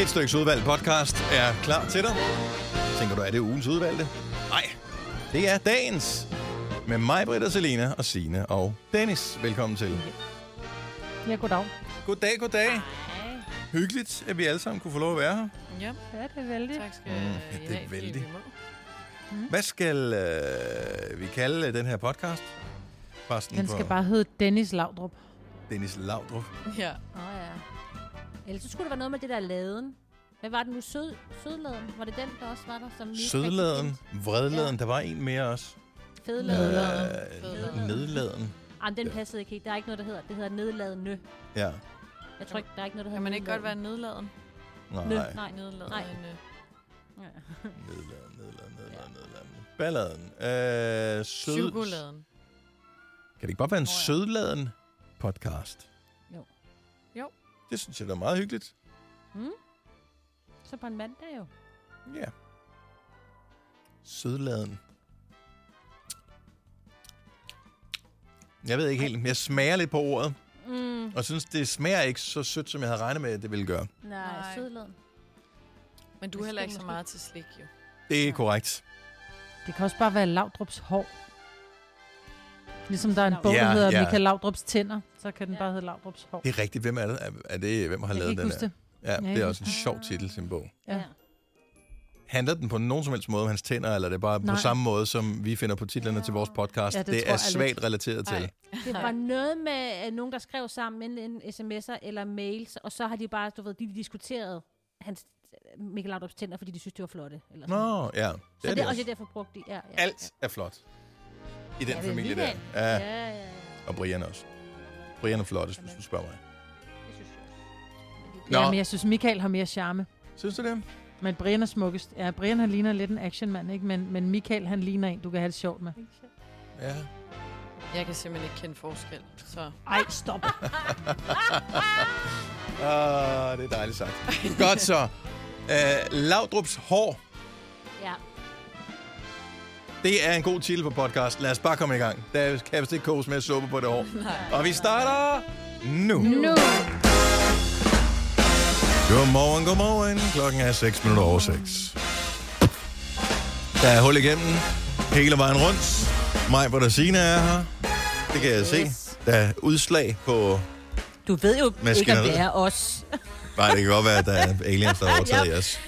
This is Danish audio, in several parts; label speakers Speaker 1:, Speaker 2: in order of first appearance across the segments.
Speaker 1: Et stykke udvalgt podcast er klar til dig. Tænker du, er det ugens udvalgte? Nej, det er dagens. Med mig, Britt og Selina og Sine og Dennis. Velkommen til.
Speaker 2: Ja, goddag.
Speaker 1: Goddag, goddag. Hyggeligt, at vi alle sammen kunne få lov at være her.
Speaker 3: Ja,
Speaker 2: Ja, det er vældig.
Speaker 3: tak skal
Speaker 1: Mm,
Speaker 3: I
Speaker 1: ja,
Speaker 3: have,
Speaker 1: det Mm. er
Speaker 3: fordi
Speaker 1: vældig.
Speaker 3: vi må.
Speaker 1: Hvad skal øh, vi kalde den her podcast? Resten
Speaker 2: Den
Speaker 1: for
Speaker 2: skal bare hedde Dennis Laudrup.
Speaker 1: Dennis Laudrup.
Speaker 3: Ja,
Speaker 4: Åh oh, ja. Ellers så skulle det være noget med det der laden. Hvad var det nu? Sød, sødladen? Var det den, der også var der? Som vi ikke rigtig
Speaker 1: Sødladen,
Speaker 4: kendte?
Speaker 1: vredladen, der var en mere også.
Speaker 4: Fedladen. Øh.
Speaker 1: Øh, nedladen.
Speaker 4: Ah, men den passede ikke helt. Der er ikke noget, der hedder. Det hedder nedladende.
Speaker 1: Ja,
Speaker 4: Jeg tror ikke, der er ikke noget, der hedder
Speaker 3: kan man ikke godt være
Speaker 4: nedladen.
Speaker 3: nedladen?
Speaker 1: nej.
Speaker 4: Nej.
Speaker 3: Nedladen.
Speaker 4: Nej.
Speaker 3: øh,
Speaker 4: Ja.
Speaker 1: Nedladen, nedladen, nedladen, nedladen. Balladen. Øh, sød...
Speaker 3: Chokoladen.
Speaker 1: Kan det ikke bare være en
Speaker 3: Nå ja.
Speaker 1: sødladen podcast?
Speaker 4: Jo.
Speaker 3: Jo.
Speaker 1: Det synes jeg, der er meget hyggeligt.
Speaker 4: Hmm? Så på en mandag jo.
Speaker 1: Ja. Sødladen. Jeg ved ikke helt. Jeg smager lidt på ordet,
Speaker 4: Mm.
Speaker 1: og synes, det smager ikke så sødt, som jeg havde regnet med, at det ville gøre.
Speaker 4: Nej,
Speaker 3: Nej.
Speaker 4: sødladen.
Speaker 3: Men du er
Speaker 4: Det
Speaker 3: heller
Speaker 4: skal
Speaker 3: ikke så
Speaker 4: måske-
Speaker 3: meget til slik, jo.
Speaker 1: Det er korrekt.
Speaker 2: Det kan også bare være Laudrups hår. Ligesom der er en bog,
Speaker 1: Ja,
Speaker 2: der hedder
Speaker 1: ja.
Speaker 2: Michael Laudrups tænder, så kan den
Speaker 4: Ja.
Speaker 2: bare hedde Laudrups hår.
Speaker 1: Det er rigtigt. Hvem er det? Er- Er det hvem har
Speaker 2: Jeg kan
Speaker 1: lavet
Speaker 2: ikke
Speaker 1: den
Speaker 2: huske
Speaker 1: her?
Speaker 2: det.
Speaker 1: Ja,
Speaker 2: kan
Speaker 1: det er
Speaker 2: ikke
Speaker 1: også en sjov titel til en bog.
Speaker 2: Ja.
Speaker 1: Handler den på nogen som helst måde om hans tænder, eller er det bare Nej.
Speaker 2: Nej.
Speaker 1: på samme måde, som vi finder på titlerne til vores podcast?
Speaker 2: Ja,
Speaker 1: det
Speaker 2: det
Speaker 1: det
Speaker 2: tror
Speaker 1: er
Speaker 2: jeg lidt.
Speaker 1: svagt relateret til.
Speaker 3: Ej.
Speaker 4: Det var noget med øh, nogen, der skrev sammen en, en sms'er eller mails, og så har de bare, du ved, de diskuterede hans øh, Michael Laudrups tænder, fordi de synes, det var flotte. Eller sådan.
Speaker 1: Nå, ja. Det
Speaker 4: så
Speaker 1: er
Speaker 4: det er
Speaker 1: også.
Speaker 4: også derfor brugt de. Ja, ja, ja.
Speaker 1: Alt er flot. I den
Speaker 4: Ja, det er
Speaker 1: familie der.
Speaker 4: Michael.
Speaker 1: Ja.
Speaker 4: Ja, ja, ja.
Speaker 1: Og Brian også. Brian er flottest, hvis du spørger mig.
Speaker 4: Det synes jeg også. Men det er
Speaker 1: Nå.
Speaker 2: ja, men jeg synes, Michael har mere charme.
Speaker 1: Synes du det?
Speaker 2: Men Brian er smukkest. Ja, Brian han ligner lidt en actionmand, ikke? Men, men Michael han ligner en, du kan have det sjovt med.
Speaker 1: Ja.
Speaker 3: Jeg kan simpelthen ikke kende forskel, så...
Speaker 2: Ej, stop.
Speaker 1: Ah, det er dejligt sagt. Godt så. Uh, Laudrups hår.
Speaker 4: Ja,
Speaker 1: Det er en god titel på podcast. Lad os bare komme i gang. Der kan vist ikke koges med suppe på det hår. Og vi starter nu.
Speaker 2: nu.
Speaker 1: Godmorgen, godmorgen. Klokken er 6 minutter over 6. Der er hul igennem hele vejen rundt. Mig, hvor der Signe er her. Det kan jeg yes. se. Der er udslag på...
Speaker 4: Du ved jo ikke, om
Speaker 1: Maskineriet.
Speaker 4: det er os.
Speaker 1: Nej, det kan godt være, at der er aliens, der har overtaget jeres.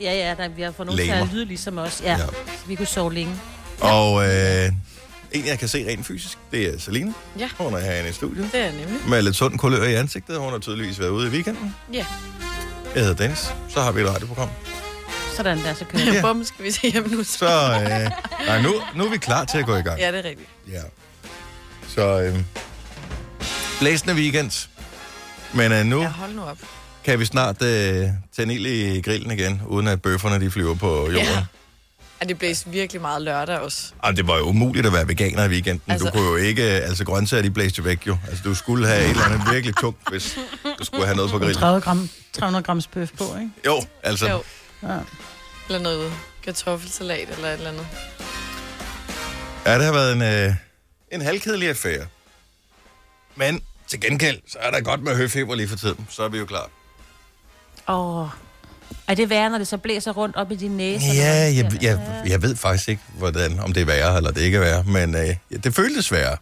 Speaker 4: Ja, ja, der, vi har fået nogen til
Speaker 1: Legemer.
Speaker 4: at lyde ligesom os. Ja.
Speaker 1: Ja.
Speaker 4: ja. Vi kunne sove længe.
Speaker 1: Og øh, en, jeg kan se rent fysisk, det er Selina.
Speaker 3: Ja.
Speaker 1: Hun er herinde i studiet.
Speaker 3: Det er nemlig.
Speaker 1: Med lidt sund kulør i ansigtet. Hun har tydeligvis været ude i weekenden.
Speaker 3: Ja.
Speaker 1: Jeg hedder Dennis. Så har vi et radioprogram.
Speaker 4: Sådan der, så kører
Speaker 1: Ja.
Speaker 4: vi.
Speaker 3: Bum, skal vi se hjem nu, så...
Speaker 1: Så øh, nej, nu, nu er vi klar til at gå i gang.
Speaker 3: Ja, det er rigtigt.
Speaker 1: Ja. Så øh, blæsende weekend. Men øh, nu
Speaker 3: Ja,
Speaker 1: ja.
Speaker 3: hold nu op.
Speaker 1: kan vi snart øh, tænde ild i grillen igen, uden at bøfferne de flyver på jorden. Ja.
Speaker 3: Ja. Ja, det blæste virkelig meget lørdag også.
Speaker 1: Jamen, det var jo umuligt at være veganer i weekenden. Altså...
Speaker 3: Altså-
Speaker 1: Du kunne jo ikke... øh, Altså, grøntsager, de blæste jo væk jo. Altså, du skulle have et eller andet virkelig tungt, hvis du skulle have noget på grillen.
Speaker 2: 30 gram, 300 grams bøf på, ikke?
Speaker 1: Jo, altså... Jo.
Speaker 3: Jo.
Speaker 2: Ja.
Speaker 3: Eller noget kartoffelsalat eller et eller andet.
Speaker 1: Ja, det har været en, øh, en halvkedelig affære. Men til gengæld, så er der godt med høfeber lige for tiden. Så er vi jo klar.
Speaker 4: Åh. Er det værre, når det så blæser rundt op i din næse?
Speaker 1: Ja, jeg, jeg, jeg ved faktisk ikke, hvordan, om det er værre eller det ikke er værre, men øh, ja, det føltes værre.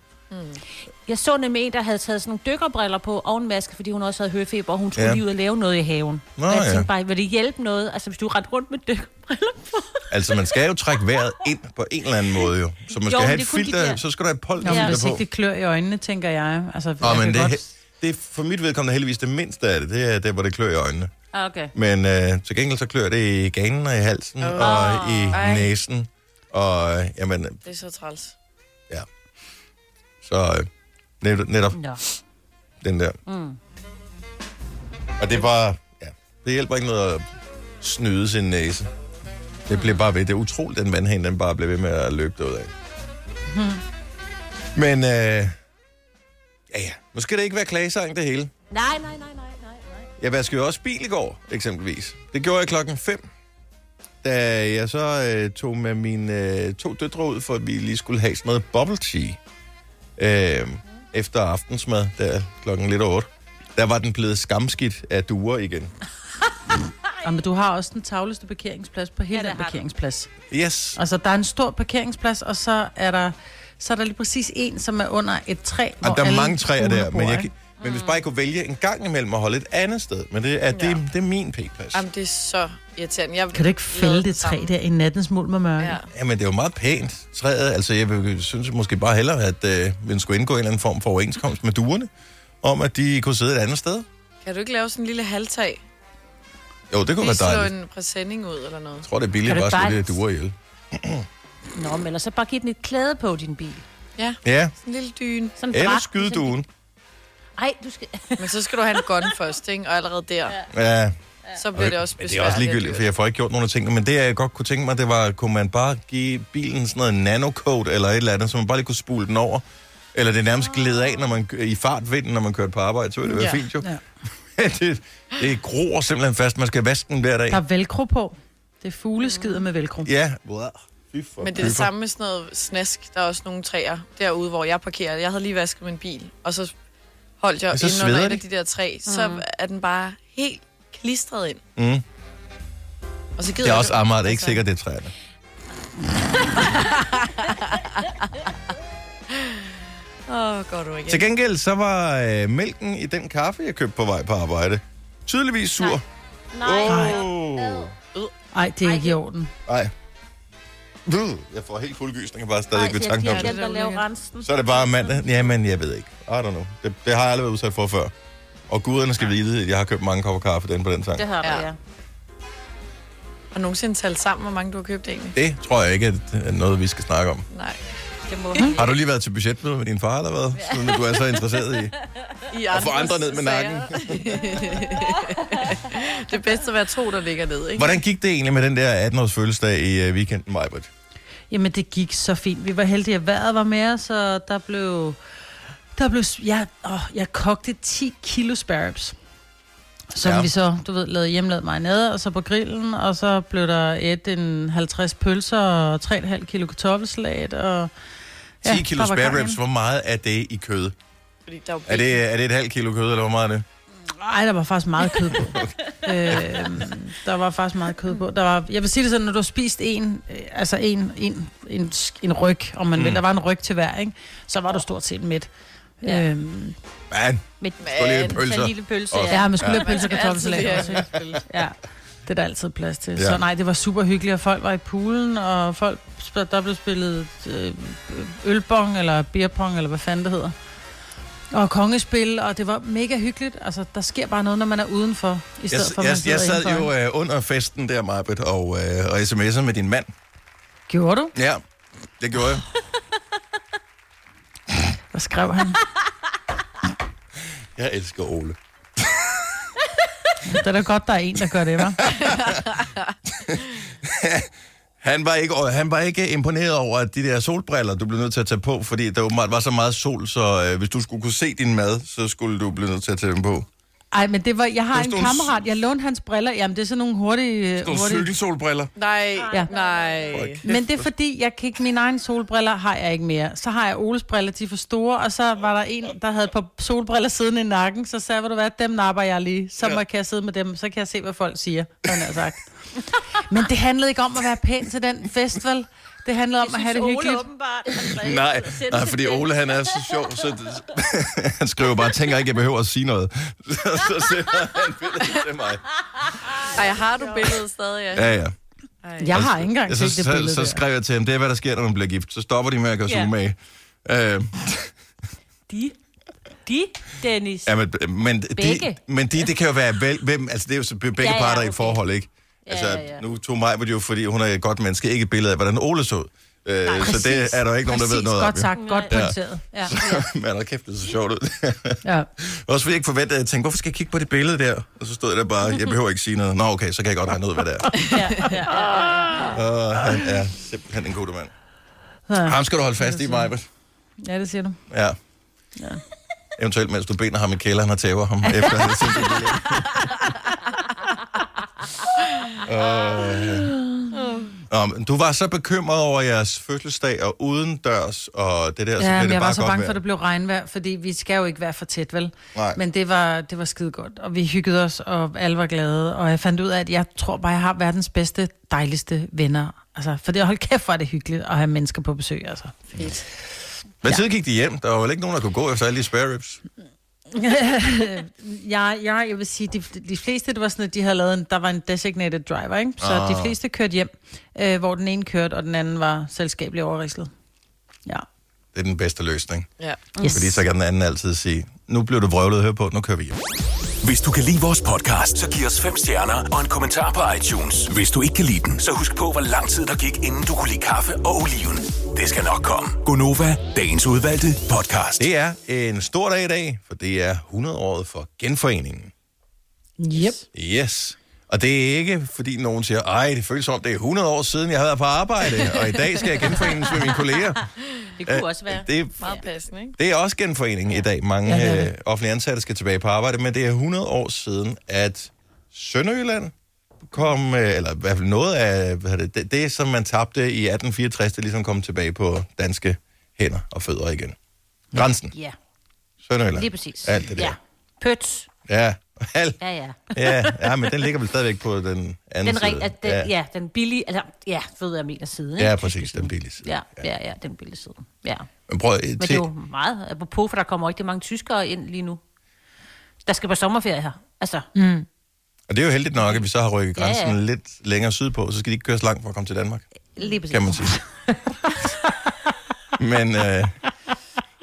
Speaker 4: Jeg så nemlig en, der havde taget sådan nogle dykkerbriller på og en maske, fordi hun også havde høfeber, og hun skulle
Speaker 1: Ja.
Speaker 4: ja. lige ud og lave noget i haven.
Speaker 1: Nå,
Speaker 4: og jeg
Speaker 1: ja.
Speaker 4: tænkte bare, vil det hjælpe noget? Altså, hvis du rendte rundt med dykkerbriller på.
Speaker 1: Altså, man skal jo trække vejret ind på en eller anden måde jo. Så man
Speaker 4: Jo,
Speaker 1: skal jo,
Speaker 4: men
Speaker 1: have
Speaker 4: det
Speaker 1: et
Speaker 4: er kun de
Speaker 1: filter,
Speaker 4: der-
Speaker 1: så skal du have et
Speaker 2: Nå, men
Speaker 4: Ja.
Speaker 1: polterfilter
Speaker 2: hvis
Speaker 1: ja. på.
Speaker 2: ikke det klør i øjnene, tænker jeg. Altså,
Speaker 1: Åh,
Speaker 2: jeg
Speaker 1: men
Speaker 2: kan
Speaker 1: det,
Speaker 2: godt...
Speaker 1: det er for mit vedkommende heldigvis det mindste af det, det er der, hvor det klør i øjnene.
Speaker 4: Ah, Okay.
Speaker 1: Men øh, til gengæld så klør det i ganen og i halsen oh. og i
Speaker 3: Ej.
Speaker 1: næsen. Og øh, jamen,
Speaker 3: Det er så træls.
Speaker 1: så øh, netop, netop
Speaker 4: Nå.
Speaker 1: den der.
Speaker 4: Mm.
Speaker 1: Og det er bare, ja, det hjælper ikke noget at snyde sin næse. Det bliver bare ved. Det er utroligt, den vandhane, den bare bliver ved med at løbe derudad. Hmm. Men, øh, ja ja, nu skal det ikke være klagesang det hele.
Speaker 4: Nej, nej, nej, nej, nej, nej.
Speaker 1: Jeg vaskede jo også bil i går, eksempelvis. Det gjorde jeg klokken 5, da jeg så øh, tog med mine øh, to døtre ud, for at vi lige skulle have sådan noget bubble tea øh, efter aftensmad, der klokken lidt over 8. Der var den blevet skamskidt af duer igen.
Speaker 2: Jamen, du har også den tavleste parkeringsplads på hele
Speaker 5: Ja,
Speaker 2: ja,
Speaker 5: det
Speaker 2: den
Speaker 5: har du.
Speaker 2: parkeringsplads.
Speaker 1: Yes.
Speaker 2: Altså, der er en stor parkeringsplads, og så er der, så er der lige præcis en, som er under et træ,
Speaker 1: Og der er
Speaker 2: alle
Speaker 1: mange træer
Speaker 2: fugle
Speaker 1: der,
Speaker 2: bor,
Speaker 1: men, jeg,
Speaker 2: ikke?
Speaker 1: kan- men hvis bare jeg kunne vælge en gang imellem at holde et andet sted, men det er, det,
Speaker 3: Ja.
Speaker 1: det er min p-plads.
Speaker 3: Jamen, det er så irriterende. Jeg
Speaker 2: Kan du ikke
Speaker 3: lavede
Speaker 2: fælde
Speaker 3: den
Speaker 2: det træ
Speaker 3: samme.
Speaker 2: der i nattens mulm og mørke?
Speaker 3: Ja.
Speaker 2: Ja.
Speaker 1: Jamen, det er jo meget pænt, træet. Altså, jeg vil- synes måske bare hellere, at øh, man skulle indgå en eller anden form for overenskomst med duerne, om at de kunne sidde et andet sted.
Speaker 3: Kan du ikke lave sådan en lille halvtag?
Speaker 1: Jo, det kunne
Speaker 3: Lige
Speaker 1: være
Speaker 3: slå
Speaker 1: dejligt.
Speaker 3: en præsending ud eller noget.
Speaker 1: Jeg tror, det er billigt
Speaker 4: Kan
Speaker 1: bare
Speaker 4: du
Speaker 1: at slå
Speaker 4: bare-
Speaker 1: det her duer ihjel.
Speaker 4: Nå, men ellers så bare giv den et klæde på din bil.
Speaker 1: Ja,
Speaker 3: Sådan en lille dyne.
Speaker 4: Sådan en
Speaker 1: eller
Speaker 4: dragt,
Speaker 1: skyde
Speaker 4: ligesom-
Speaker 1: duen.
Speaker 4: Ej, du skal...
Speaker 3: Men så skal du have en gun først, ikke? Og allerede der, ja.
Speaker 1: Ja,
Speaker 3: så bliver det også
Speaker 1: men
Speaker 3: besværligt.
Speaker 1: det er også ligegyldigt, for jeg får ikke gjort nogen af tingene. Men det, jeg godt kunne tænke mig, det var, kunne man bare give bilen sådan noget nanocoat eller et eller andet, så man bare lige kunne spule den over. Eller det nærmest gled af når man, i fartvinden, når man kørte på arbejde. Så ville det være
Speaker 3: Ja.
Speaker 1: fint jo.
Speaker 2: Ja.
Speaker 1: det, det gror simpelthen fast. Man skal vaske den hver dag.
Speaker 2: Der er velcro på. Det er fugleskider med velcro.
Speaker 1: Ja. Fy for
Speaker 3: Men det er det
Speaker 1: pyfer.
Speaker 3: samme med sådan noget snask. Der er også nogle træer derude, hvor jeg parkerer. Jeg havde lige vasket min bil, og så holdt jeg
Speaker 1: Men så
Speaker 3: ind under
Speaker 1: sveder
Speaker 3: et af
Speaker 1: det.
Speaker 3: de der træ. Så
Speaker 4: Mm.
Speaker 3: er den bare helt klistret ind.
Speaker 1: Mm.
Speaker 3: Og så gider
Speaker 1: Det er
Speaker 3: jeg
Speaker 1: også
Speaker 3: ikke-
Speaker 1: Amager, det er ikke
Speaker 3: altså,
Speaker 1: sikkert, det er træerne.
Speaker 3: Åh, går du igen.
Speaker 1: Til gengæld, så var øh, mælken i den kaffe, jeg købte på vej på arbejde, tydeligvis sur.
Speaker 4: Nej.
Speaker 1: Åh.
Speaker 2: Ej, det er
Speaker 4: Ej,
Speaker 2: ikke i orden.
Speaker 1: Ej. Ved, Jeg får helt fuld gysning, jeg bare stadig ved tanken om
Speaker 4: Jeg
Speaker 1: det.
Speaker 4: glemte at lave rensen.
Speaker 1: Så er det bare mandag. Jamen, jeg ved ikke. I don't know. Det, det har jeg aldrig været udsat for før. Og guderne skal vide, at jeg har købt mange kopper kaffe den på den sang.
Speaker 5: Det har
Speaker 3: Ja.
Speaker 5: du, ja.
Speaker 3: Har du nogensinde talt sammen, hvor mange du har købt egentlig?
Speaker 1: Det tror jeg ikke er noget, vi skal snakke om.
Speaker 3: Nej.
Speaker 5: Det
Speaker 3: Hm?
Speaker 5: må
Speaker 1: Har du lige været til budgetmøde med din far, eller hvad? Siden du er så interesseret i.
Speaker 3: I
Speaker 1: Og få andre ned med
Speaker 3: sager.
Speaker 1: nakken.
Speaker 3: det er bedst at være to, der ligger ned, ikke?
Speaker 1: Hvordan gik det egentlig med den der 18-års fødselsdag i øh, weekenden, Majbert?
Speaker 2: Jamen, det gik så fint. Vi var heldige, at vejret var med os, og der blev... Der blev jeg, åh, jeg kogte 10 kilo sparrows. Som
Speaker 1: Ja.
Speaker 2: ja. vi så, du ved, lavede hjemmelavet marinade, og så på grillen, og så blev der et en 50 pølser og 3,5 kilo kartoffelsalat, og...
Speaker 1: 10
Speaker 2: ja,
Speaker 1: ja, kilo
Speaker 2: der var gang
Speaker 1: spare
Speaker 2: i
Speaker 1: ribs,
Speaker 2: den.
Speaker 1: hvor meget er det i kød?
Speaker 3: Fordi der er, jo
Speaker 1: Er det, er det et halvt kilo kød, eller hvor meget er det?
Speaker 2: Ej, der var faktisk meget kød på. øhm, der var faktisk meget kød på. Der var, jeg vil sige det sådan, når du har spist en, øh, altså en, en, en, sk- en ryg, om man mm. vil, der var en ryg til hver, ikke? så var du stort set mæt.
Speaker 4: Ja.
Speaker 2: Ja. Øhm,
Speaker 1: Man,
Speaker 4: Med
Speaker 1: få lige lidt
Speaker 4: en
Speaker 1: pølser.
Speaker 4: lille pølse,
Speaker 1: Og-
Speaker 4: ja.
Speaker 2: ja, man skulle
Speaker 3: Ja.
Speaker 2: ja. have pølse og
Speaker 3: Man skal
Speaker 2: kartoffelsalat også.
Speaker 3: altid lige
Speaker 2: ikke? Ja. Det er der altid plads til.
Speaker 1: Ja.
Speaker 2: Ja. Så nej, det var super hyggeligt, og folk var i poolen, og folk sp- der blev spillet øh, ølbong, eller beerpong, eller hvad fanden det hedder. Og kongespil, og det var mega hyggeligt. Altså, der sker bare noget, når man er udenfor, i
Speaker 1: jeg,
Speaker 2: stedet for, at man
Speaker 1: jeg,
Speaker 2: sidder
Speaker 1: jeg sad
Speaker 2: indenfor.
Speaker 1: jo øh, under festen der, Marbet, og, øh, og sms'ede med din mand.
Speaker 2: Gjorde du?
Speaker 1: Ja, det gjorde jeg.
Speaker 2: Hvad skrev han?
Speaker 1: Jeg elsker Ole.
Speaker 2: Det er da godt, der er en, der gør det, hva'?
Speaker 1: Han var, ikke, og han var ikke imponeret over at de der solbriller, du blev nødt til at tage på, fordi der åbenbart var så meget sol, så øh, hvis du skulle kunne se din mad, så skulle du blive nødt til at tage dem på.
Speaker 2: Ej, men det var, jeg har
Speaker 1: Det
Speaker 2: en
Speaker 1: var sådan nogle-
Speaker 2: kammerat, jeg lånte hans briller. Jamen, det er sådan nogle hurtige... øh,
Speaker 1: Nogle
Speaker 2: hurtige...
Speaker 1: cykelsolbriller.
Speaker 3: Nej,
Speaker 2: Ja.
Speaker 3: nej.
Speaker 2: Men det er fordi, jeg kan ikke, mine egne solbriller har jeg ikke mere. Så har jeg Oles briller, de er for store, og så var der en, der havde et par solbriller siden i nakken, så sagde, jeg, ved du hvad, dem napper jeg lige, så
Speaker 1: Ja.
Speaker 2: ja. kan jeg sidde med dem, så kan jeg se, hvad folk siger, sådan har sagt. Men det handlede ikke om at være pæn til den fest, vel? Det handlede om at have det hyggeligt.
Speaker 5: åbenbart.
Speaker 1: Nej, nej, fordi Ole han er så sjov, så det- han skriver bare, tænker ikke, jeg behøver at sige noget. så så sender han billedet til mig.
Speaker 3: Ej, har du billedet stadig? Ja.
Speaker 1: Ja, ja.
Speaker 2: Jeg har ikke engang
Speaker 1: Ja, så,
Speaker 2: set det
Speaker 1: så,
Speaker 2: billede
Speaker 1: så
Speaker 2: der.
Speaker 1: skrev jeg til ham, det er, hvad der sker, når man bliver gift. Så stopper de med at gøre sig
Speaker 5: Ja.
Speaker 1: umage. Øh,
Speaker 5: De. De, Dennis.
Speaker 1: ja, men, men, de,
Speaker 4: Begge.
Speaker 1: men de, det kan jo være vel, hvem, altså det er jo så begge
Speaker 4: Ja, ja,
Speaker 1: parter i
Speaker 4: okay.
Speaker 1: et forhold, ikke? Altså,
Speaker 4: ja, ja.
Speaker 1: nu tog mig jo, fordi hun er et godt menneske, ikke et billede af, hvordan Ole så ud. Øh, så det
Speaker 2: præcis.
Speaker 1: er der jo ikke nogen, der ved
Speaker 2: Præcis,
Speaker 1: noget
Speaker 2: godt
Speaker 1: om.
Speaker 2: sagt, godt
Speaker 1: Ja.
Speaker 2: pointeret. Ja.
Speaker 1: jo. Men hold kæft, det er så sjovt ud.
Speaker 2: Ja.
Speaker 1: Også fordi jeg ikke forventede, at jeg tænkte, hvorfor skal jeg kigge på det billede der? Og så stod jeg der bare, jeg behøver ikke sige noget. Nå, okay, så kan jeg godt regne ud, hvad det er.
Speaker 5: Ja, ja, ja.
Speaker 1: Og han er simpelthen en god mand.
Speaker 2: Ja.
Speaker 1: Ham skal du holde fast i, Majbert.
Speaker 2: ja, det siger du.
Speaker 1: Ja. ja. Eventuelt, mens du bener ham i kælderen og tæver ham, efter han har sendt det billede. Åh, Nå, men du var så bekymret over jeres fødselsdag og udendørs og det der, så
Speaker 2: Ja,
Speaker 1: blev
Speaker 2: men
Speaker 1: det
Speaker 2: jeg
Speaker 1: bare
Speaker 2: var så
Speaker 1: godt
Speaker 2: bange
Speaker 1: vejr.
Speaker 2: for, at det blev regnvejr, fordi vi skal jo ikke være for tæt, vel?
Speaker 1: Nej.
Speaker 2: Men det var, det var skide godt, og vi hyggede os, og alle var glade, og jeg fandt ud af, at jeg tror bare, jeg har verdens bedste, dejligste venner. Altså, for det hold kæft, var det hyggeligt at have mennesker på besøg, altså.
Speaker 3: Fedt.
Speaker 1: Men tid gik de hjem. Der var vel ikke nogen, der kunne gå efter alle de spare ribs.
Speaker 2: jeg, jeg, jeg vil sige, de, de fleste, det var sådan, at de havde lavet en, der var en designated driver, ikke? Så
Speaker 1: Ah.
Speaker 2: de fleste kørte hjem, øh, hvor den ene kørte, og den anden var selskabelig overrislet. Ja.
Speaker 1: Det er den bedste løsning.
Speaker 3: Ja.
Speaker 2: Mm.
Speaker 1: Yes. Fordi så kan den anden altid sige, nu blev du vrøvlet her på, nu kører vi hjem.
Speaker 6: Hvis du kan lide vores podcast, så giv os fem stjerner og en kommentar på iTunes. Hvis du ikke kan lide den, så husk på, hvor lang tid der gik, inden du kunne lide kaffe og oliven. Det skal nok komme. Gonova, dagens udvalgte podcast.
Speaker 1: Det er en stor dag i dag, for det er 100-året for genforeningen.
Speaker 2: Yep.
Speaker 1: Yes. Og det er ikke, fordi nogen siger, ej, det føles som om, det er 100 år siden, jeg har været på arbejde, og i dag skal jeg genforenes med mine kolleger.
Speaker 5: Det kunne også være.
Speaker 1: Det,
Speaker 3: Meget passende, ikke?
Speaker 1: det er også genforening i dag. Mange
Speaker 2: Ja, det er
Speaker 1: ja, øh, offentlige ansatte skal tilbage på arbejde, men det er 100 år siden, at Sønderjylland kom, øh, eller i hvert fald noget af hvad hedder det, det, det, som man tabte i 1864, det ligesom kom tilbage på danske hænder og fødder igen. Grænsen,
Speaker 4: Ja,
Speaker 1: Sønderjylland.
Speaker 4: lige præcis.
Speaker 1: Alt det der.
Speaker 4: Ja. Pøts.
Speaker 1: Ja, alt.
Speaker 4: Ja, ja.
Speaker 1: Ja, ja, men den ligger vel stadigvæk på den anden
Speaker 4: Den,
Speaker 1: side.
Speaker 4: ring, at den, ja. ja, den billige, altså, ja, ved jeg mener side. ikke?
Speaker 1: Ja, præcis, den billige side.
Speaker 4: Ja, ja, ja, den billige side. Ja.
Speaker 1: Men prøv, øh,
Speaker 4: Men det
Speaker 1: til,
Speaker 4: er jo meget apropos, for der kommer rigtig mange tyskere ind lige nu. Der skal på sommerferie her. Altså, mm.
Speaker 1: og det er jo heldigt nok, at vi så har rykket
Speaker 4: Ja, ja.
Speaker 1: grænsen lidt længere sydpå, så skal de ikke køre så langt for at komme til Danmark,
Speaker 4: lige præcis.
Speaker 1: kan man sige. Men øh,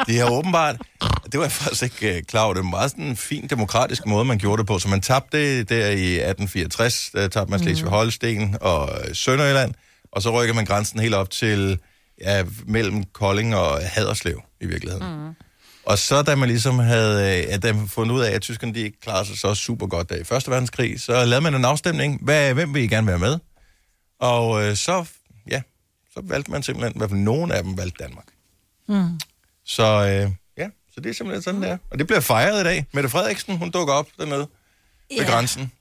Speaker 1: det er åbenbart, det var jeg faktisk ikke øh, klar over, det var en meget sådan en fin demokratisk måde, man gjorde det på. Så man tabte der i 1864, der tabte man
Speaker 4: Mhm.
Speaker 1: Slesvig-Holsten og øh, Sønderjylland, og så rykker man grænsen helt op til ja, mellem Kolding og Haderslev i virkeligheden. Mm. Og så da man ligesom havde øh, at da man fundet ud af, at tyskerne de ikke klarede sig så super godt der i Første Verdenskrig, så lavede man en afstemning. Hvad, hvem vil I gerne være med? Og øh, så, ja, så valgte man simpelthen, i hvert fald nogen af dem valgte Danmark. Mm. Så øh, ja, så det er simpelthen sådan, mm. det er. Og det bliver fejret i dag. Mette Frederiksen, hun dukker op dernede ved
Speaker 4: Ja.
Speaker 1: grænsen.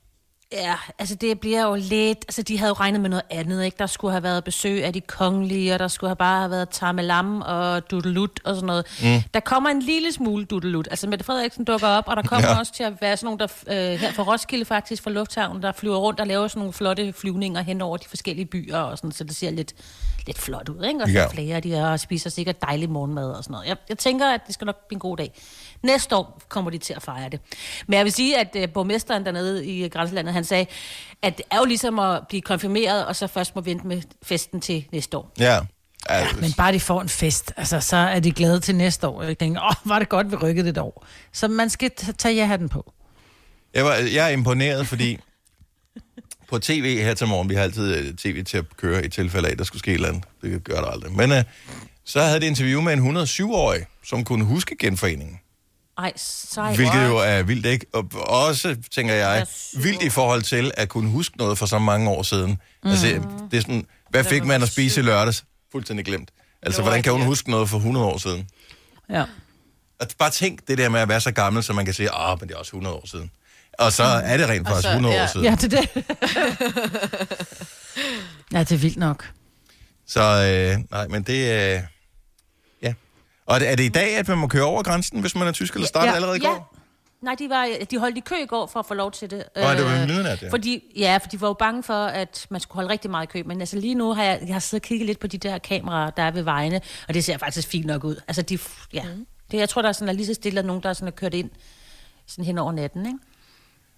Speaker 4: Ja, altså det bliver jo lidt... Altså de havde jo regnet med noget andet, ikke? Der skulle have været besøg af de kongelige, og der skulle have bare have været Tamelam og Dudelut og sådan noget. Mm. Der kommer en lille smule Dudelut. Altså Mette Frederiksen dukker op, og der kommer
Speaker 1: Ja.
Speaker 4: ja. også til at være sådan nogle, der øh, her fra Roskilde faktisk, fra Lufthavnen, der flyver rundt og laver sådan nogle flotte flyvninger hen over de forskellige byer og sådan, så det ser lidt, lidt flot ud, ikke? Og så
Speaker 1: Ja.
Speaker 4: ja. flere de er, og spiser sikkert dejlig morgenmad og sådan noget. Jeg, jeg tænker, at det skal nok blive en god dag. Næste år kommer de til at fejre det. Men jeg vil sige, at øh, borgmesteren dernede i øh, grænselandet, han sagde, at det er jo ligesom at blive konfirmeret, og så først må vente med festen til næste år.
Speaker 1: Ja. Ja,
Speaker 2: Men bare de får en fest, altså, så er de glade til næste år. Jeg tænker, åh, var det godt, vi rykkede det et år. Så man skal t- tage ja-hatten på.
Speaker 1: Jeg, var, jeg er imponeret, fordi på tv her til morgen, vi har altid øh, tv til at køre i tilfælde af, at der skulle ske et eller andet. Det gør der aldrig. Men øh, så havde det interview med en 107-årig, som kunne huske genforeningen.
Speaker 4: Ej, sej.
Speaker 1: Hvilket jo er vildt, ikke? Og også, tænker jeg, vildt i forhold til at kunne huske noget for så mange år siden. Mm. Altså, det er sådan, hvad fik man at spise i lørdags? Fuldstændig glemt. Altså,
Speaker 3: Jo,
Speaker 1: hvordan kan hun
Speaker 3: ja.
Speaker 1: huske noget for 100 år siden?
Speaker 2: Ja.
Speaker 1: Og bare tænk det der med at være så gammel, så man kan sige, ah, men det er også 100 år siden. Og så er det rent
Speaker 4: Altså,
Speaker 1: faktisk
Speaker 3: så-
Speaker 1: 100 år
Speaker 3: ja.
Speaker 1: siden.
Speaker 2: Altså, Ja, det er det. ja, det er vildt nok.
Speaker 1: Så øh, nej, men det... Øh, ja. Og er det, er det i dag, at man må køre over grænsen, hvis man er tysk, eller startede
Speaker 2: Ja.
Speaker 1: allerede i
Speaker 4: Ja.
Speaker 1: går?
Speaker 4: Nej, de, var, de holdt i kø i går for at få lov til det.
Speaker 1: Nej, det var
Speaker 4: Øh,
Speaker 1: ved midnat, ja.
Speaker 4: Fordi, ja, for de var jo bange for, at man skulle holde rigtig meget i kø. Men altså lige nu har jeg, jeg har siddet og kigget lidt på de der kameraer, der er ved vejene, og det ser faktisk fint nok ud. Altså, de, ja.
Speaker 2: Mm.
Speaker 4: Det, jeg tror, der er sådan, at lige så stille er nogen, der er sådan, er kørt ind sådan hen over natten, ikke?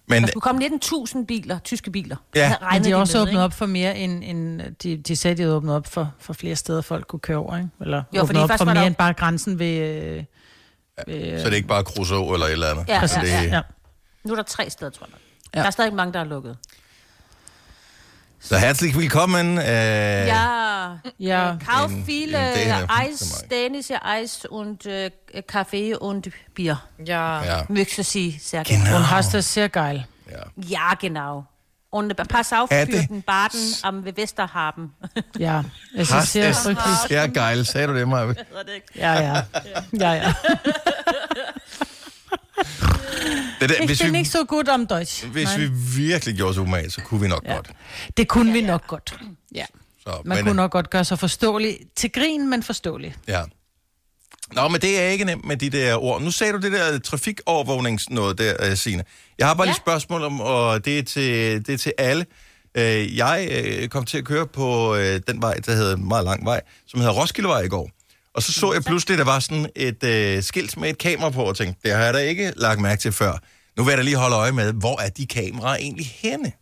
Speaker 1: Men
Speaker 4: Der skulle komme 19.000 biler, tyske biler.
Speaker 1: Ja.
Speaker 4: Havde regnet
Speaker 2: Men de har også
Speaker 4: med,
Speaker 2: åbnet
Speaker 4: ikke?
Speaker 2: op for mere end... end de, de sagde, de havde åbnet op for, for flere steder, folk kunne køre over, ikke? Eller
Speaker 4: fordi
Speaker 2: jo, åbnet op
Speaker 4: først
Speaker 2: for
Speaker 4: var
Speaker 2: mere
Speaker 4: der-
Speaker 2: end bare grænsen ved... Øh, ved
Speaker 1: så er det ikke bare Crusoe eller et eller andet.
Speaker 4: Ja,
Speaker 1: altså,
Speaker 4: ja,
Speaker 1: det,
Speaker 2: ja, ja.
Speaker 4: Nu er der tre steder, tror jeg.
Speaker 2: Ja.
Speaker 4: Ja. Der er stadig mange, der er lukket.
Speaker 1: Så herzlich willkommen. Øh, ja.
Speaker 4: Ja, Øh,
Speaker 2: ja.
Speaker 4: kauf
Speaker 1: En-
Speaker 4: viele
Speaker 1: en Däne.
Speaker 4: Eis, dänische Eis und äh, Kaffee und Bier.
Speaker 3: Ja. ja.
Speaker 1: ja.
Speaker 4: Möchte sie sehr gerne.
Speaker 2: Hun
Speaker 1: Genau.
Speaker 2: har stadig sehr geil.
Speaker 1: Ja.
Speaker 4: Ja, genau. Und pass auf
Speaker 1: Er
Speaker 4: für
Speaker 1: det-
Speaker 4: den Baden am Westerhaben.
Speaker 2: Ja, jeg synes,
Speaker 1: Hast
Speaker 2: det er
Speaker 1: es
Speaker 2: frygteligt.
Speaker 1: sehr geil. Sagde du det, Maja?
Speaker 2: Ja, ja. ja, ja.
Speaker 1: Det der,
Speaker 2: Ich
Speaker 1: hvis vi,
Speaker 2: bin nicht so gut am Deutsch.
Speaker 1: hvis vi virkelig gjorde os umage, så kunne vi nok ja. godt.
Speaker 2: Det kunne vi nok godt. Ja.
Speaker 1: Så,
Speaker 2: Man
Speaker 1: men, øh,
Speaker 2: men, kunne nok godt gøre sig forståelig. Til grin, men forståelig.
Speaker 1: Ja. Nå, men det er ikke nemt med de der ord. Nu sagde du det der trafikovervågnings noget der, øh, Signe. Jeg har bare ja. lige et spørgsmål om, og det er til, det er til alle. Øh, Jeg øh, kom til at køre på øh, den vej, der hedder en meget lang vej, som hedder Roskildevej i går. Og så så jeg pludselig, der var sådan et øh, skilt med et kamera på, og tænkte, det har jeg da ikke lagt mærke til før. Nu vil jeg da lige holde øje med, hvor er de kameraer egentlig henne?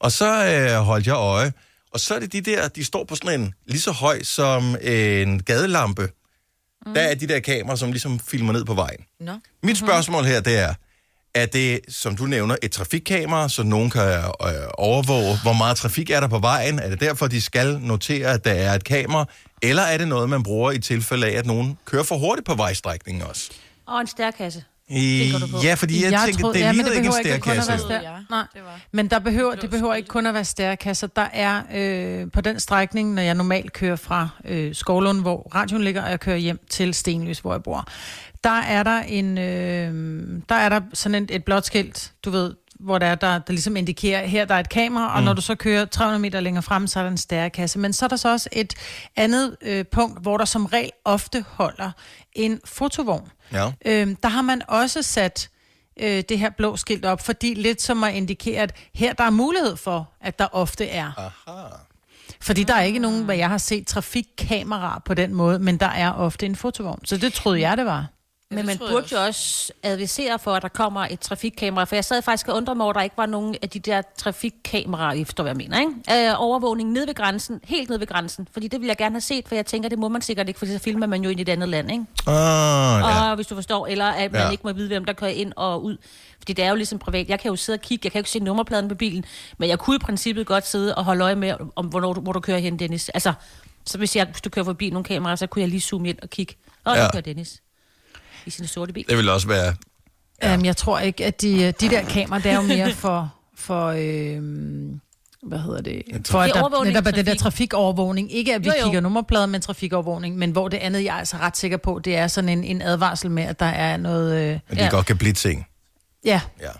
Speaker 1: Og så øh, holdt jeg øje, og så er det de der, de står på sådan en lige så høj som en gadelampe. Mm. Der er de der kameraer, som ligesom filmer ned på vejen.
Speaker 3: Nå.
Speaker 1: Mit spørgsmål her, det er, er det, som du nævner, et trafikkamera, så nogen kan øh, overvåge, hvor meget trafik er der på vejen? Er det derfor, de skal notere, at der er et kamera? Eller er det noget, man bruger i tilfælde af, at nogen kører for hurtigt på vejstrækningen også?
Speaker 4: Og en stærkasse.
Speaker 1: I, ja, fordi jeg, jeg tænker, troede, det
Speaker 2: men
Speaker 1: ligner ja, ikke en
Speaker 2: behøver kun at
Speaker 1: stærkasse.
Speaker 2: være stær- Nej, men der behøver, det behøver ikke kun at være stærkasser. Der er øh, på den strækning, når jeg normalt kører fra øh, Skovlund, hvor radioen ligger, og jeg kører hjem til Stenløs, hvor jeg bor, der er der, en, øh, der, er der sådan et, et blåt skilt, du ved, hvor der, er, der, der ligesom indikerer, her der er et kamera,
Speaker 5: Mm.
Speaker 2: og mm. når du så kører 300 meter længere frem, så er der en stærkasse. Men så er der så også et andet øh, punkt, hvor der som regel ofte holder en fotovogn.
Speaker 1: Ja.
Speaker 2: Øhm, der har man også sat øh, det her blå skilt op, fordi lidt som at indikere, at her der er mulighed for, at der ofte er.
Speaker 1: Aha. Ah.
Speaker 2: Fordi der er ikke nogen, hvad jeg har set, trafikkameraer på den måde, men der er ofte en fotovogn. Så det troede jeg, det var.
Speaker 4: Men man burde jo også advisere for, at der kommer et trafikkamera. For jeg sad faktisk og undrede mig over, at der ikke var nogen af de der trafikkameraer, I forstår, hvad jeg mener, ikke? Øh, overvågning ned ved grænsen, helt ned ved grænsen. Fordi det ville jeg gerne have set, for jeg tænker, det må man sikkert ikke, for så filmer man jo ind i et andet land, ikke?
Speaker 1: Ah, ja.
Speaker 4: Og hvis du forstår, eller at man
Speaker 1: Ja.
Speaker 4: ja. ikke må vide, hvem der kører ind og ud. Fordi det er jo ligesom privat. Jeg kan jo sidde og kigge, jeg kan jo ikke se nummerpladen på bilen, men jeg kunne i princippet godt sidde og holde øje med, om, hvornår du, hvor du kører hen, Dennis. Altså, så hvis, jeg, hvis du kører forbi nogle kameraer, så kunne jeg lige zoome ind og kigge. Og ja.
Speaker 1: Ja.
Speaker 4: der kører Dennis i sin sorte bil.
Speaker 1: Det vil også være...
Speaker 2: Ja. Øhm, jeg tror ikke, at de, øh, de der kameraer, det er jo mere for... for øhm, hvad hedder det? For at
Speaker 4: Det er
Speaker 2: der
Speaker 4: overvågning,
Speaker 2: netop er det der
Speaker 4: trafik.
Speaker 2: trafikovervågning. Ikke at vi
Speaker 4: Jo,
Speaker 2: jo,
Speaker 4: jo.
Speaker 2: jo. kigger nummerplader, men trafikovervågning. Men hvor det andet, jeg er altså ret sikker på, det er sådan en, en advarsel med, at der er noget... Øh,
Speaker 1: At de ja. godt kan blive ting.
Speaker 2: Ja.
Speaker 1: Ja.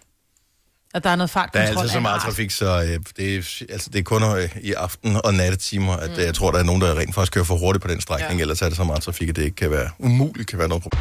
Speaker 2: Og der er noget
Speaker 1: Der
Speaker 2: fartkontrol.
Speaker 1: er altid så
Speaker 2: af en
Speaker 1: meget
Speaker 2: art.
Speaker 1: trafik, så øh, det, er, altså, det er kun øh, i aften- og nattetimer, at mm. jeg tror, der er nogen, der rent faktisk kører for hurtigt på den strækning, ja. ellers er det så meget trafik, at det ikke kan være umuligt, kan være noget problem.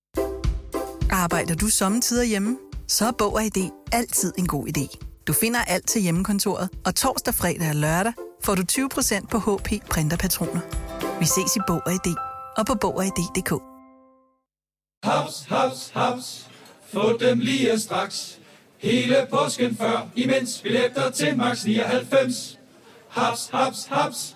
Speaker 7: Arbejder du sommetider hjemme? Så er Bog og ID altid en god idé. Du finder alt til hjemmekontoret, og torsdag, fredag og lørdag får du 20% på HP Printerpatroner. Vi ses i Bog og ID og på Bog og ID.dk.
Speaker 8: Haps, haps, haps. Få dem lige straks. Hele påsken før, imens billetter til max 99. Haps, haps, haps.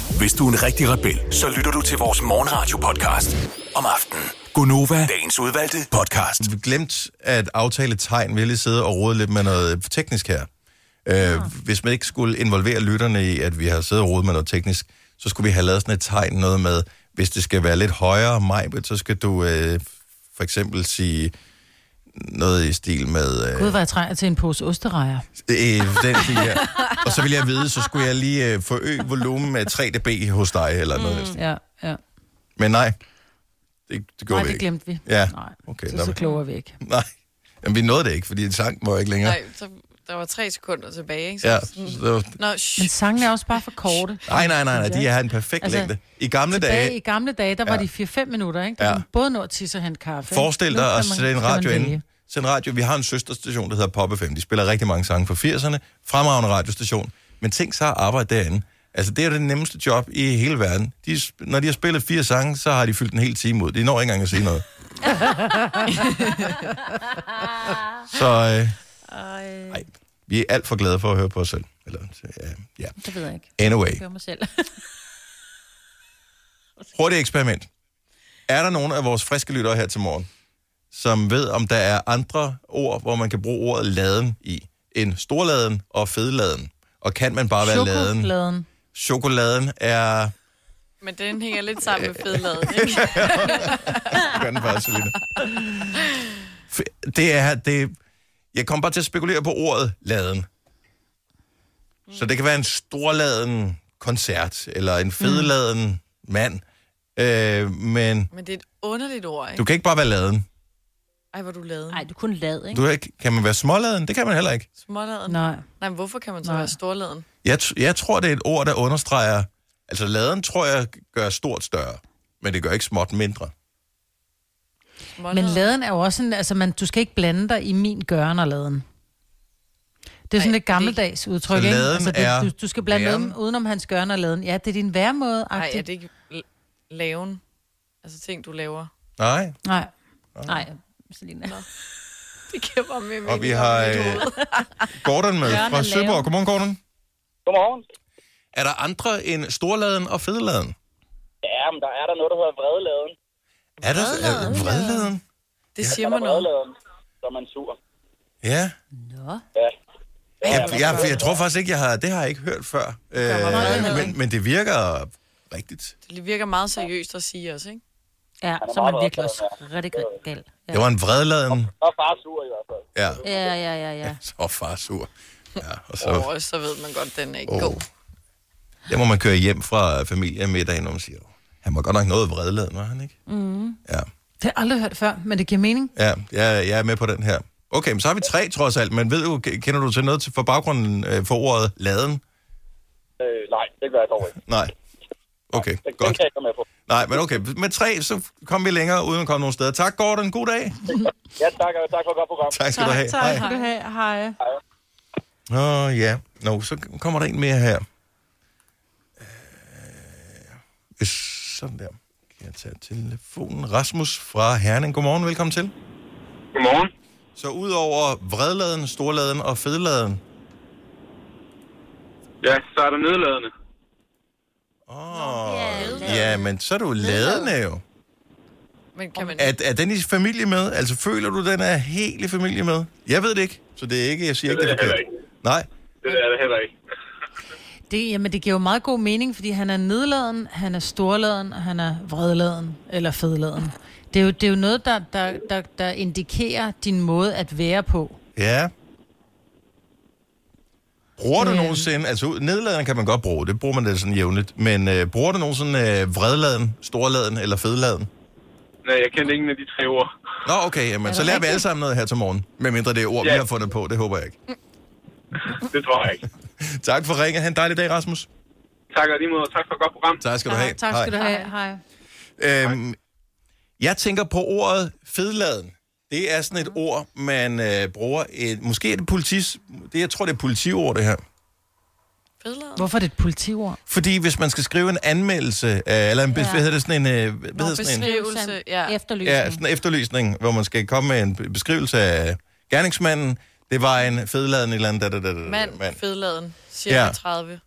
Speaker 6: Hvis du er en rigtig rebel, så lytter du til vores morgenradio-podcast om aftenen. Gunova, dagens udvalgte podcast.
Speaker 1: Vi glemte at aftale tegn. Vi har lige siddet og rodet lidt med noget teknisk her. Øh, Hvis man ikke skulle involvere lytterne i, at vi har siddet og rodet med noget teknisk, så skulle vi have lavet sådan et tegn, noget med, hvis det skal være lidt højere mig, så skal du øh, for eksempel sige noget i stil med...
Speaker 2: Gud, hvor jeg trænger til en pose osterejer.
Speaker 1: Øh, den stil her. Og så ville jeg vide, så skulle jeg lige øh, forøge volumen med 3 dB hos dig, eller noget. Mm.
Speaker 2: Ja, ja.
Speaker 1: Men nej, det, det går
Speaker 2: Nej,
Speaker 1: vi
Speaker 2: det
Speaker 1: ikke.
Speaker 2: glemte vi.
Speaker 1: Ja,
Speaker 2: Nej,
Speaker 1: okay.
Speaker 2: så,
Speaker 1: nå,
Speaker 2: så
Speaker 1: men-
Speaker 2: kloger vi ikke.
Speaker 1: Nej, Jamen, vi nåede det ikke, fordi sangen var ikke længere.
Speaker 3: Nej, så der var tre sekunder tilbage, ikke? Så
Speaker 1: Ja,
Speaker 3: sådan-
Speaker 1: så det var-
Speaker 3: Nå, shh.
Speaker 2: Men sangene er også bare for korte.
Speaker 1: Nej, nej, nej, nej, de har en perfekt altså,
Speaker 2: Altså,
Speaker 1: længde. I gamle
Speaker 2: Tilbage
Speaker 1: dage,
Speaker 2: i gamle dage, der var
Speaker 1: Ja.
Speaker 2: de 4-5 minutter, ikke? Der
Speaker 1: Ja.
Speaker 2: ja. kunne man både nå at tisse og hente kaffe. ikke?
Speaker 1: forestil
Speaker 2: Nu
Speaker 1: dig
Speaker 2: kan
Speaker 1: at
Speaker 2: man-
Speaker 1: sende en
Speaker 2: kan man
Speaker 1: radio ind.
Speaker 2: vælge.
Speaker 1: Send radio. Vi har en søsterstation, der hedder Pop FM. De spiller rigtig mange sange fra 80'erne. Fremragende radiostation. Men tænk så at arbejde derinde. Altså, det er det nemmeste job i hele verden. De, sp- når de har spillet fire sange, så har de fyldt en hel time ud. De når ikke engang at sige noget. Så øh,
Speaker 2: Ej,
Speaker 1: vi er alt for glade for at høre på os selv. Eller, øh, ja.
Speaker 4: det ved jeg ikke.
Speaker 1: Anyway.
Speaker 4: Jeg kører mig selv.
Speaker 1: Hurtigt eksperiment. Er der nogen af vores friske lyttere her til morgen, som ved, om der er andre ord, hvor man kan bruge ordet laden i, end storladen og fedladen? Og kan man bare være laden?
Speaker 2: Chokoladen.
Speaker 1: Chokoladen er...
Speaker 3: Men den hænger lidt sammen med fedladen, ikke?
Speaker 1: Gør den bare, Selina. F- Det er... Det... Jeg kom bare til at spekulere på ordet laden. Så det kan være en storladen koncert, eller en fedladen mand. Øh, men
Speaker 3: Men det er et underligt ord, ikke?
Speaker 1: du kan ikke bare være laden.
Speaker 3: Ej, hvor er du laden. Nej, du er kun lad,
Speaker 1: Du kan, ikke, kan man være småladen? Det kan man heller ikke.
Speaker 3: Småladen? Nej. Nej, men hvorfor kan man så være storladen?
Speaker 1: Jeg, t- jeg tror, det er et ord, der understreger... Altså, laden tror jeg gør stort større, men det gør ikke småt mindre.
Speaker 2: Men laden er jo også en... Altså, man, du skal ikke blande dig i min gøren og laden. Det er sådan et gammeldags udtryk,
Speaker 1: Så
Speaker 2: ikke?
Speaker 1: laden
Speaker 2: Altså,
Speaker 1: er
Speaker 2: det, du, du skal blande
Speaker 1: væren.
Speaker 2: dem udenom hans gøren og laden. Ja, det er din væremåde.
Speaker 3: Nej, er det ikke l- laven? Altså ting, du laver.
Speaker 1: Nej.
Speaker 2: Nej.
Speaker 4: Nej, Selina.
Speaker 3: Det giver bare mere
Speaker 1: Og vi har øh, Gordon med
Speaker 3: Jørgen
Speaker 1: fra
Speaker 3: er
Speaker 1: Søborg.
Speaker 3: laven.
Speaker 1: Godmorgen, Gordon.
Speaker 9: Godmorgen.
Speaker 1: Er der andre end storladen og fedeladen?
Speaker 9: Ja, men der er der noget, der hedder vredladen.
Speaker 1: Er der er, vredladen?
Speaker 3: Det
Speaker 9: siger man noget. Vredladen, så er man sur.
Speaker 1: Ja.
Speaker 4: Nå.
Speaker 9: Ja.
Speaker 1: Jeg, jeg,
Speaker 3: altså,
Speaker 1: jeg tror faktisk ikke, jeg har... Det har jeg ikke hørt før. Øh, men, men det virker rigtigt.
Speaker 3: Det virker meget seriøst at sige også, ikke?
Speaker 4: Ja,
Speaker 3: er
Speaker 4: så er man
Speaker 3: meget
Speaker 4: virkelig også
Speaker 3: optaget
Speaker 4: rigtig, rigtig gal.
Speaker 1: Det var en vredladen.
Speaker 9: Så er far sur i hvert fald.
Speaker 1: Ja.
Speaker 4: Ja, ja, ja, ja.
Speaker 1: Så far sur. Ja, og så...
Speaker 3: Åh, så ved man godt, den er ikke
Speaker 1: Åh.
Speaker 3: god.
Speaker 1: Der må man køre hjem fra familiemiddagen, når man siger, han var godt nok noget vredladen, var han ikke?
Speaker 2: Mm.
Speaker 1: Ja.
Speaker 2: Det har jeg aldrig hørt før, men det giver mening.
Speaker 1: Ja, jeg, jeg er med på den her. Okay, men så har vi tre trods alt, men ved du, kender du til noget til, for baggrunden øh, for ordet laden?
Speaker 9: Øh, nej, det gør jeg dog ikke.
Speaker 1: Nej. Okay,
Speaker 9: Den, den
Speaker 1: godt.
Speaker 9: kan jeg ikke komme med på.
Speaker 1: Nej, men okay, med tre, så kom vi længere, uden at komme nogen steder. Tak, Gordon. God dag.
Speaker 9: Ja, tak, og tak for et godt program.
Speaker 1: Tak skal du have.
Speaker 2: Tak skal du have. Hej.
Speaker 1: Åh, oh, ja. Nå, så kommer der en mere her. Øh, hvis- Sådan der. Kan jeg tage telefonen? Rasmus fra Herning. Godmorgen, velkommen til.
Speaker 9: Godmorgen.
Speaker 1: Så udover vredladen, storladen og fedladen.
Speaker 10: Ja, så er der nedladende.
Speaker 1: Åh, oh, ja, men så er du ladende jo.
Speaker 3: Men kan man...
Speaker 1: Er, er den i familie med? Altså, føler du, den er helt i familie med? Jeg ved det ikke, så det er ikke, jeg siger
Speaker 10: Det
Speaker 1: ikke,
Speaker 10: ved
Speaker 1: det er
Speaker 10: jeg
Speaker 1: forkert. Nej,
Speaker 10: Det er det heller ikke.
Speaker 2: Det, jamen, det giver jo meget god mening, fordi han er nedladen, han er storladen, og han er vredladen eller fedladen. Det er jo, det er jo noget, der, der, der, der indikerer din måde at være på.
Speaker 1: ja. Bruger
Speaker 2: Øhm.
Speaker 1: du nogensinde, altså ud- nedladen kan man godt bruge, det bruger man da sådan jævnligt, men øh, bruger du nogensinde øh, vredladen, storladen eller fedladen?
Speaker 10: Nej, jeg kendte ingen af de tre ord.
Speaker 1: Nå, okay, jamen, så lærer vi alle sammen noget her til morgen, medmindre det er ord, vi
Speaker 10: Ja.
Speaker 1: har fundet på, det håber jeg ikke.
Speaker 10: Det tror jeg ikke.
Speaker 1: tak for ringen, ha' en dejlig dag, Rasmus.
Speaker 10: Tak og lige måde, og tak for et godt program.
Speaker 1: Tak skal du have.
Speaker 2: Tak skal du have. Hej.
Speaker 1: Øhm, jeg tænker på ordet fedladen. Det er sådan et ord, man øh, bruger. Et, måske er det politis... Det, jeg tror, det er politiord, det her.
Speaker 2: Hvorfor er det et politiord?
Speaker 1: Fordi hvis man skal skrive en anmeldelse, øh, eller en, ja. hvad hedder det, sådan en... Øh, hvad hedder sådan en?
Speaker 3: Beskrivelse, ja.
Speaker 1: Ja, sådan en efterlysning, hvor man skal komme med en be- beskrivelse af gerningsmanden. Det var en fedladen et eller andet... Da, da, da, da, da,
Speaker 3: Mand, fedladen,
Speaker 1: Ja.
Speaker 3: cirka 30.
Speaker 1: Det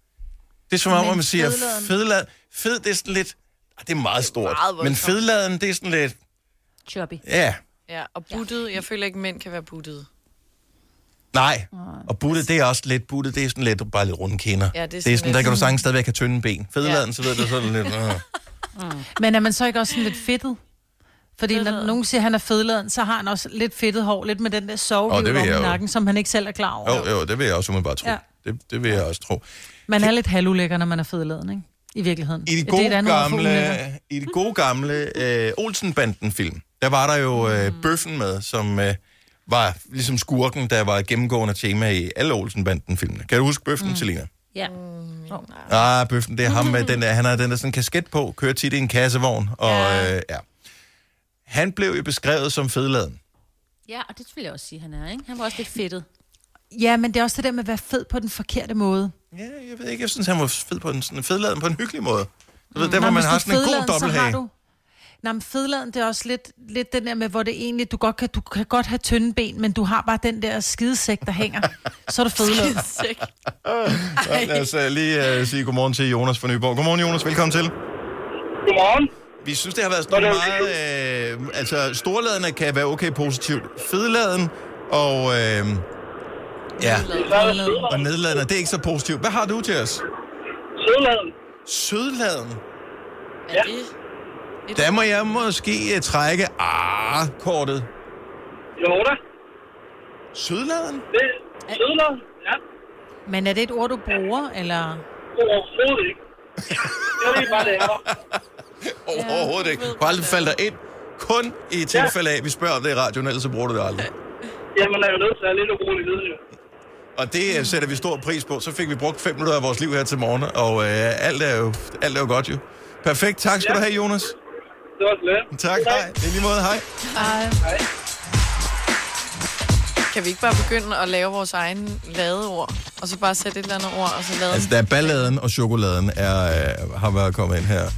Speaker 1: er som om,
Speaker 3: Men
Speaker 1: at man siger,
Speaker 3: fedladen.
Speaker 1: fedladen... Fed, det er sådan lidt... ah, Det er meget stort.
Speaker 3: meget
Speaker 1: men
Speaker 3: voldsomt.
Speaker 1: fedladen, det er sådan lidt...
Speaker 4: Choppy.
Speaker 1: Ja,
Speaker 3: Ja, og buttet, jeg føler ikke, mænd kan være buttet.
Speaker 1: Nej. Og buttet, det er også lidt buttet. Det er sådan lidt, bare lidt runde kender.
Speaker 3: altså- Ja, det er
Speaker 1: det er sådan,
Speaker 3: sådan
Speaker 1: der
Speaker 3: lidt-
Speaker 1: kan du sagtens stadigvæk have tynde ben. Fedeladen,
Speaker 2: Ja.
Speaker 1: så ved du sådan lidt... Øh.
Speaker 2: Men er man så ikke også sådan lidt fedtet? Fordi når nogen siger, at han Mm. er fedladen, så har han også lidt fedtet hår, lidt med den der
Speaker 1: Åh, det
Speaker 2: sovehiv
Speaker 1: vil
Speaker 2: oh,
Speaker 1: jeg
Speaker 2: over
Speaker 1: jo.
Speaker 2: nakken, som han ikke selv er klar over.
Speaker 1: Jo, jo, det vil jeg også umiddelbart tro.
Speaker 2: Ja.
Speaker 1: Det, det vil jeg også tro.
Speaker 2: Man er lidt halvulækker, når man er fedladen, ikke? I virkeligheden.
Speaker 1: I de
Speaker 2: det
Speaker 1: gode
Speaker 2: er et andet ord for ulækker.
Speaker 1: gamle, i de gode gamle øh, Olsenbanden-film, der var der jo øh,
Speaker 2: Mm.
Speaker 1: Bøffen med, som øh, var ligesom skurken, der var et gennemgående tema i alle Olsenbanden-filmene. Kan du huske Bøffen, mm. Selina?
Speaker 4: Ja.
Speaker 1: Ah, Bøffen, det er ham med den der, han har den der sådan kasket på, kører tit i en kassevogn, og ja. Øh, ja. Han blev jo beskrevet som fedladen.
Speaker 4: Ja, og det vil jeg også sige, han er, ikke? Han var også lidt fedtet.
Speaker 2: Ja, men det er også det der med at være fed på den forkerte måde.
Speaker 1: Ja, jeg ved ikke, jeg synes, han var fed på en, sådan, fedladen på en hyggelig måde. Du ved,
Speaker 2: Mm.
Speaker 1: der
Speaker 2: Nej,
Speaker 1: hvor man
Speaker 2: hvis
Speaker 1: har
Speaker 2: du
Speaker 1: sådan en god
Speaker 2: fedladen, så har
Speaker 1: dobbelthage.
Speaker 2: du- Nej, men fedladen, det er også lidt, lidt den der med, hvor det egentlig, du godt kan, du kan godt have tynde ben, men du har bare den der skidesæk, der hænger. Så er du fedladen.
Speaker 3: Skidesæk.
Speaker 1: Så lad os uh, lige uh, sige godmorgen til Jonas fra Nyborg. Godmorgen, Jonas. Velkommen til.
Speaker 11: Godmorgen.
Speaker 1: Vi synes, det har været sådan meget... Øh, altså, storladerne kan være okay positivt. Fedladen og... Øh, ja. Og nedladende. Det er ikke så positivt. Hvad har du til os?
Speaker 11: Sødladen.
Speaker 1: Sødladen?
Speaker 3: Er det...
Speaker 1: Der må jeg måske øh, trække ah, ah-kortet.
Speaker 11: Jo da.
Speaker 1: Sødladen?
Speaker 11: Det er sødladen, ja.
Speaker 2: Men er det et ord, du bruger, eller?
Speaker 11: Overhovedet ikke. Det er lige bare det, jeg var.
Speaker 1: Overhovedet ikke. Du aldrig faldt dig ind. Kun i tilfælde af, at vi spørger om det i radioen, ellers så bruger du det aldrig.
Speaker 11: Jamen, jeg er jo nødt til at have lidt urolig lyd, jo.
Speaker 1: Og det øh, sætter vi stor pris på. Så fik vi brugt fem minutter af vores liv her til morgen, og øh, alt, er jo, alt er jo godt jo. Perfekt. Tak skal
Speaker 11: Ja.
Speaker 1: du have, Jonas.
Speaker 11: Det var slet.
Speaker 1: Tak. Hej. I lige måde, hej.
Speaker 3: Ej. Kan vi ikke bare begynde at lave vores egen ladeord, og så bare sætte et eller andet ord, og så lade
Speaker 1: Altså, der er balladen og chokoladen er, øh, har været kommet ind her.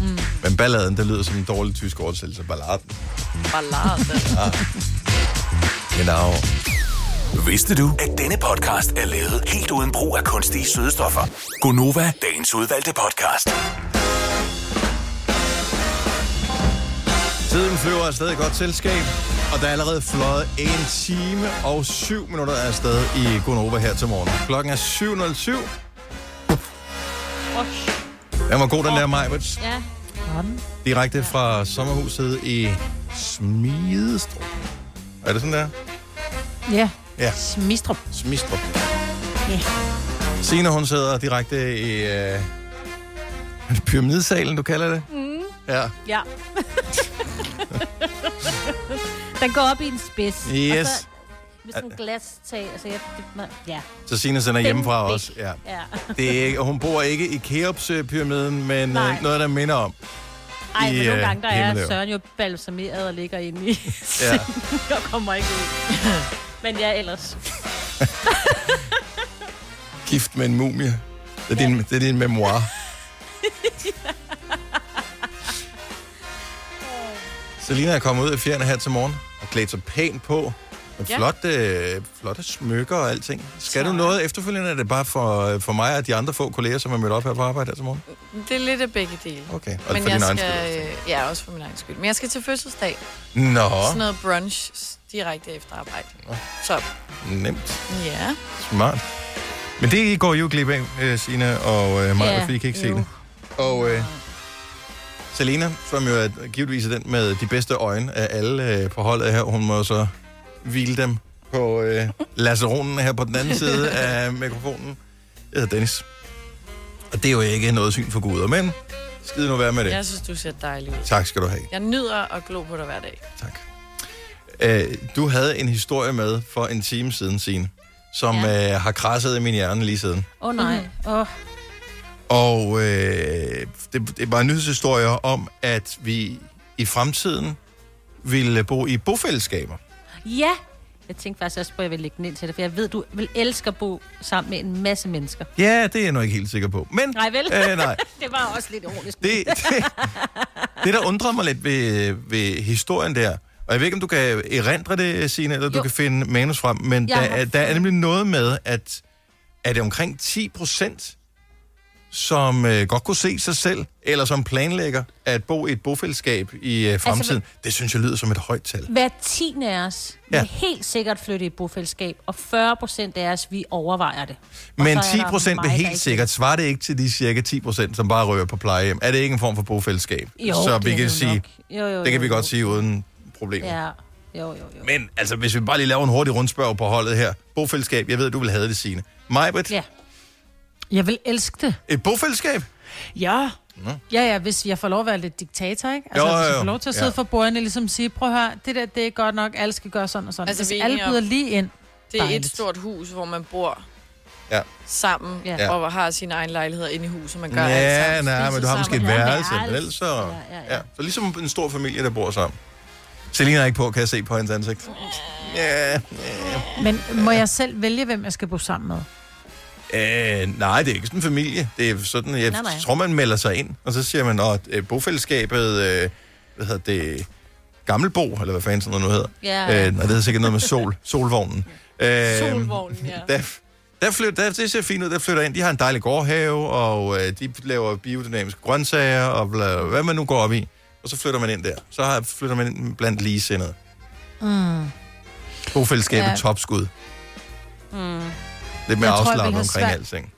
Speaker 3: Mm.
Speaker 1: Men balladen, det lyder som en dårlig tysk oversættelse. Balladen.
Speaker 3: ballade?
Speaker 1: Ja. Genau.
Speaker 6: Vidste du, at denne podcast er lavet helt uden brug af kunstige sødestoffer?
Speaker 1: Gunova.
Speaker 6: Dagens udvalgte podcast.
Speaker 1: Tiden flyver afsted i godt selskab, og der er allerede fløjet en time og syv minutter afsted i Gunova her til morgen. Klokken er 7.07. Den var god, den der Majbets.
Speaker 4: Ja.
Speaker 1: Direkte fra sommerhuset i Smidestrup. Er det sådan der?
Speaker 2: Ja.
Speaker 1: Ja.
Speaker 2: Smistrup.
Speaker 1: Smistrup.
Speaker 2: Ja.
Speaker 1: Signe, hun sidder direkte i øh, pyramidesalen, du kalder det?
Speaker 4: Mm.
Speaker 1: Ja.
Speaker 4: Ja. den går op i en spids. Og
Speaker 1: Yes.
Speaker 4: så, med sådan en glas tag, altså jeg, det, man, ja.
Speaker 1: Så Signe sender
Speaker 4: Den
Speaker 1: hjemmefra
Speaker 4: væk.
Speaker 1: også. Ja.
Speaker 4: ja.
Speaker 1: Det er ikke, og hun bor ikke i Keops-pyramiden, men
Speaker 4: Nej.
Speaker 1: Nej. noget, der minder om.
Speaker 4: Ej, men
Speaker 1: i,
Speaker 4: nogle
Speaker 1: øh,
Speaker 4: gange, der er
Speaker 1: Himmeløv.
Speaker 4: Søren jo balsameret og ligger inde i
Speaker 1: Ja.
Speaker 4: ja. og kommer ikke ud. Men ja, ellers.
Speaker 1: Gift med en mumie. Det er din, det er din memoir. Selina er kommet ud af fjerne her til morgen og klædt sig pænt på. Med
Speaker 12: Ja.
Speaker 1: flotte, øh, flotte smykker og alting. Skal du noget efterfølgende? Er det bare for, for mig og de andre få kolleger, som er mødt op her på arbejde her til morgen?
Speaker 3: Det er lidt af begge dele.
Speaker 1: Okay, og
Speaker 3: Men
Speaker 1: for
Speaker 3: jeg
Speaker 1: din egen
Speaker 3: skal, øh, Ja, også for min egen skyld. Men jeg skal til fødselsdag.
Speaker 1: Nå.
Speaker 3: Øh, Sådan noget brunch s- direkte efter arbejde. Så,
Speaker 1: Nemt.
Speaker 3: ja.
Speaker 1: Smart. Men det går I jo glip af, øh, Signe og øh, Maja,
Speaker 3: Ja,
Speaker 1: yeah, fordi I kan ikke
Speaker 3: jo.
Speaker 1: se det. Og øh, Selena, som jo er givetvis er den med de bedste øjne af alle øh, på holdet her, hun må så hvile dem på øh, laseronen her på den anden side af mikrofonen. Jeg hedder Dennis. Og det er jo ikke noget syn for guder, men skide nu være med det.
Speaker 3: Jeg synes, du ser dejlig ud.
Speaker 1: Tak skal du have.
Speaker 3: Jeg nyder at glo på dig hver dag.
Speaker 1: Øh, du havde en historie med for en time siden, Signe, som ja. øh, har krasset i min hjerne lige siden.
Speaker 4: Åh oh, nej. Åh. Oh.
Speaker 1: Og øh, det, det var en nyhedshistorie om, at vi i fremtiden ville bo i bofællesskaber.
Speaker 4: Ja. Jeg tænkte faktisk også på, at jeg ville lægge den ind til dig, for jeg ved, du vil elske at bo sammen med en masse mennesker.
Speaker 1: Ja, det er jeg nu ikke helt sikker på. Men
Speaker 4: Nej, vel?
Speaker 1: Øh, nej.
Speaker 4: det var også lidt ironisk.
Speaker 1: Det- det, der undrede mig lidt ved, ved historien der, og jeg ved ikke, om du kan erindre det, Signe, eller jo. du kan finde manus frem, men der
Speaker 12: Jeg har
Speaker 1: er, der er
Speaker 12: fundet-
Speaker 1: nemlig noget med, at er det omkring 10 procent, som øh, godt kunne se sig selv, eller som planlægger at bo i et bofællesskab i øh, fremtiden. Altså, det synes jeg lyder som et højt tal.
Speaker 4: Hver tiende af os ja.
Speaker 1: Ja.
Speaker 4: vil helt sikkert flytte i et bofællesskab, og 40 procent af os, vi overvejer det. Og
Speaker 1: Men
Speaker 4: så er
Speaker 1: 10
Speaker 4: der
Speaker 1: procent vil
Speaker 4: mig, der
Speaker 1: helt
Speaker 4: ikke-
Speaker 1: sikkert, svarer det ikke til de cirka 10 procent, som bare rører på plejehjem? Er det ikke en form for bofællesskab?
Speaker 4: Jo,
Speaker 1: så
Speaker 4: det
Speaker 1: vi
Speaker 4: er
Speaker 1: kan
Speaker 4: det
Speaker 1: sige,
Speaker 4: nok. Jo, jo,
Speaker 1: det kan
Speaker 4: jo,
Speaker 1: vi
Speaker 4: jo.
Speaker 1: godt sige uden problemer.
Speaker 4: Ja, jo, jo, jo.
Speaker 1: Men altså, hvis vi bare lige laver en hurtig rundspørg på holdet her. Bofællesskab, jeg ved, du vil have det, Signe. Majbrit,
Speaker 2: Ja. Jeg vil elske det.
Speaker 1: et bofællesskab?
Speaker 2: Ja.
Speaker 1: Nå.
Speaker 2: Ja, ja, hvis jeg får lov at være lidt diktator, ikke? Altså,
Speaker 1: Jo, jo,
Speaker 2: hvis jeg
Speaker 1: jo.
Speaker 2: får lov til at sidde
Speaker 1: Ja.
Speaker 2: ja. for bordene og ligesom sige, prøv at høre, det der, det er godt nok, alle skal gøre sådan og sådan.
Speaker 3: Altså,
Speaker 2: Altså,
Speaker 3: vi
Speaker 2: hvis
Speaker 3: er
Speaker 2: alle
Speaker 3: enige om-
Speaker 2: byder lige ind,
Speaker 3: Det er et
Speaker 2: dejligt.
Speaker 3: stort hus, hvor man bor
Speaker 1: Ja.
Speaker 3: sammen,
Speaker 1: Ja.
Speaker 3: ja. og har sin egen lejlighed inde i huset, man gør alt
Speaker 1: Ja,
Speaker 4: altså.
Speaker 3: sammen.
Speaker 1: nej,
Speaker 3: spiser
Speaker 1: men du har måske et
Speaker 3: sammen.
Speaker 1: værelse, men ellers så... Ja, ja, ja. Så ligesom en stor familie, der bor sammen. Selina er ikke på, kan jeg se på hendes ansigt. Ja, ja.
Speaker 2: Men må jeg selv vælge, hvem jeg skal bo sammen med?
Speaker 1: Øh, nej, det er ikke sådan en familie. Det er sådan, jeg
Speaker 12: Nej,
Speaker 1: nej,
Speaker 12: nej.
Speaker 1: nej. tror, man melder sig ind, og så siger man, at øh, bofællesskabet, øh, hvad hedder det, Gammelbo, eller hvad fanden sådan noget nu hedder.
Speaker 12: Ja.
Speaker 1: Øh, nej, det hedder sikkert noget med sol, solvognen. Øh,
Speaker 12: Solvognen, ja.
Speaker 1: Der, der flytter, der, det ser fint ud, der flytter ind. De har en dejlig gårdhave, og øh, de laver biodynamiske grøntsager, og bla, hvad man nu går op i. Og så flytter man ind der. Så har, flytter man ind blandt ligesindede.
Speaker 2: Mm.
Speaker 1: Bofællesskabet
Speaker 2: Ja.
Speaker 1: ja. topskud.
Speaker 2: Mm. Jeg tror, jeg
Speaker 1: Lidt mere
Speaker 2: ville
Speaker 1: afslappet
Speaker 2: have
Speaker 1: omkring
Speaker 2: svært-
Speaker 1: alting.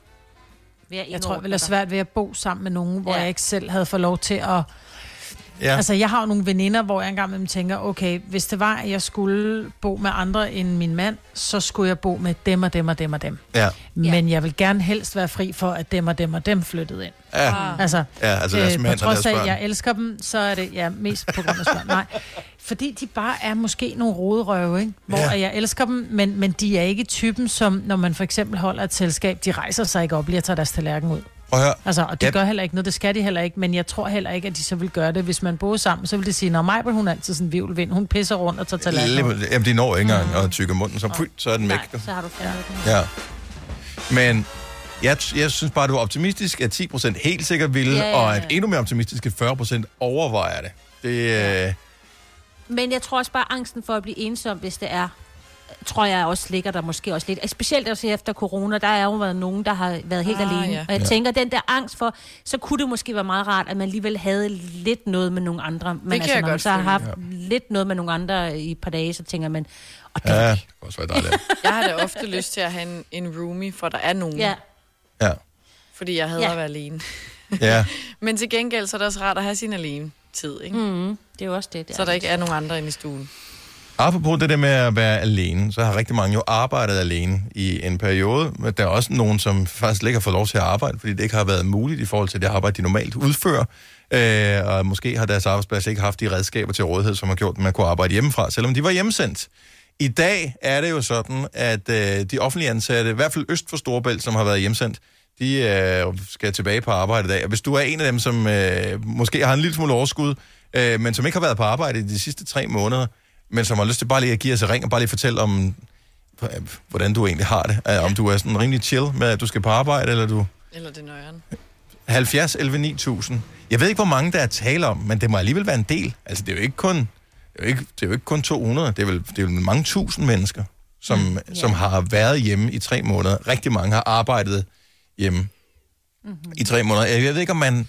Speaker 2: Jeg tror, jeg ville have svært ved at bo sammen med nogen, hvor ja. jeg ikke selv havde fået lov til at...
Speaker 1: Ja.
Speaker 2: Ja. Altså, jeg har jo nogle veninder, hvor jeg engang imellem tænker, okay, hvis det var, at jeg skulle bo med andre end min mand, så skulle jeg bo med dem og dem og dem og dem.
Speaker 1: Ja.
Speaker 2: Men jeg vil gerne helst være fri for, at dem og dem og dem flyttede ind.
Speaker 1: Ja.
Speaker 2: Altså,
Speaker 1: Ja, altså deres mand og
Speaker 2: på trods
Speaker 1: deres
Speaker 2: af,
Speaker 1: børn.
Speaker 2: at jeg elsker dem, så er det ja, mest på grund af børn. Nej, fordi de bare er måske nogle roderøve, ikke? hvor
Speaker 5: Ja.
Speaker 2: ja. jeg elsker dem, men, men de er ikke typen, som når man for eksempel holder et selskab, de rejser sig ikke op lige og tager deres tallerken ud.
Speaker 1: Prøv at høre.
Speaker 2: Altså, og det gør heller ikke noget, det skal de heller ikke, men jeg tror heller ikke, at de så vil gøre det. Hvis man boede sammen, så vil det sige, når Majbel, hun er altid sådan en vivlvind, hun pisser rundt og tager tallerken ud.
Speaker 1: Lige, jamen, de når ikke engang at tykke munden, så, pyt, så er den væk.
Speaker 2: Nej, så har du fundet den.
Speaker 1: Ja. Men jeg, jeg synes bare, du er optimistisk, at 10% helt sikkert vil,
Speaker 4: Ja,
Speaker 1: ja,
Speaker 4: ja,
Speaker 1: ja,
Speaker 4: ja.
Speaker 1: og at endnu mere optimistisk, at 40% overvejer det. Det, ja. øh,
Speaker 4: Men jeg tror også bare, angsten for at blive ensom, hvis det er, tror jeg også ligger der måske også lidt. Specielt også efter corona, der er jo været nogen, der har været helt
Speaker 5: Ah,
Speaker 4: ah, alene.
Speaker 5: ja.
Speaker 4: Ja. Og jeg
Speaker 5: Ja.
Speaker 4: tænker, den der angst for, så kunne det måske være meget rart, at man alligevel havde lidt noget med nogle andre. Men altså,
Speaker 5: Det kan jeg
Speaker 4: når man
Speaker 5: godt
Speaker 4: så har
Speaker 5: følge.
Speaker 4: haft
Speaker 5: Ja.
Speaker 4: lidt noget med nogle andre i et par dage, så tænker man,
Speaker 1: ja, det kunne også være dejligt.
Speaker 3: Jeg har da ofte lyst til at have en, en roomie, for der er nogen.
Speaker 4: Ja.
Speaker 1: Ja.
Speaker 3: Fordi jeg hader
Speaker 4: Ja.
Speaker 3: at være alene.
Speaker 1: Ja.
Speaker 3: Men til gengæld, så er det også rart at have sin alene tid, ikke?
Speaker 4: Mm, det er jo også det. det
Speaker 3: Så der ikke er nogen andre inde i stuen.
Speaker 1: Apropos det der med at være alene, så har rigtig mange jo arbejdet alene i en periode, men der er også nogen, som faktisk ikke har fået lov til at arbejde, fordi det ikke har været muligt i forhold til det arbejde, de normalt udfører, øh, og måske har deres arbejdsplads ikke haft de redskaber til rådighed, som har gjort, at man kunne arbejde hjemmefra, selvom de var hjemsendt. I dag er det jo sådan, at øh, de offentlige ansatte, i hvert fald øst for Storebælt, som har været hjemsendt, de øh, skal tilbage på arbejde i dag. Og hvis du er en af dem, som øh, måske har en lille smule overskud, øh, men som ikke har været på arbejde i de sidste tre måneder, men som har lyst til bare lige at give os et ring og bare lige fortælle om, øh, hvordan du egentlig har det. Øh, Om du er sådan rimelig chill med, at du skal på arbejde, eller du...
Speaker 3: Eller det er nøjeren.
Speaker 1: 70, 11, 9000. Jeg ved ikke, hvor mange der er tale om, men det må alligevel være en del. Altså, det er jo ikke kun, det er jo ikke, det er jo ikke kun 200, det er, vel, det er jo mange tusind mennesker, som, mm, yeah. som har været hjemme i tre måneder. Rigtig mange har arbejdet hjemme mm-hmm. i tre måneder. Jeg ved ikke, om man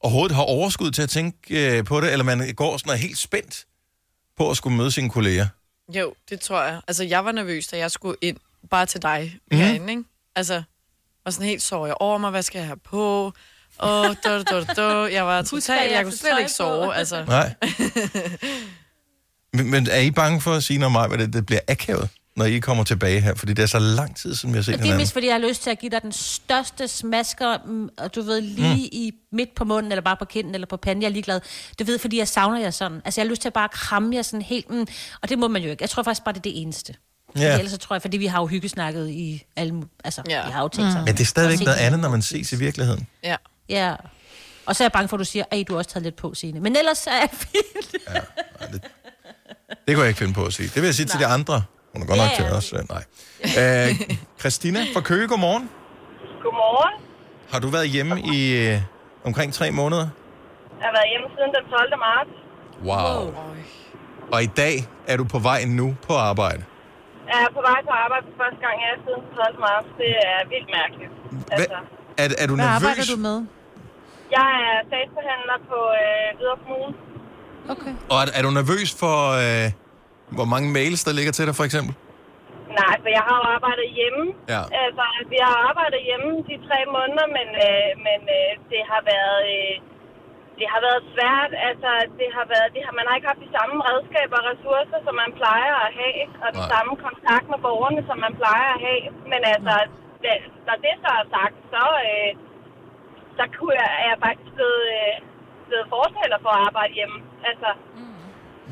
Speaker 1: overhovedet har overskud til at tænke øh, på det, eller man går sådan og er helt spændt på at skulle møde sine kolleger.
Speaker 3: Jo, det tror jeg. Altså, jeg var nervøs, da jeg skulle ind bare til dig
Speaker 1: Mhm.
Speaker 3: mm. herinde, ikke? Altså, var sådan helt sorg. Jeg over mig, hvad skal jeg have på? Åh, oh, da, da, da. Jeg var totalt,
Speaker 5: jeg
Speaker 3: jeg
Speaker 5: har
Speaker 3: kunne
Speaker 5: tøj
Speaker 3: slet ikke
Speaker 5: på?
Speaker 3: sove, altså.
Speaker 1: Nej. Men, men er I bange for at sige noget om mig, at det, det bliver akavet, når I kommer tilbage her? Fordi det er så lang tid, siden vi har set
Speaker 4: Og det er
Speaker 1: hinanden.
Speaker 4: mest, fordi jeg har lyst til at give dig den største smasker, mm, og du ved, lige mm.
Speaker 1: Mm.
Speaker 4: i midt på munden, eller bare på kinden, eller på panden, jeg er ligeglad. Du ved, fordi jeg savner jer sådan. Altså, jeg har lyst til at bare kramme jer sådan helt, mm, og det må man jo ikke. Jeg tror faktisk bare, det er det eneste.
Speaker 1: Ja.
Speaker 4: Ja. Ellers så tror jeg, fordi vi har jo hyggesnakket i alle, mu- altså, ja. vi har jo tænkt
Speaker 1: Mm.
Speaker 4: sammen.
Speaker 1: Men det er
Speaker 4: Og
Speaker 1: stadigvæk
Speaker 4: set
Speaker 1: noget
Speaker 4: hinanden.
Speaker 1: andet, når man ses i virkeligheden.
Speaker 3: Ja.
Speaker 4: Ja. Og så er jeg bange for, at du siger, at du har også taget lidt på, Signe. Men ellers er jeg fint.
Speaker 1: Det kunne jeg ikke finde på at sige. Det vil jeg sige nej. til de andre. Hun er godt
Speaker 4: Ja,
Speaker 1: nok til
Speaker 4: ja.
Speaker 1: os. øh, Nej. Øh, Christina fra Køge, godmorgen.
Speaker 13: Godmorgen.
Speaker 1: Har du været hjemme i øh, omkring tre måneder?
Speaker 13: Jeg har været hjemme siden den 12. marts.
Speaker 1: Wow. Og i dag er du på vej nu på arbejde.
Speaker 13: Jeg er på vej på arbejde for første gang, jeg er siden den 12. marts. Det er vildt mærkeligt. Altså.
Speaker 1: Hvad, er, er du nervøs?
Speaker 2: med?
Speaker 13: Jeg er sagsbehandler på øh, Hvidovre Kommune.
Speaker 2: Okay.
Speaker 1: Og er, er du nervøs for, øh, hvor mange mails, der ligger til dig, for eksempel?
Speaker 13: Nej, for jeg har jo arbejdet hjemme.
Speaker 1: Ja.
Speaker 13: Altså, vi har arbejdet hjemme de tre måneder, men, øh, men øh, det har været... Øh, det har været svært, altså det har været, det har, man har ikke haft de samme redskaber og ressourcer, som man plejer at have, og den
Speaker 1: Nej.
Speaker 13: samme kontakt med borgerne, som man plejer at have. Men altså,
Speaker 1: Mm.
Speaker 13: da, når det så er sagt, så, øh, så kunne jeg, er jeg faktisk blevet, øh, blevet fortaler for at arbejde hjemme. Altså,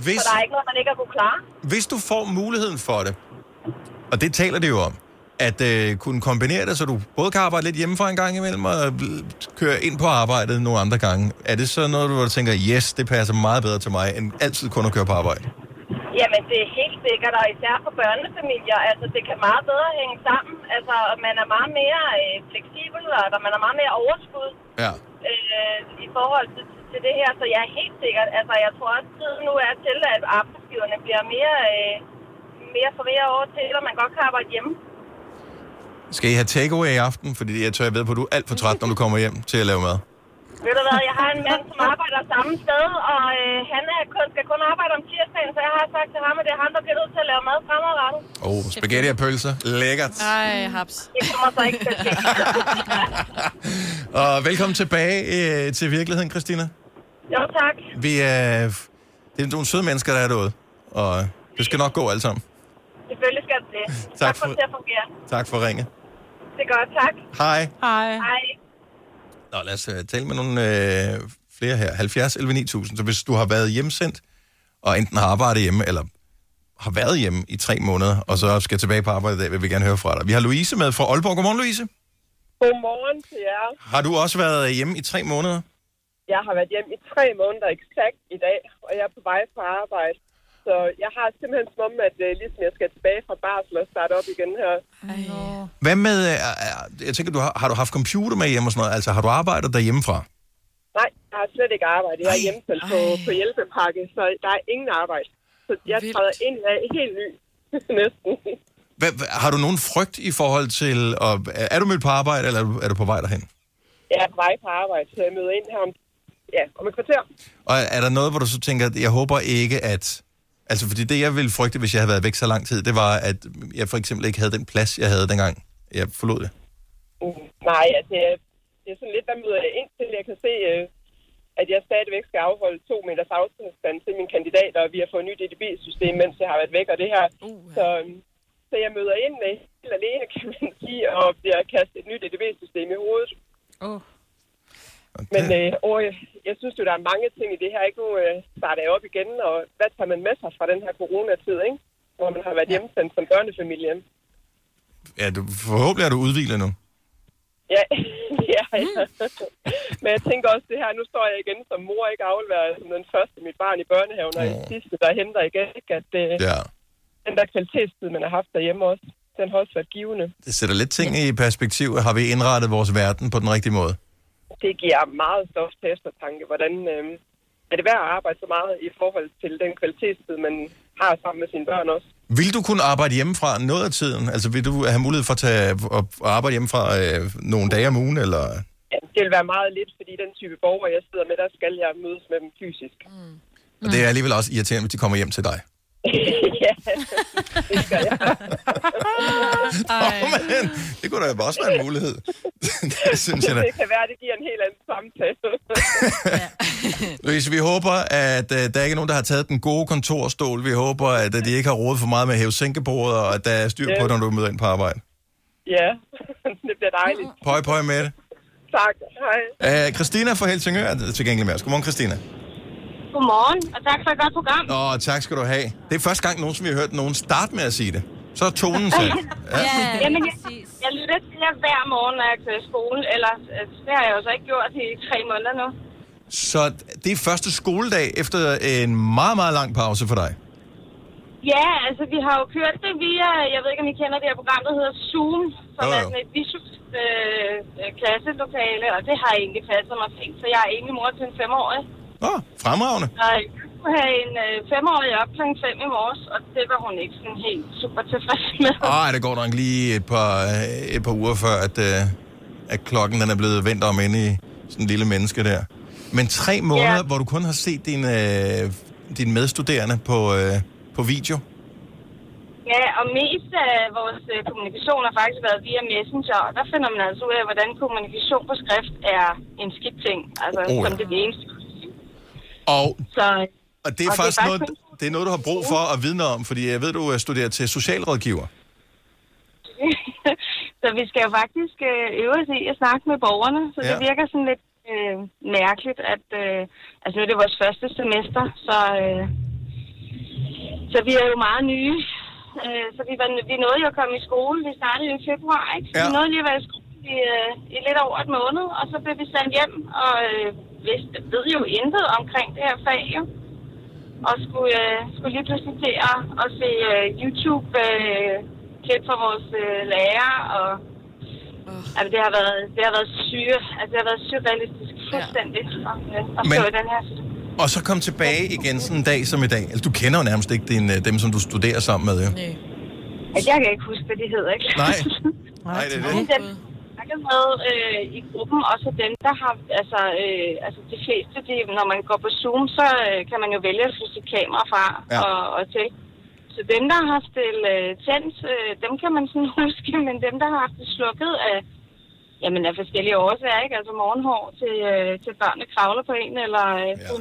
Speaker 1: Hvis,
Speaker 13: for der er ikke noget, man ikke har kunne klare.
Speaker 1: hvis du får muligheden for det, og det taler det jo om, at øh, kunne kombinere det, så du både kan arbejde lidt hjemmefra en gang imellem, og øh, køre ind på arbejdet nogle andre gange. Er det så noget, hvor du tænker, yes, det passer meget bedre til mig, end altid kun at køre på arbejde?
Speaker 13: Jamen, det er helt sikkert, og især for børnefamilier. Altså, det kan meget bedre hænge sammen. Altså, og man er meget mere øh, fleksibel, og der- man er meget mere overskud
Speaker 1: Ja.
Speaker 13: øh, i forhold til, til det her. Så jeg er helt sikkert, altså, jeg tror også, tiden nu er til, at arbejdsgiverne bliver mere, øh, mere for mere over til, at man godt kan arbejde hjemme.
Speaker 1: Skal I have takeaway i aften? Fordi jeg tør, jeg ved på, at du er alt for træt, når du kommer hjem til at lave mad.
Speaker 13: Ved du hvad, jeg har en mand, som arbejder samme sted, og øh, han er kun, skal kun arbejde om tirsdagen, så jeg har sagt til ham, at det er ham, der bliver nødt til at lave mad fremadrettet.
Speaker 1: Åh, oh, spaghetti og pølser. Lækkert.
Speaker 13: Ej, haps. Det kommer så ikke til at ske.
Speaker 1: Og velkommen tilbage øh, til virkeligheden, Christina.
Speaker 13: Jo, tak.
Speaker 1: Vi er... Det er nogle søde mennesker, der er derude. Og det skal nok gå alt sammen.
Speaker 13: Selvfølgelig skal det det.
Speaker 1: Tak
Speaker 13: tak for,
Speaker 1: for-
Speaker 13: at det at fungere.
Speaker 1: Tak for ringet.
Speaker 13: Det er godt, tak.
Speaker 1: Hej.
Speaker 2: Hej.
Speaker 13: Hej.
Speaker 1: Nå, lad os øh, tale med nogle øh, flere her. 70 11 9000. Så hvis du har været hjemsendt, og enten har arbejdet hjemme, eller har været hjemme i tre måneder, og så skal tilbage på arbejde i dag, vil vi gerne høre fra dig. Vi har Louise med fra Aalborg. Godmorgen, Louise.
Speaker 12: Godmorgen til jer.
Speaker 1: Har du også været øh, hjemme i tre måneder?
Speaker 12: Jeg har været hjemme i tre måneder eksakt i dag, og jeg er på vej fra arbejde. Så jeg har simpelthen som om, at øh, ligesom jeg skal tilbage fra barsel og starte op igen her.
Speaker 1: Hvad med, øh, øh, jeg tænker, du har, har du haft computer med hjemme og sådan noget? Altså, har du arbejdet derhjemmefra?
Speaker 12: Nej, jeg har slet ikke arbejdet. Jeg er hjemmefald på, på hjælpepakke, så der er ingen arbejde. Så jeg Vildt. træder ind i dag helt ny. Næsten.
Speaker 1: Hvad, hvad- har du nogen frygt i forhold til, og, er er du mødt på arbejde, eller er du, er du på vej derhen?
Speaker 12: Jeg er på vej fra arbejde, så jeg møder ind her om, ja, om et kvarter.
Speaker 1: Og er- er der noget, hvor du så tænker, at jeg håber ikke, at... Altså, fordi det, jeg ville frygte, hvis jeg havde været væk så lang tid, det var, at jeg for eksempel ikke havde den plads, jeg havde dengang. Jeg forlod det.
Speaker 12: Mm, Nej, altså, jeg- det er sådan lidt, hvad møder jeg ind til. Jeg kan se, øh, at jeg stadigvæk skal afholde to meters afstand til mine kandidater, og vi har fået nyt EDB-system, mens jeg har været væk, og det her. Uh, så, øhm, så jeg møder ind med helt alene, kan man sige, og øh, bliver kastet et nyt EDB-system i hovedet.
Speaker 2: Oh.
Speaker 12: Men øh, åh, jeg, jeg synes jo, der er mange ting i det her. Ikke? Nu øh, starter jeg op igen, og hvad tager man med sig fra den her coronatid, ikke? hvor man har været hjemsendt som børnefamilie?
Speaker 1: Ja, du, forhåbentlig er du udviklet nu.
Speaker 12: Ja, ja, ja. Men jeg tænker også det her, nu står jeg igen som mor, ikke afleverer som den første mit barn i børnehaven, og den sidste, der henter igen, ikke? at øh,
Speaker 1: Ja.
Speaker 12: den der kvalitetstid, man har haft derhjemme også, den har også været givende.
Speaker 1: Det sætter lidt ting i perspektiv. Har vi indrettet vores verden på den rigtige måde?
Speaker 12: Det giver meget stof til eftertanke, hvordan øh, er det værd at arbejde så meget i forhold til den kvalitetstid, man har sammen med sine børn også.
Speaker 1: Vil du kunne arbejde hjemmefra noget af tiden? Altså, vil du have mulighed for at tage og og arbejde hjemmefra øh, nogle dage om ugen, eller...
Speaker 12: Ja, det vil være meget lidt, fordi den type borgere, jeg sidder med, der skal jeg mødes med dem fysisk.
Speaker 1: Og det er alligevel også irriterende, hvis de kommer hjem til dig.
Speaker 12: ja, det skal jeg.
Speaker 1: Åh, men, det kunne da også være en mulighed. det synes jeg da.
Speaker 12: det kan være, det giver en helt anden samtale.
Speaker 1: Louise, vi håber, at øh, der ikke er nogen, der har taget den gode kontorstol. Vi håber, at øh, de ikke har rodet for meget med at hæve sænkebordet, og at der er styr på,
Speaker 12: Ja.
Speaker 1: det, når du møder ind på arbejde.
Speaker 12: Ja, det bliver dejligt.
Speaker 1: Pøj, pøj med det.
Speaker 12: Tak. Hej.
Speaker 1: Øh, Christina fra Helsingør er tilgængelig med os. Godmorgen, Christina.
Speaker 14: Godmorgen, og tak for et godt program.
Speaker 1: Nå, tak skal du have. Det er første gang, nogen, som vi har hørt nogen starte med at sige det. Så er tonen sat.
Speaker 14: Ja, Jamen, jeg, jeg lytter til jer hver morgen, når jeg kører i skole. Eller, øh, det har jeg jo så ikke gjort i tre måneder nu.
Speaker 1: Så det er første skoledag efter en meget, meget lang pause for dig.
Speaker 14: Ja, altså, vi har jo kørt det via, jeg ved ikke, om I kender det her program, der hedder Zoom, som
Speaker 1: Jo,
Speaker 14: er
Speaker 1: jo.
Speaker 14: sådan et visuelt øh, øh, klasselokale, og det har egentlig passet mig fint, så jeg er egentlig mor til en femårig.
Speaker 1: Åh, fremragende.
Speaker 14: Og jeg skulle have en øh, femårig op kl. 5 i morges, og det var hun ikke sådan helt super tilfreds med.
Speaker 1: Ej, Ah, det går nok lige et par, øh, et par uger før, at, øh, at klokken den er blevet vendt om inde i sådan en lille menneske der. Men tre måneder,
Speaker 14: Ja.
Speaker 1: hvor du kun har set dine, øh, dine medstuderende på, øh, på video.
Speaker 14: Ja, og mest af vores øh, kommunikation har faktisk været via Messenger, og der finder man altså ud af, hvordan kommunikation på skrift er en skidt ting, altså
Speaker 1: Oh,
Speaker 14: oh,
Speaker 1: ja.
Speaker 14: ja. som det eneste.
Speaker 1: Og,
Speaker 14: Så,
Speaker 1: og det er
Speaker 14: og
Speaker 1: faktisk noget,
Speaker 14: kun-
Speaker 1: det er noget, du har brug for at vidne om, fordi jeg ved, du øh, studerer til socialrådgiver.
Speaker 14: så vi skal jo faktisk øh, øve os i at snakke med borgerne, så ja. det
Speaker 1: Ja.
Speaker 14: virker sådan lidt øh, mærkeligt, at øh, altså nu er det vores første semester, så, øh, så vi er jo meget nye. Øh, så vi, var, vi nåede jo at komme i skole, vi startede jo i februar, ikke? Ja. Vi nåede lige at være i skole i, øh, i lidt over et måned, og så blev vi sendt hjem, og øh, vidste, ved jo intet omkring det her fag, jo. og skulle, øh, skulle lige pludselig til at, at se øh, YouTube-klip fra vores øh, lærer, og altså, det, har været, det har været syre, altså det har været surrealistisk fuldstændig at, øh, at
Speaker 1: Men-
Speaker 14: stå i den her
Speaker 1: Og så kom tilbage igen sådan en dag som i dag. Altså, du kender jo nærmest ikke din, øh, dem, som du studerer sammen med, jo.
Speaker 14: Altså, jeg kan ikke huske, hvad de hedder, ikke?
Speaker 1: Nej. Nej, det er det.
Speaker 14: Men dem, jeg snakkede med øh, i gruppen, også dem, der har, altså, øh, altså de fleste, de, når man går på Zoom, så øh, kan man jo vælge at flytte sit kamera fra
Speaker 15: Ja.
Speaker 14: ja. og, og til. Så dem, der har haft det øh, tændt, øh, dem kan man sådan huske, men dem, der har haft det slukket af, jamen af forskellige årsager, ikke? Altså morgenhår til, øh, til børnene kravler på en eller øh, ja.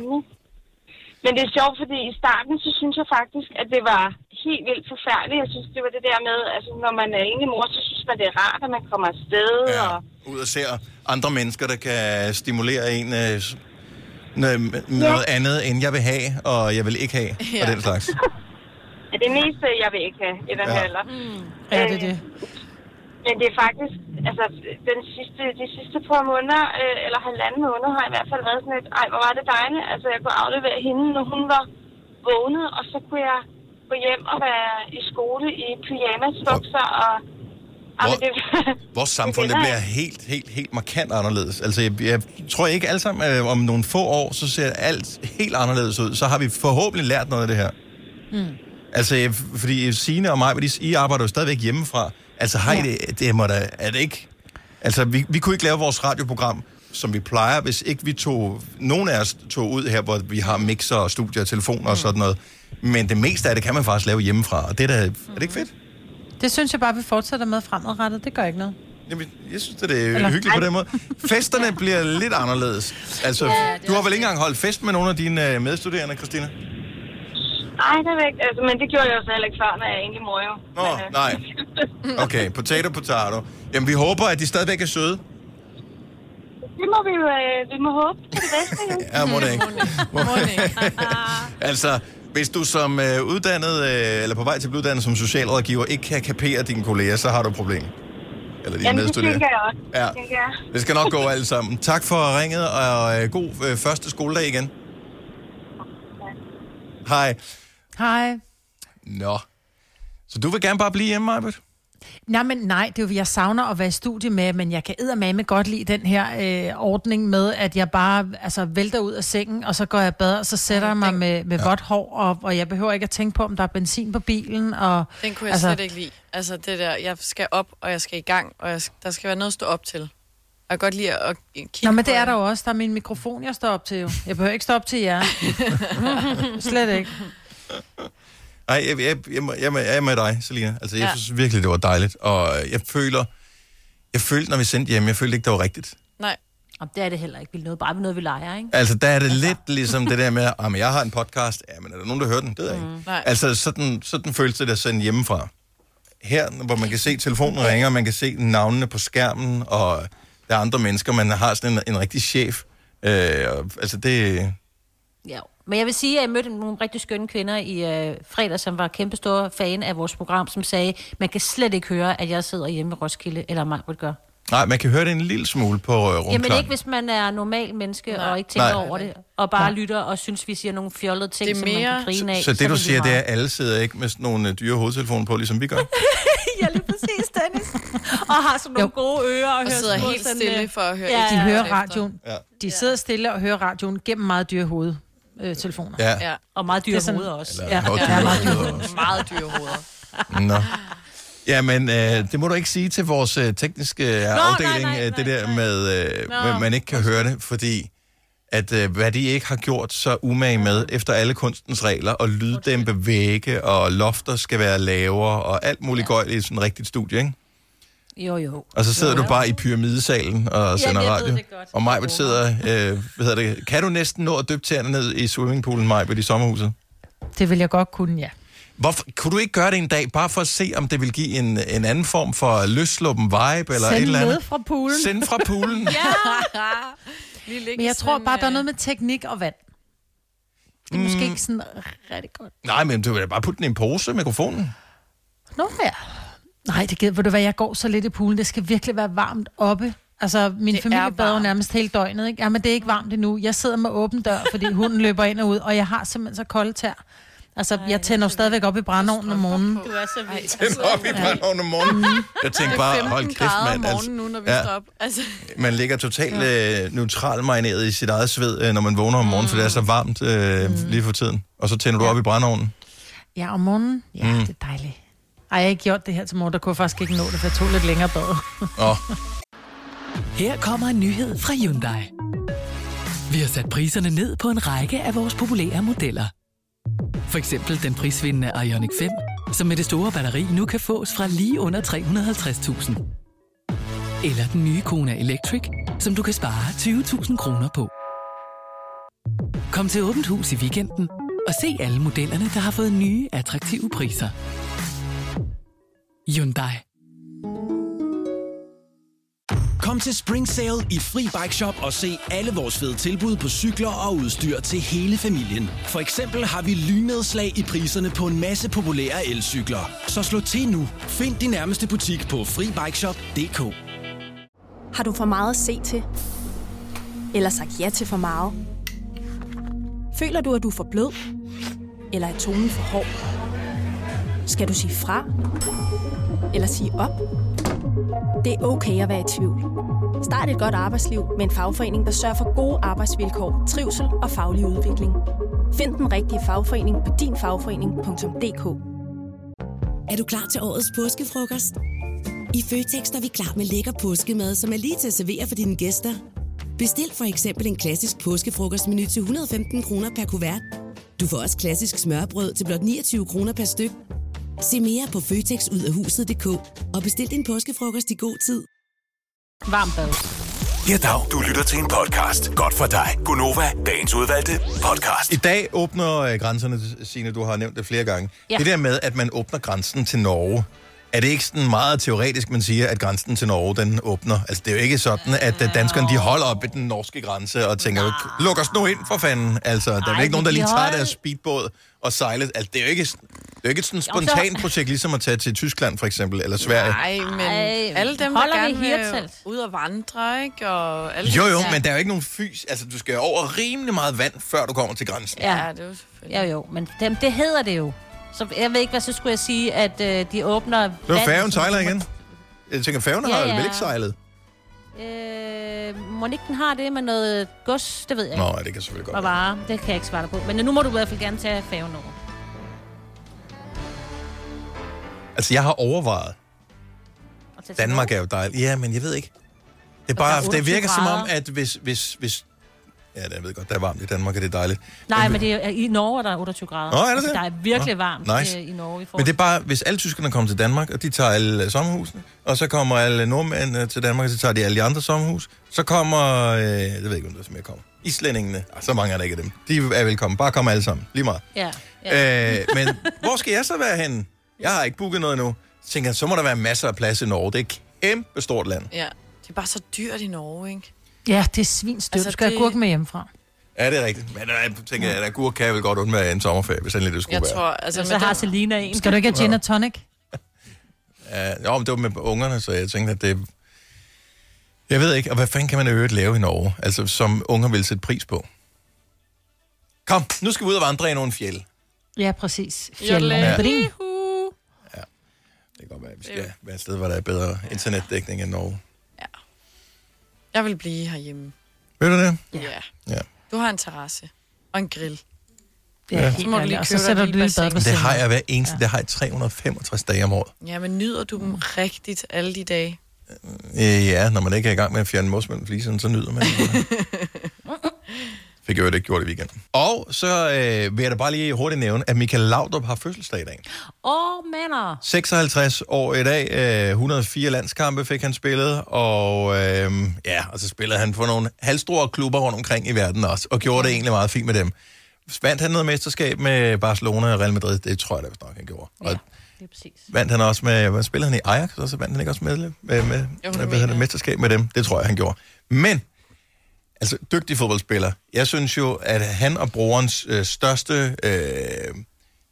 Speaker 14: Men det er sjovt, fordi i starten, så synes jeg faktisk, at det var helt vildt forfærdeligt. Jeg synes, det var det der med, altså når man er enig mor, så synes man, det er rart, at man kommer afsted. Ja. Og,
Speaker 1: Ud og ser andre mennesker, der kan stimulere en øh, s- noget, med noget andet, end jeg vil have, og jeg vil ikke have, ja. og
Speaker 14: Ja.
Speaker 1: den slags.
Speaker 14: ja, det meste, jeg vil ikke have i den
Speaker 1: Ja.
Speaker 14: ja. her alder. Mm. Ja, det er det. Men det er faktisk, altså den sidste, de sidste par måneder, øh, eller halvanden måned, har jeg i hvert fald været sådan et, ej, hvor var det dejligt. Altså jeg kunne aflevere hende, når hun var vågnet, og så kunne jeg gå hjem og være i skole i pyjamas, bukser og... Ej, men det,
Speaker 1: Vores samfund,
Speaker 14: Det
Speaker 1: det
Speaker 14: er
Speaker 1: bliver
Speaker 14: det.
Speaker 1: helt, helt, helt markant anderledes. Altså, jeg, jeg tror ikke alle sammen, øh, om nogle få år, så ser alt helt anderledes ud. Så har vi forhåbentlig lært noget af det her.
Speaker 3: Hmm.
Speaker 5: Mm.
Speaker 1: Altså, jeg- fordi Signe og mig, de, I arbejder jo stadigvæk hjemmefra. Altså, har I det, det må da, er det ikke? Altså, vi, vi kunne ikke lave vores radioprogram, som vi plejer, hvis ikke vi tog, nogen af os tog ud her, hvor vi har mixer og studier og telefoner og sådan noget. Men det meste af det kan man faktisk lave hjemmefra, og det er, da, er det ikke fedt?
Speaker 2: Det synes jeg bare, vi fortsætter med fremadrettet. Det gør ikke noget.
Speaker 1: Jamen, jeg synes, det er
Speaker 2: Eller-
Speaker 1: hyggeligt på den måde. Festerne bliver lidt anderledes. Altså,
Speaker 14: Ja,
Speaker 1: ja,
Speaker 14: det
Speaker 1: du har vel ikke engang holdt fest med nogle af dine øh, medstuderende, Christina?
Speaker 14: Ej, det er ikke. Altså, men det gjorde jeg jo så heller ikke før, når jeg er egentlig mor jo.
Speaker 1: Nå, nej. Okay, potato, potato. Jamen, vi håber, at de stadigvæk er søde.
Speaker 14: Det må vi jo, øh, vi må håbe på det bedste jo.
Speaker 1: Ja, må det ikke. Altså, hvis du som øh, uddannet, øh, eller på vej til at blive uddannet som socialrådgiver, ikke kan kapere dine kolleger, så har du et problem. Eller dine
Speaker 14: Jamen, det
Speaker 1: medstuderende.
Speaker 14: tænker jeg også.
Speaker 1: Ja.
Speaker 14: Det tænker jeg.
Speaker 1: Det skal nok gå alt sammen. Tak for ringet, og øh, god øh, første skoledag igen. Hej.
Speaker 2: Hej.
Speaker 1: Nå. Så du vil gerne bare blive hjemme, Marbet?
Speaker 2: Nej, men nej, det er jo, jeg savner at være i studie med, men jeg kan eddermame godt lide den her øh, ordning med, at jeg bare altså, vælter ud af sengen, og så går jeg i bad, og så sætter jeg mig med, med vådt hår, og, og jeg behøver ikke at tænke på, om der er benzin på bilen. Og,
Speaker 3: Den kunne jeg altså... slet ikke lide. Altså det der, jeg skal op, og jeg skal i gang, og jeg, der skal være noget at stå op til. Og jeg kan godt lide at at kigge
Speaker 2: Nå, men
Speaker 3: på
Speaker 2: det er der jo også. Der er min mikrofon, jeg står op til jo. Jeg behøver ikke stå op til jer. slet ikke.
Speaker 1: Nej, jeg, jeg, jeg, må- jeg, må- jeg er med dig, Selina. Altså, jeg
Speaker 3: Ja.
Speaker 1: ja. synes virkelig, det var dejligt. Og øh, jeg føler, jeg følte, når vi sendte hjem, jeg følte ikke, det var rigtigt.
Speaker 3: Nej.
Speaker 4: Og det er det heller ikke. Vi er noget, bare noget, vi leger, ikke?
Speaker 1: Altså, der er det lidt ligesom det der med, at jeg har en podcast. Ja, men er der nogen, der hører den? Det ved jeg ikke.
Speaker 4: Nej.
Speaker 1: Altså, sådan, sådan føles det, der sendt hjemmefra. Her, hvor man kan se telefonen ringer, man kan se navnene på skærmen, og der er andre mennesker, man har sådan en, en rigtig chef. Øh, og, altså, det...
Speaker 4: Ja. Men jeg vil sige, at jeg mødte nogle rigtig skønne kvinder i øh, fredag, som var kæmpe store fan af vores program, som sagde, man kan slet ikke høre, at jeg sidder hjemme i Roskilde, eller mig vil gøre.
Speaker 1: Nej, man kan høre det en lille smule på øh, rumklang.
Speaker 4: Jamen ikke, hvis man er normal menneske Nej. og ikke tænker
Speaker 1: Nej.
Speaker 4: Nej. over det, og bare Nej. lytter og synes, vi siger nogle fjollede ting, som man kan grine af.
Speaker 1: Så det,
Speaker 4: er
Speaker 1: du
Speaker 4: lige
Speaker 1: siger, det er,
Speaker 4: meget.
Speaker 1: at alle sidder ikke med sådan nogle øh, dyre hovedtelefoner på, ligesom vi gør.
Speaker 4: ja, lige præcis, Dennis. Og har sådan nogle jo. gode ører og,
Speaker 3: Og
Speaker 4: hører
Speaker 3: sidder
Speaker 4: sådan
Speaker 3: helt
Speaker 4: sådan,
Speaker 3: stille
Speaker 4: øh,
Speaker 3: for at høre
Speaker 2: Ja,
Speaker 3: efter.
Speaker 2: de hører
Speaker 3: efter.
Speaker 2: radioen.
Speaker 1: Ja.
Speaker 2: De sidder stille og hører radioen gennem meget dyre hovedtelefoner.
Speaker 1: Ja. Ja.
Speaker 4: Og meget dyre
Speaker 2: Det er sådan-
Speaker 4: hoveder også.
Speaker 2: Ja,
Speaker 1: og
Speaker 2: ja,
Speaker 1: dyre
Speaker 2: meget dyre
Speaker 1: hoveder
Speaker 2: hoveder.
Speaker 3: Meget dyre hoveder.
Speaker 1: Nå. Jamen, øh, det må du ikke sige til vores øh, tekniske øh, afdeling, nej, nej, det der nej. med, øh,
Speaker 2: Nå.
Speaker 1: at man ikke kan høre det, fordi at øh, hvad de ikke har gjort så umage med, efter alle kunstens regler, og lyddæmpe vægge, og lofter skal være lavere, og alt muligt ja. gøjl i sådan et rigtigt studie, ikke?
Speaker 4: Jo, jo.
Speaker 1: Og så sidder
Speaker 4: jo,
Speaker 1: jo, du bare i pyramidesalen og sender
Speaker 4: jeg ved
Speaker 1: radio.
Speaker 4: det godt.
Speaker 1: Og Majbet sidder, øh, hvad hedder det, kan du næsten nå at dyppe tæerne ned i swimmingpoolen, Majbet, i sommerhuset?
Speaker 2: Det vil jeg godt kunne, ja.
Speaker 1: Hvorfor, kunne du ikke gøre det en dag, bare for at se, om det vil give en, en anden form for løsluppen vibe eller et
Speaker 2: Send
Speaker 1: eller
Speaker 2: med
Speaker 1: andet?
Speaker 2: fra poolen.
Speaker 1: Send fra poolen.
Speaker 2: ja. Men jeg tror bare, der
Speaker 3: øh,
Speaker 2: er noget med teknik og vand. Det er mm. måske ikke sådan rigtig godt.
Speaker 1: Nej, men du vil da bare putte den i en pose, mikrofonen.
Speaker 2: Nå ja. Nej, det gider. Ved du hvad, jeg går så lidt i poolen. Det skal virkelig være varmt oppe Altså,
Speaker 5: Det
Speaker 2: min det
Speaker 5: er
Speaker 2: familie bader jo
Speaker 5: varmt.
Speaker 2: nærmest hele døgnet, ikke? Jamen, det er ikke varmt endnu. Jeg sidder med åben dør, fordi hunden løber ind og ud, og jeg har simpelthen så kolde tær. Altså, jeg tænder jo stadigvæk op i brændeovnen om morgenen.
Speaker 5: Du er så vild.
Speaker 1: Tænd op i brændeovnen om
Speaker 5: Mm.
Speaker 1: morgenen. Jeg tænkte bare, hold kæft, mand.
Speaker 5: altså. nu, når vi ja. står op. Altså,
Speaker 1: man ligger totalt øh, neutralt marineret i sit eget sved, øh, når man vågner om morgenen, mm. for det er så varmt øh,
Speaker 5: Mm.
Speaker 1: lige for tiden. Og så tænder du op i brændeovnen.
Speaker 2: Ja, om morgenen. Ja,
Speaker 1: Mm.
Speaker 2: mm. det er dejligt. Ej, jeg har ikke gjort det her til morgen, der kunne jeg faktisk ikke nå det, for jeg tog lidt længere bad.
Speaker 1: Åh.
Speaker 15: Her kommer en nyhed fra Hyundai. Vi har sat priserne ned på en række af vores populære modeller. For eksempel den prisvindende Ioniq 5, som med det store batteri nu kan fås fra lige under 350.000. Eller den nye Kona Electric, som du kan spare 20.000 kroner på. Kom til Åbent Hus i weekenden og se alle modellerne, der har fået nye, attraktive priser. Hyundai.
Speaker 16: Kom til Spring Sale i Fri Bike Shop og se alle vores fede tilbud på cykler og udstyr til hele familien. For eksempel har vi lynedslag i priserne på en masse populære elcykler. Så slå til nu. Find din nærmeste butik på FriBikeShop.dk
Speaker 17: Har du for meget at se til? Eller sagt ja til for meget? Føler du, at du er for blød? Eller er tonen for hård? Skal du sige fra? Eller sige op? Det er okay at være i tvivl. Start et godt arbejdsliv med en fagforening, der sørger for gode arbejdsvilkår, trivsel og faglig udvikling. Find den rigtige fagforening på dinfagforening.dk
Speaker 18: Er du klar til årets påskefrokost? I Føtex er vi klar med lækker påskemad, som er lige til at servere for dine gæster. Bestil for eksempel en klassisk påskefrokostmenu til 115 kroner per kuvert. Du får også klassisk smørbrød til blot 29 kroner per styk. Se mere på føtexudafhuset.dk og bestil din påskefrokost i god tid. Varmt bad.
Speaker 6: Ja, dag. Du lytter til en podcast. Godt for dig. Gunova, dagens udvalgte podcast.
Speaker 1: I dag åbner øh, grænserne, Signe, du har nævnt det flere gange.
Speaker 6: Ja.
Speaker 1: Ja. Det der med, at man åbner grænsen til Norge, er det ikke sådan meget teoretisk, man siger, at grænsen til Norge, den åbner? Altså, det er jo ikke sådan, at øh, danskerne, de holder op ved den norske grænse og tænker, luk os nu ind for fanden. Altså, der er
Speaker 6: Ej,
Speaker 1: Ej, ikke nogen, der
Speaker 6: men de
Speaker 1: lige tager
Speaker 6: holder-
Speaker 1: deres speedbåd og sejler. Altså, det er jo ikke, sådan- det er jo ikke et sådan
Speaker 3: Jo, så-
Speaker 1: spontant projekt, ligesom at tage til Tyskland, for eksempel, eller Sverige.
Speaker 3: Nej, men
Speaker 4: Ej,
Speaker 3: alle dem,
Speaker 4: holder
Speaker 3: der
Speaker 4: vi
Speaker 3: gerne vil
Speaker 4: Hirtshals?
Speaker 3: ud og vandre, ikke? Og alle
Speaker 1: Jo,
Speaker 3: dem-
Speaker 1: jo,
Speaker 3: Ja.
Speaker 1: men der er jo ikke nogen fys... Altså, du skal jo over rimelig meget vand, før du kommer til grænsen.
Speaker 4: Ja, det er jo Ja, jo, men dem, det hedder det jo. Så jeg ved ikke, hvad så skulle jeg sige, at øh, de åbner...
Speaker 1: Det var færgen sejler igen. Jeg tænker, færgen har
Speaker 4: Ja,
Speaker 1: ja,
Speaker 4: ja.
Speaker 1: vel ikke sejlet?
Speaker 4: Øh, må ikke den har det med noget gods? Det ved jeg
Speaker 1: Nå,
Speaker 4: ikke.
Speaker 1: ja, det kan selvfølgelig godt
Speaker 4: Og varer. Det kan jeg ikke svare dig på. Men nu må du i hvert fald gerne tage færgen over.
Speaker 1: Altså, jeg har overvejet.
Speaker 4: Og tage til
Speaker 1: Danmark er jo dejligt. Ja, men jeg ved ikke. Det, er
Speaker 4: der er
Speaker 1: bare, det
Speaker 4: 28
Speaker 1: virker som om,
Speaker 4: grader.
Speaker 1: at hvis... hvis, hvis ja, det- jeg ved godt, der er varmt i Danmark, og det er dejligt.
Speaker 4: Nej, men det er, øh, i Norge er der 28 grader.
Speaker 1: Nå, er det
Speaker 4: altså,
Speaker 1: det?
Speaker 4: Der er virkelig
Speaker 1: Nå,
Speaker 4: varmt
Speaker 1: nice.
Speaker 4: øh, i Norge. I forhold
Speaker 1: Men det er bare, hvis alle tyskerne kommer til Danmark, og de tager alle sommerhusene, og så kommer alle nordmændene til Danmark, og så tager de alle de andre sommerhus, så kommer, øh, jeg ved ikke, om der er mere kommer, islændingene, ah, så mange er der ikke af dem, de er velkommen, bare kom alle sammen, lige meget.
Speaker 4: Ja.
Speaker 1: Ja. Øh, men hvor skal jeg så være henne? Jeg har ikke booket noget endnu. Så tænker jeg, så må der være masser af plads i Norge. Det er et kæmpe stort land.
Speaker 3: ja. Det er bare så dyrt i Norge, ikke?
Speaker 2: Ja, det er svinstyrt.
Speaker 3: Altså,
Speaker 2: Altså, du skal det...
Speaker 3: det-
Speaker 2: have gurken med hjemmefra.
Speaker 1: Ja, det er rigtigt. Men jeg tænker, at agurk kan jeg vel godt undvære en sommerferie, hvis endelig det skulle
Speaker 3: Jeg
Speaker 1: være.
Speaker 3: tror, altså...
Speaker 4: så
Speaker 3: med
Speaker 4: har
Speaker 3: den-
Speaker 4: Selina en.
Speaker 2: Skal du ikke have gin
Speaker 1: Ja.
Speaker 2: og tonic?
Speaker 1: Ja, jo, men det var med ungerne, så jeg tænkte, at det... Jeg ved ikke, og hvad fanden kan man i øvrigt lave i Norge, altså, som unger vil sætte pris på? Kom, nu skal vi ud og vandre i nogle fjeld.
Speaker 2: Ja, præcis.
Speaker 1: Ja.
Speaker 2: Fjellene. Ja.
Speaker 1: Vi skal være et sted, hvor der er bedre internetdækning end Norge.
Speaker 3: Jeg vil blive herhjemme.
Speaker 1: Ved du det?
Speaker 3: Ja.
Speaker 1: Ja.
Speaker 3: Du har en terrasse. Og en grill.
Speaker 1: Ja, helt
Speaker 3: så må du
Speaker 2: ærligt.
Speaker 3: lige
Speaker 2: Og så
Speaker 3: købe
Speaker 2: sætter
Speaker 3: dig et
Speaker 2: du
Speaker 3: lille
Speaker 2: lige bad
Speaker 3: bassin.
Speaker 1: Men det har jeg hver eneste, ja. det har jeg 365 dage om året.
Speaker 3: Ja, men nyder du dem rigtigt alle de dage?
Speaker 1: Øh, ja, når man ikke er i gang med at fjerne mos mellem fliserne, så nyder man det. Fik jeg jo ikke gjort i weekenden. Og så øh, vil jeg da bare lige hurtigt nævne, at Michael Laudrup har fødselsdag i dag.
Speaker 4: Åh, oh, mander.
Speaker 1: 56 år i dag, øh, 104 landskampe fik han spillet, og øh, ja, og så spillede han for nogle halvstore klubber rundt omkring i verden også, og gjorde det egentlig meget fint med dem. Vandt han noget mesterskab med Barcelona og Real Madrid? Det tror jeg da vist nok, han gjorde. Ja, og Vandt han også med, hvad spillede han i Ajax, og så vandt han ikke også med, med, med, med hvad hedder det, mesterskab med dem? Det tror jeg, han gjorde. Men, altså, dygtig fodboldspiller. Jeg synes jo, at han og brorens øh, største øh,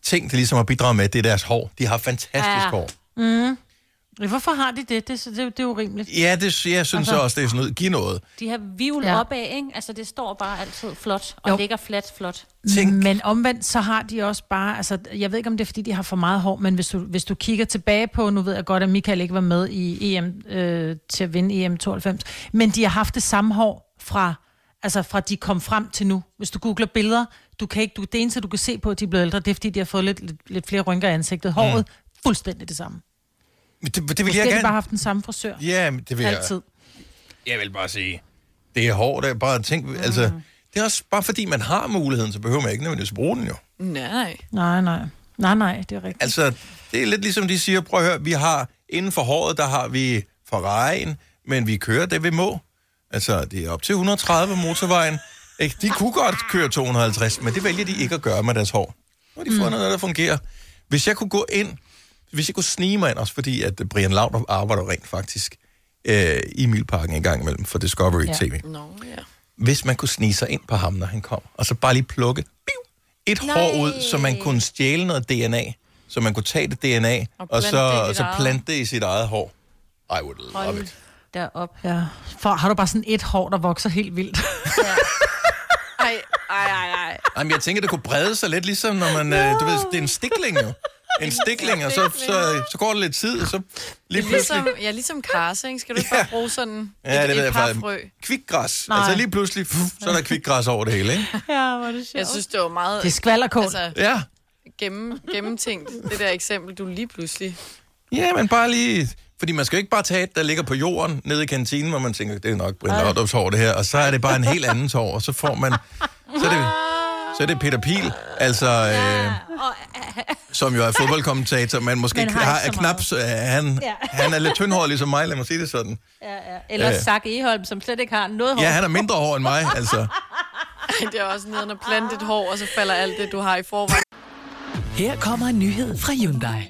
Speaker 1: ting, de ligesom har bidraget med, det er deres hår. De har fantastisk ja. hår.
Speaker 2: Mm. Ja, Hvorfor har de det? Det, det, det, det er urimeligt.
Speaker 1: Ja, det, jeg synes
Speaker 2: Altså-
Speaker 1: altså, også, det er sådan noget. Giv noget.
Speaker 4: De her vivl
Speaker 2: Ja.
Speaker 4: ja. opad, ikke? Altså, det står bare altid flot, og
Speaker 2: Jo.
Speaker 4: jo. ligger flat flot.
Speaker 2: Tænk. Men omvendt, så har de også bare, altså jeg ved ikke, om det er, fordi de har for meget hår, men hvis du, hvis du kigger tilbage på, nu ved jeg godt, at Michael ikke var med i EM øh, til at vinde EM92, men de har haft det samme hår fra, altså fra de kom frem til nu. Hvis du googler billeder, du kan ikke, du, det eneste, du kan se på, at de er blevet ældre, det er, fordi de har fået lidt, lidt, lidt flere rynker i ansigtet. Håret, mm. fuldstændig det samme.
Speaker 1: Men det, det vil
Speaker 2: Måske
Speaker 1: jeg
Speaker 2: har de
Speaker 1: gerne...
Speaker 2: bare haft den samme frisør.
Speaker 1: Ja, men det vil
Speaker 2: Altid.
Speaker 1: jeg... Jeg vil bare sige, det er hårdt. Jeg bare tænk, mm. altså, det er også bare fordi, man har muligheden, så behøver man ikke nødvendigvis bruge den jo.
Speaker 3: Nej.
Speaker 2: Nej, nej. Nej, nej, det er rigtigt.
Speaker 1: Altså, det er lidt ligesom de siger, prøv at høre, vi har inden for håret, der har vi Ferrari'en, men vi kører det, vi må. Altså, det er op til 130 på motorvejen. Ikke? De kunne godt køre 250, men det vælger de ikke at gøre med deres hår. Nu har de fundet mm. noget, der fungerer. Hvis jeg kunne gå ind, hvis jeg kunne snige mig ind, også fordi at Brian Laudrup arbejder rent faktisk øh, i Milparken en gang imellem for Discovery ja. TV.
Speaker 3: Nå, ja.
Speaker 1: Hvis man kunne snige sig ind på ham, når han kom, og så bare lige plukke biu, et Nej. hår ud, så man kunne stjæle noget DNA, så man kunne tage det DNA, og, og
Speaker 4: plante
Speaker 1: så,
Speaker 4: det i
Speaker 1: og
Speaker 4: dit
Speaker 1: så
Speaker 4: eget.
Speaker 1: plante det i sit eget hår. I would love
Speaker 4: Hold
Speaker 1: it.
Speaker 4: derop.
Speaker 2: Ja. For har du bare sådan et hår, der vokser helt vildt?
Speaker 3: Ej, ej, ej, ej.
Speaker 1: Jamen, jeg tænker, det kunne brede sig lidt, ligesom når man, øh, du ved, det er en stikling jo. En stikling, og så, så, så går det lidt tid, og så lige
Speaker 3: Lige
Speaker 1: pludselig...
Speaker 3: ligesom, ja, ligesom karse, ikke? Skal du ikke bare bruge sådan
Speaker 1: Ja, det
Speaker 3: et,
Speaker 1: ved
Speaker 3: et
Speaker 1: jeg
Speaker 3: par
Speaker 1: faktisk.
Speaker 3: frø?
Speaker 1: Kvikgræs.
Speaker 3: Nej.
Speaker 1: Nej. Altså lige pludselig, pff, så er der kvikgræs over det hele, ikke?
Speaker 2: Ja, hvor er det sjovt.
Speaker 3: Jeg synes, det var meget...
Speaker 2: Det er skvalderkål.
Speaker 3: Altså,
Speaker 1: Ja.
Speaker 3: gennem, gennemtænkt, det der eksempel, du lige pludselig...
Speaker 1: Ja, men bare lige... Fordi man skal jo ikke bare tage et, der ligger på jorden nede i kantinen, hvor man tænker, det er nok Brian
Speaker 3: Ej.
Speaker 1: Laudrup's hår, det her. Og så er det bare en helt anden hår, og så får man... Så er det, så er det Peter Pil, altså... Øh, som jo er fodboldkommentator, men måske
Speaker 4: Men
Speaker 1: men
Speaker 4: har
Speaker 1: har,
Speaker 4: ikke så
Speaker 1: har er knap... Så, øh, han,
Speaker 4: Ja.
Speaker 1: ja. han er lidt tyndhåret ligesom mig, lad mig sige det sådan.
Speaker 4: Ja, ja. Eller
Speaker 1: Ja.
Speaker 4: ja. Zach Eholm, som slet ikke har noget hår.
Speaker 1: Ja, han er mindre hår end mig, altså.
Speaker 3: Ej, det er også nede at plante et hår, og så falder alt det, du har i forvejen.
Speaker 15: Her kommer en nyhed fra Hyundai.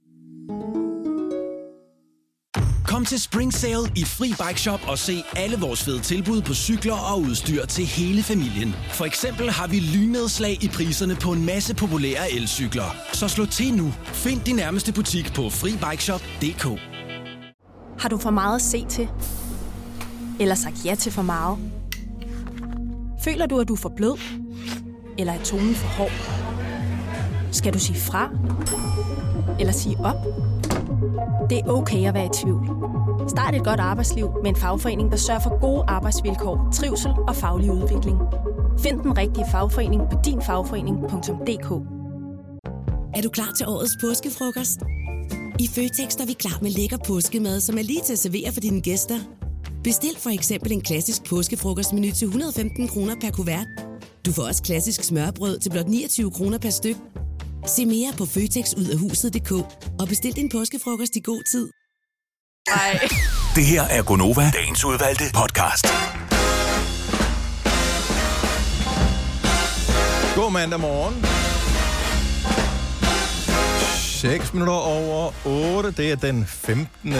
Speaker 16: Kom til Spring Sale i Fri Bike Shop og se alle vores fede tilbud på cykler og udstyr til hele familien. For eksempel har vi lynedslag i priserne på en masse populære elcykler. Så slå til nu. Find din nærmeste butik på FriBikeShop.dk
Speaker 17: Har du for meget at se til? Eller sagt ja til for meget? Føler du, at du er for blød? Eller er tonen for hård? Skal du sige fra? Eller sige op? Det er okay at være i tvivl. Start et godt arbejdsliv med en fagforening, der sørger for gode arbejdsvilkår, trivsel og faglig udvikling. Find den rigtige fagforening på dinfagforening.dk.
Speaker 18: Er du klar til årets påskefrokost? I Føtex er vi klar med lækker påskemad, som er lige til at servere for dine gæster. Bestil for eksempel en klassisk påskefrokostmenu til 115 kroner per kuvert. Du får også klassisk smørbrød til blot 29 kroner per styk. Se mere på føtexudafhuset.dk og bestil din påskefrokost i god tid.
Speaker 6: Det her er Gonova, dagens udvalgte podcast.
Speaker 1: God mandag morgen. 6 minutter over 8. Det er den 15.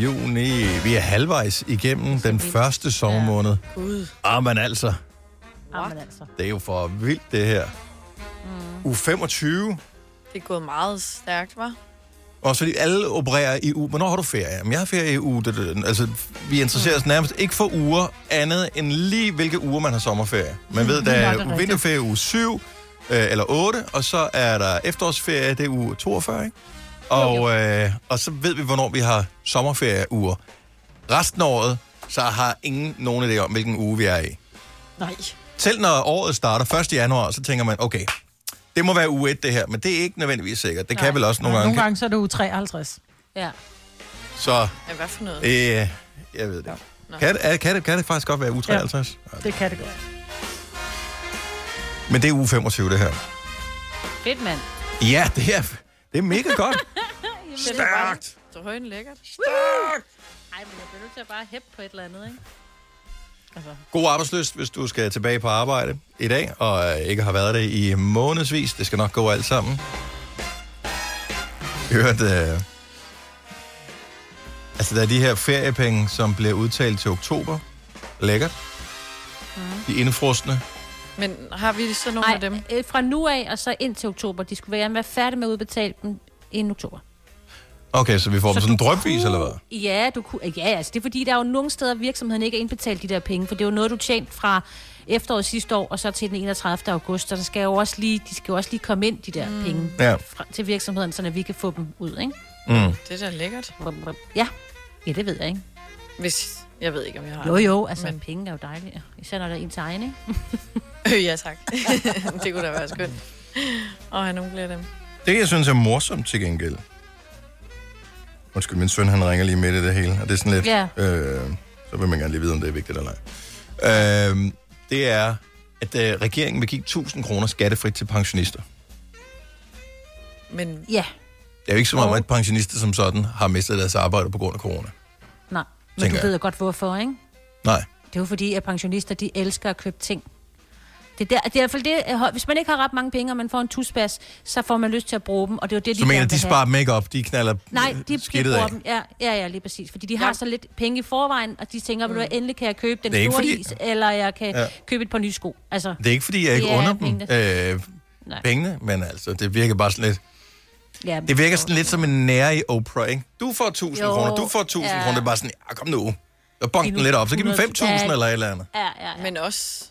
Speaker 1: juni. Vi er halvvejs igennem den første sommermåned.
Speaker 4: Gud.
Speaker 1: Ah, men altså,
Speaker 4: Jamen, altså.
Speaker 1: det er jo for vildt, det her. U 25.
Speaker 3: Det er gået meget stærkt, var.
Speaker 1: Også fordi alle opererer i u. Hvornår har du ferie? Jamen, jeg har ferie i u. da, da, da. Altså, vi interesserer os nærmest ikke for uger andet end lige, hvilke uger man har sommerferie. Man ved, der
Speaker 6: Ja, det er
Speaker 1: er
Speaker 6: rigtigt.
Speaker 1: vinterferie uge 7 øh, eller 8, og så er der efterårsferie, det er uge 42, ikke? Og, øh, og så ved vi, hvornår vi har sommerferieuger. Resten af året, så har ingen nogen idé om, hvilken uge vi er i.
Speaker 2: Nej.
Speaker 1: Selv når året starter 1. januar, så tænker man, okay, det må være uge 1 det her, men det er ikke nødvendigvis sikkert. Det Nej. kan vel også nogle gange.
Speaker 2: Nogle gange så er det u 53.
Speaker 4: Ja.
Speaker 1: Så
Speaker 3: Ja, hvad for noget?
Speaker 1: Øh, jeg ved det.
Speaker 3: Nå.
Speaker 1: ikke. Kan, det- er, kan, det, kan det faktisk godt være u 53? Ja.
Speaker 2: Det kan det godt.
Speaker 1: Men det er u 25, det her.
Speaker 4: Fedt, mand.
Speaker 1: Ja, det er, det er mega godt.
Speaker 4: Stærkt!
Speaker 3: Det er højden lækkert.
Speaker 4: Stærkt! Ej, men jeg bliver nødt til at bare hæppe på et eller andet, ikke?
Speaker 2: Altså,
Speaker 1: God arbejdsløst, hvis du skal tilbage på arbejde i dag, og øh, ikke har været det i månedsvis. Det skal nok gå alt sammen. Jeg hørte, øh, altså der er de her feriepenge, som bliver udtalt til oktober. Lækkert.
Speaker 3: Mm.
Speaker 1: De indfrostende.
Speaker 3: Men har vi så nogle
Speaker 4: Nej,
Speaker 3: af dem?
Speaker 4: øh, fra nu af og så ind til oktober. De skulle være, være færdige med at udbetale dem inden oktober.
Speaker 1: Okay, så vi får dem sådan drøbvis, eller hvad?
Speaker 4: Ja, du kunne, ja, altså det er fordi, der er jo nogle steder, virksomheden ikke har indbetalt de der penge, for det er jo noget, du tjente fra efteråret sidste år, og så til den 31. august, og der skal jo også lige, de skal jo også lige komme ind, de der mm. penge
Speaker 1: Ja.
Speaker 4: fra, til virksomheden, så vi kan få dem ud, ikke?
Speaker 1: Mm.
Speaker 3: Det er da lækkert.
Speaker 4: Ja, ja det ved jeg, ikke?
Speaker 3: Hvis, jeg ved ikke, om jeg har
Speaker 4: Jo,
Speaker 3: det.
Speaker 4: jo, altså Men... penge er jo dejlige. Især når der er en til egen, ikke?
Speaker 3: Øh, ja, tak. det kunne da være skønt. Og have nogle flere af dem.
Speaker 1: Det, jeg synes er morsomt til gengæld. Undskyld, min søn, han ringer lige midt i det hele, og det er sådan lidt...
Speaker 4: Ja.
Speaker 1: Øh, så vil man gerne lige vide, om det er vigtigt eller ej. Øh, det er, at øh, regeringen vil give 1000 kroner skattefrit til pensionister.
Speaker 3: Men
Speaker 4: ja,
Speaker 1: Det er jo ikke som om, at pensionister som sådan har mistet deres arbejde på grund af corona.
Speaker 4: nej. Men
Speaker 1: Tænker
Speaker 4: du
Speaker 1: jeg.
Speaker 4: ved jo godt, hvorfor, ikke?
Speaker 1: Nej.
Speaker 4: Det er jo fordi, at pensionister, de elsker at købe ting. Det er, der, det er i hvert fald det, øh, hvis man ikke har ret mange penge, og man får en tusbas, så får man lyst til at bruge dem, og det er jo det, de
Speaker 1: Så mener
Speaker 4: gerne
Speaker 1: de
Speaker 4: vil
Speaker 1: sparer
Speaker 4: have.
Speaker 1: dem ikke op, de knaller
Speaker 4: Nej, de, de
Speaker 1: skidtet
Speaker 4: bruger
Speaker 1: af.
Speaker 4: dem. Ja, ja, ja, lige præcis. Fordi de har så lidt penge i forvejen, og de tænker, mm. endelig kan jeg købe den
Speaker 1: Det er
Speaker 4: store
Speaker 1: ikke fordi-
Speaker 4: is, eller jeg kan
Speaker 1: Ja.
Speaker 4: ja. købe et par nye sko. Altså,
Speaker 1: Det er ikke, fordi jeg ikke
Speaker 4: Det er
Speaker 1: under
Speaker 4: pengene.
Speaker 1: dem øh,
Speaker 4: Nej.
Speaker 1: pengene, men altså, det virker bare sådan lidt...
Speaker 4: ja,
Speaker 1: Det virker sådan lidt som en nære i Oprah, ikke? Du får 1000
Speaker 4: Jo,
Speaker 1: kroner, du får 1000
Speaker 4: ja.
Speaker 1: kroner. Det er bare sådan, ja, kom nu. Og bonk den lidt op, så giv dem 5.000
Speaker 3: Ja.
Speaker 1: eller et eller andet.
Speaker 4: Ja, ja, ja.
Speaker 3: Men også...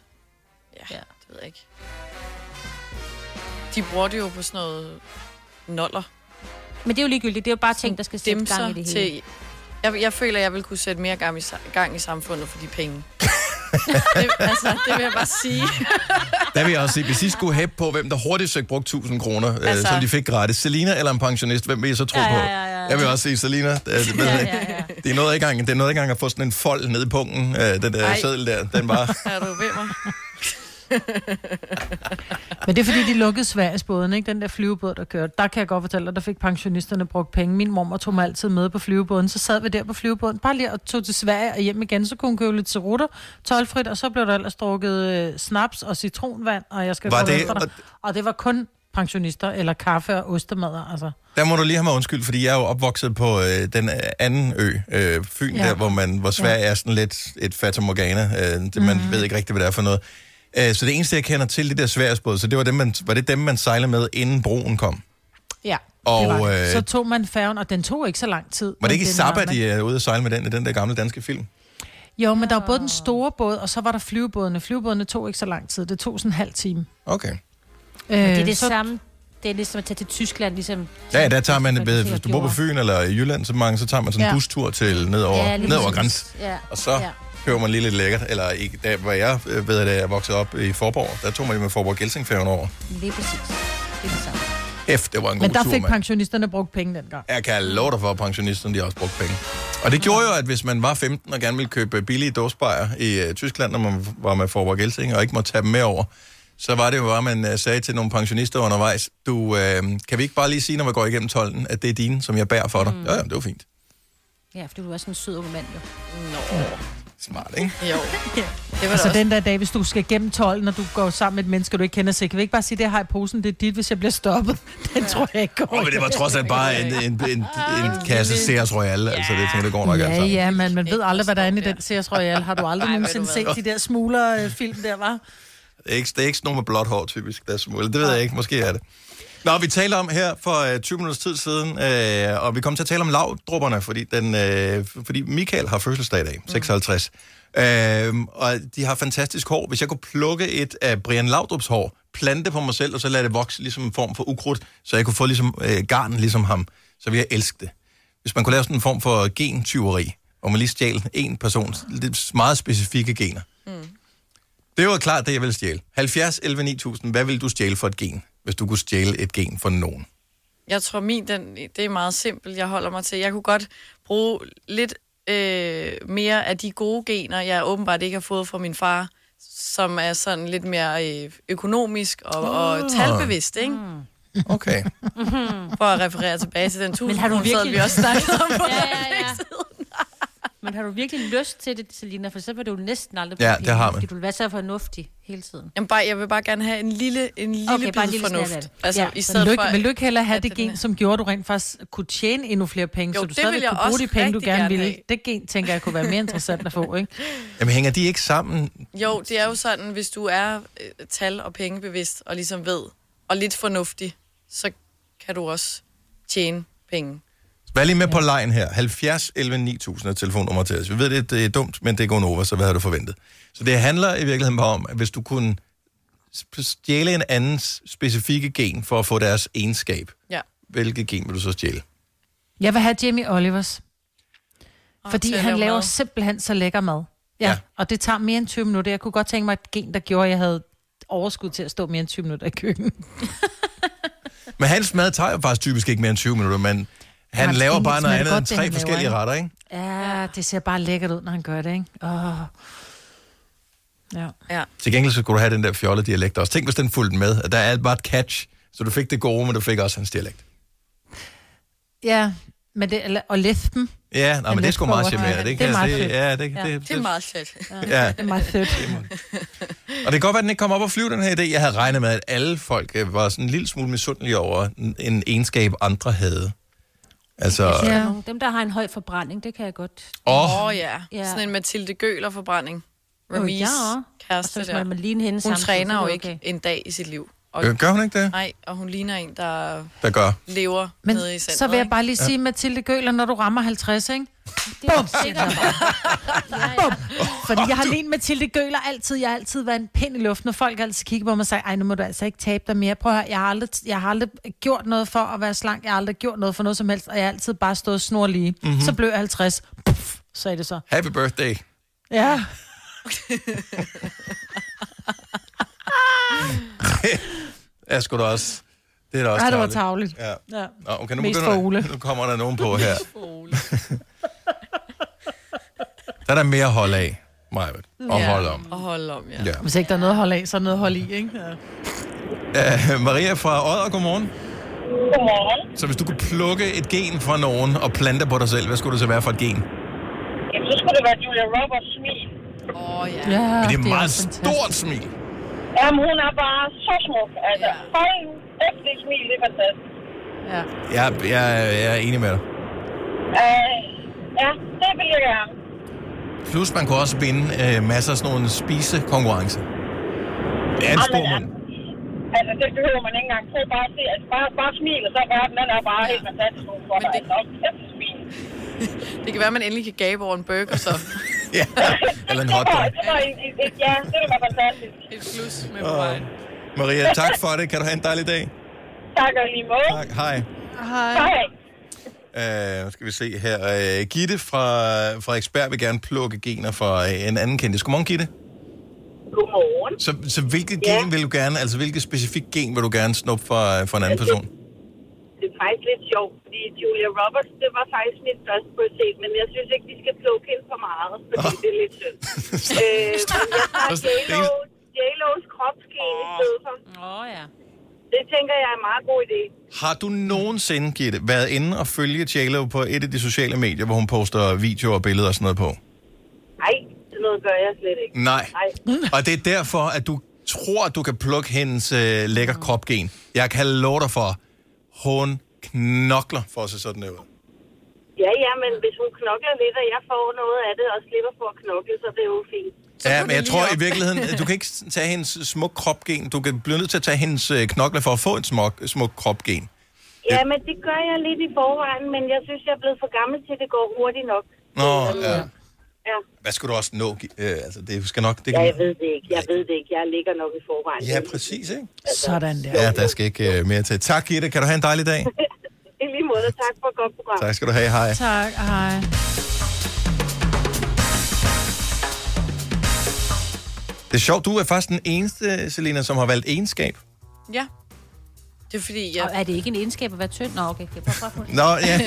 Speaker 3: Ja, ja, det ved jeg ikke. De bruger det jo på sådan noget noller.
Speaker 4: Men det er jo ligegyldigt. Det er jo bare ting, der skal sætte
Speaker 3: Dimser
Speaker 4: gang i det hele.
Speaker 3: til... Jeg, jeg føler, jeg vil kunne sætte mere gang i, sa- gang i samfundet for de penge. det, altså, det vil jeg bare sige.
Speaker 1: Der vil jeg også sige, hvis I skulle hæppe på, hvem der hurtigst fik brugt 1000 kroner, altså...
Speaker 3: Altså-
Speaker 1: øh, som de fik gratis. Selina eller en pensionist, hvem vil I så tro
Speaker 3: Ja,
Speaker 1: på?
Speaker 3: ja, ja, ja.
Speaker 1: Jeg vil også sige Selina. Det, er- det, ved jeg ikke. det er noget ikke engang, det er noget ikke engang at få sådan en fold ned i pungen, øh, den der
Speaker 2: Ej.
Speaker 1: seddel der. Den var...
Speaker 3: Er du ved mig?
Speaker 2: Men det er fordi, de lukkede Sverigesbåden, ikke? Den der flyvebåd, der kørte. Der kan jeg godt fortælle dig, der fik pensionisterne brugt penge. Min mormor tog mig altid med på flyvebåden. Så sad vi der på flyvebåden, bare lige og tog til Sverige og hjem igen. Så kunne hun købe lidt cerutter, tolvfrit, og så blev der ellers drukket øh, snaps og citronvand, og jeg skal
Speaker 1: Var
Speaker 2: komme
Speaker 1: det-
Speaker 2: efter dig. Og det var kun pensionister, eller kaffe og ostemader, altså.
Speaker 1: Der må du lige have mig undskyld, fordi jeg er jo opvokset på øh, den øh, anden ø, øh, Fyn, ja.
Speaker 2: Ja.
Speaker 1: der, hvor, man, hvor Sverige ja. er sådan lidt et fata morgana. Øh, det, man mm. ved ikke rigtig, hvad det er for noget. Øh, så det eneste, jeg kender til, det der Sverigesbåd, så det var, dem, man, var det dem, man sejlede med, inden broen kom.
Speaker 2: Ja,
Speaker 1: Og,
Speaker 2: det var. det.
Speaker 1: øh,
Speaker 2: Så tog man færgen, og den tog ikke så lang tid.
Speaker 1: Var
Speaker 2: men
Speaker 1: det ikke i
Speaker 2: den
Speaker 1: Zappa,
Speaker 2: man-
Speaker 1: de er ude at sejle med den, i den der gamle danske film?
Speaker 2: Jo, men der var både den store båd, og så var der flyvebådene. Flyvebådene tog ikke så lang tid. Det tog sådan en halv time.
Speaker 1: Okay.
Speaker 4: Men det er
Speaker 2: Øh,
Speaker 4: det
Speaker 2: så-
Speaker 4: samme. Det er ligesom at tage til Tyskland, ligesom...
Speaker 1: Ja, der tager man, ved,
Speaker 4: sikkert
Speaker 1: hvis du bor på
Speaker 4: gjorde.
Speaker 1: Fyn eller i Jylland, så, mange, så tager man sådan en
Speaker 4: Ja.
Speaker 1: bustur til ned over,
Speaker 4: Ja,
Speaker 1: ja,
Speaker 4: lige
Speaker 1: ned over
Speaker 4: præcis.
Speaker 1: grænsen.
Speaker 4: Ja.
Speaker 1: Og så ja. kører man lige lidt lækkert. Eller ikke, der, hvor jeg øh, ved, at jeg voksede op i Forborg, der tog man jo med Forborg Gelsingfærgen over.
Speaker 4: Lige præcis. Det er det samme.
Speaker 1: F, det var en god
Speaker 2: Men der
Speaker 1: tur,
Speaker 2: fik
Speaker 1: mand.
Speaker 2: pensionisterne brugt penge dengang.
Speaker 1: Jeg kan love dig for, at pensionisterne de har også brugt penge. Og det gjorde jo, at hvis man var 15 og gerne ville købe billige dåsbejer i øh, Tyskland, når man var med Forborg Gelsing, og ikke måtte tage dem med over, så var det jo bare, at man øh, sagde til nogle pensionister undervejs, du, øh, kan vi ikke bare lige sige, når vi går igennem tolden, at det er dine, som jeg bærer for dig? Mm. Ja, ja, det var fint.
Speaker 4: Ja, for du er også en sød ung mand, jo.
Speaker 3: Nå.
Speaker 1: Smart, ikke?
Speaker 3: Jo. Det var
Speaker 2: Altså
Speaker 3: altså,
Speaker 2: den der dag, hvis du skal gennem tolden, og du går sammen med et menneske, du ikke kender sig, kan vi ikke bare sige, det har i posen, det er dit, hvis jeg bliver stoppet? Den tror jeg ikke går.
Speaker 1: Åh, men det var trods alt bare en, en, en, en,
Speaker 2: Ah,
Speaker 1: en kasse Sears Royale, altså det tænker, det går nok alt
Speaker 2: Ja,
Speaker 1: sammen.
Speaker 2: ja, men man ved aldrig, hvad der er inde i den Sears Royale. Har du aldrig nogensinde set de der smuglerfilm der, var?
Speaker 1: Det er ikke, det er ikke sådan nogen med blåt hår, typisk, der er smule. Det ved jeg ikke, måske er det. Nå, vi talte om her for øh, 20 minutters tid siden, øh, og vi kom til at tale om lavdrupperne, fordi, den, øh, fordi Michael har fødselsdag i dag, 56. Øh, og de har fantastisk hår. Hvis jeg kunne plukke et af Brian Laudrups hår, plante det på mig selv, og så lade det vokse ligesom en form for ukrudt, så jeg kunne få ligesom, øh, garn ligesom ham, så ville jeg elske det. Hvis man kunne lave sådan en form for gentyveri, hvor man lige stjal en persons lidt meget specifikke gener. Det var klart det, jeg ville stjæle. 70, 11, 9000. Hvad ville du stjæle for et gen, hvis du kunne stjæle et gen for nogen?
Speaker 3: Jeg tror, min, den, det er meget simpelt, jeg holder mig til. Jeg kunne godt bruge lidt øh, mere af de gode gener, jeg åbenbart ikke har fået fra min far, som er sådan lidt mere øh, økonomisk og, og
Speaker 4: Ah.
Speaker 3: talbevidst, ikke? Mm.
Speaker 1: Okay.
Speaker 3: For at referere tilbage til den
Speaker 4: Men har du
Speaker 3: tusindkroner, vi
Speaker 4: virkelig-
Speaker 3: også snakket om.
Speaker 4: ja, ja, ja. Men har du virkelig lyst til det, Selina? For så vil du næsten aldrig
Speaker 1: Ja, det har man.
Speaker 4: Fordi du vil være så fornuftig hele tiden.
Speaker 3: Jamen bare, jeg vil bare gerne have en lille, en lille
Speaker 4: Okay,
Speaker 3: okay,
Speaker 4: bare en
Speaker 3: bid
Speaker 4: lille snært af
Speaker 3: fornuft.
Speaker 4: det.
Speaker 3: Altså,
Speaker 4: Ja.
Speaker 3: i
Speaker 2: Vil
Speaker 3: stedet
Speaker 2: du,
Speaker 3: for...
Speaker 2: ikke, vil du ikke hellere have det gen, som gjorde, at du rent faktisk kunne tjene endnu flere penge,
Speaker 3: Jo,
Speaker 2: så du
Speaker 3: det
Speaker 2: stadig
Speaker 3: vil jeg
Speaker 2: kunne bruge
Speaker 3: også
Speaker 2: de penge, du
Speaker 3: rigtig
Speaker 2: gerne,
Speaker 3: gerne
Speaker 2: ville?
Speaker 3: have.
Speaker 2: Det gen, tænker jeg, kunne være mere interessant at få, ikke?
Speaker 1: Jamen hænger de ikke sammen?
Speaker 3: Jo, det er jo sådan, hvis du er øh, tal- og pengebevidst, og ligesom ved, og lidt fornuftig, så kan du også tjene penge.
Speaker 1: Vær lige med på lejen her. 70 11 9000 er telefonnummer til os. Vi ved, det, det er dumt, men det er Gonova, så hvad havde du forventet? Så det handler i virkeligheden bare om, at hvis du kunne sp- stjæle en andens specifikke gen for at få deres egenskab,
Speaker 3: Ja.
Speaker 1: hvilket gen vil du så stjæle?
Speaker 2: Jeg vil have Jamie Olivers. Fordi
Speaker 19: til at
Speaker 2: han
Speaker 19: lave
Speaker 2: laver
Speaker 19: mad.
Speaker 2: simpelthen så lækker mad. Ja, ja. Og det tager mere end 20 minutter. Jeg kunne godt tænke mig et gen, der gjorde, at jeg havde overskud til at stå mere end 20 minutter i køkkenet.
Speaker 1: Men hans mad tager jo faktisk typisk ikke mere end 20 minutter, men han
Speaker 2: Hans
Speaker 1: laver bare noget
Speaker 2: yndlingsmad, det
Speaker 1: andet
Speaker 2: er
Speaker 1: end
Speaker 2: godt, det, han
Speaker 1: tre
Speaker 2: laver,
Speaker 1: forskellige
Speaker 2: ikke?
Speaker 1: retter, ikke?
Speaker 2: Ja, det ser bare lækkert ud, når han gør det, ikke? Åh. Ja.
Speaker 3: ja.
Speaker 1: Til gengæld så skulle du have den der fjollede dialekt også. Tænk, hvis den fulgte med, at der er bare et catch, så du fik det gode, men du fik også hans dialekt.
Speaker 2: Ja, men det, eller, og lesben.
Speaker 1: Ja, nej, men det er sgu meget charmerende.
Speaker 2: Det er
Speaker 1: kan-
Speaker 2: meget
Speaker 1: det,
Speaker 2: fedt.
Speaker 1: ja, det, det,
Speaker 3: det er meget fedt.
Speaker 1: Ja.
Speaker 2: Det er meget fedt.
Speaker 1: Og det kan godt være, at den ikke kom op og flyve, den her idé. Jeg havde regnet med, at alle folk øh, var sådan en lille smule misundelige over en egenskab, andre havde. Altså,
Speaker 4: Så...
Speaker 1: ja.
Speaker 4: Ja. Dem, der har en høj forbrænding, det kan jeg godt.
Speaker 1: Åh.
Speaker 3: Åh oh, ja. ja, sådan en Mathilde Gøler-forbrænding.
Speaker 4: Åh,
Speaker 3: Remis
Speaker 4: ja.
Speaker 3: oh, ja.
Speaker 4: Og så
Speaker 3: kæreste
Speaker 4: hvis
Speaker 3: der.
Speaker 4: man må ligne hende
Speaker 3: hun
Speaker 4: samtidig,
Speaker 3: træner
Speaker 4: så
Speaker 3: jo
Speaker 4: er det
Speaker 3: ikke en dag i sit liv.
Speaker 1: Øh, gør hun ikke det?
Speaker 3: Nej, og hun ligner en, der
Speaker 1: der gør.
Speaker 3: lever
Speaker 2: Men
Speaker 3: nede i centret.
Speaker 2: så vil jeg bare lige
Speaker 1: Ja.
Speaker 2: sige, ja. Mathilde Gøler, når du rammer 50, ikke? Det er Bum! Bum! Fordi jeg har lignet Mathilde Gøler altid. Jeg har altid været en pind i luften, og folk har altid kigger på mig og siger, ej, nu må du altså ikke tabe dig mere. Prøv at høre, jeg har, aldrig, jeg har aldrig gjort noget for at være slank. Jeg har aldrig gjort noget for noget som helst, og jeg har altid bare stået snor lige.
Speaker 1: Mhm.
Speaker 2: Mm-hmm. Så blev jeg 50. Puff, så er det så.
Speaker 1: Happy birthday.
Speaker 2: Ja.
Speaker 1: er sgu da også. Det er da også
Speaker 2: Ej, det var
Speaker 1: tarveligt. Ja.
Speaker 2: Ja.
Speaker 1: Nå, okay, nu,
Speaker 2: Mest
Speaker 1: begynder,
Speaker 2: for Ole.
Speaker 1: nu kommer der nogen på her. der er der mere hold af, Majbet. Og
Speaker 2: Ja.
Speaker 1: hold om.
Speaker 3: Og hold om, ja.
Speaker 1: Ja.
Speaker 2: Hvis ikke der er noget at holde af, så er der noget at holde i, ikke? Ja.
Speaker 1: Uh, Maria fra Odder, godmorgen.
Speaker 13: Godmorgen.
Speaker 1: Så hvis du kunne plukke et gen fra nogen og plante på dig selv, hvad skulle det så være for et gen?
Speaker 13: Jamen, så skulle det være Julia Roberts smil.
Speaker 3: Åh, oh, ja.
Speaker 1: Ja, Men det er det er meget også fantastisk. stort smil.
Speaker 13: Jamen, hun er bare så smuk. Altså, ja. hold nu, kæft, det smil, det er fantastisk.
Speaker 2: Ja.
Speaker 1: Ja, jeg, jeg er enig med dig.
Speaker 13: Øh, ja, det vil jeg gerne.
Speaker 1: Plus, man kunne også vinde øh, masser af sådan nogle spisekonkurrencer. Det er en
Speaker 13: Jamen,
Speaker 1: stor
Speaker 13: ja.
Speaker 1: mund.
Speaker 13: Altså, det behøver man ikke engang. Prøv bare at se, altså, bare, bare smil, og så er verden, den er bare helt fantastisk. Hun får dig altså, kæft smil.
Speaker 3: Det kan være, at man endelig kan gabe over en burger, så.
Speaker 1: ja, eller en hotdog.
Speaker 13: Det var en, en, en, ja, det var fantastisk.
Speaker 3: Et plus med
Speaker 1: på vejen. Maria, tak for det. Kan du have en dejlig dag?
Speaker 13: Tak og i lige måde.
Speaker 1: Tak. Hej.
Speaker 2: Hej.
Speaker 13: Hej.
Speaker 1: Uh, skal vi se her. Uh, Gitte fra, fra Expert vil gerne plukke gener fra øh, en anden kendis. Godmorgen, Gitte.
Speaker 13: Godmorgen.
Speaker 1: Så, så hvilket
Speaker 13: Ja.
Speaker 1: gen vil du gerne, altså hvilket specifikt gen vil du gerne snuppe fra, fra en anden person?
Speaker 13: Det er faktisk lidt sjovt, fordi Julia Roberts, det var faktisk mit første prioritet, men jeg synes ikke, vi skal plukke hende for meget, fordi det er lidt synd. øh, men jeg tager J-Lo, J-Lo's kropsgen i stedet for. Åh ja. Det tænker jeg er en meget god idé.
Speaker 1: Har du nogensinde, Gitte, været inde og følge J.Lo på et af de sociale medier, hvor hun poster videoer og billeder og sådan noget på?
Speaker 13: Nej, sådan noget gør jeg slet ikke.
Speaker 1: Nej.
Speaker 13: Nej.
Speaker 1: Og det er derfor, at du tror, at du kan plukke hendes øh, lækker kropgen. Jeg kan love dig for, hun knokler for at se sådan ud.
Speaker 13: Ja, ja, men hvis hun knokler lidt, og jeg får noget af det, og slipper for at knokle, så det er jo fint.
Speaker 1: Ja, men jeg tror i virkeligheden, at du kan ikke tage hendes smuk kropgen. Du kan blive nødt til at tage hendes øh, knokler for at få en smuk, smuk kropgen.
Speaker 13: Ja, men det gør jeg lidt i forvejen, men jeg synes, jeg er blevet for gammel til, at det går hurtigt nok.
Speaker 1: Nå, ja.
Speaker 13: Ja.
Speaker 1: Hvad skal du også nå? Gi- Øh, altså, det skal nok...
Speaker 13: Ja,
Speaker 1: Det kan...
Speaker 13: jeg ved det ikke. Jeg ved det ikke. Jeg ligger nok i forvejen. Altså.
Speaker 1: Ja, præcis, ikke?
Speaker 2: Sådan der.
Speaker 1: Ja, der skal ikke øh, mere til. Tak, Gitte. Kan du have en dejlig dag?
Speaker 13: I lige måde, tak for et godt program.
Speaker 1: Tak skal du have. Hej.
Speaker 2: Tak, hej.
Speaker 1: Det er sjovt, du er faktisk den eneste, Selina, som har valgt egenskab.
Speaker 3: Ja. Det er fordi, jeg...
Speaker 4: Og er det ikke en egenskab at være tynd? Nå, okay. Jeg prøver, prøver.
Speaker 1: Nå, ja.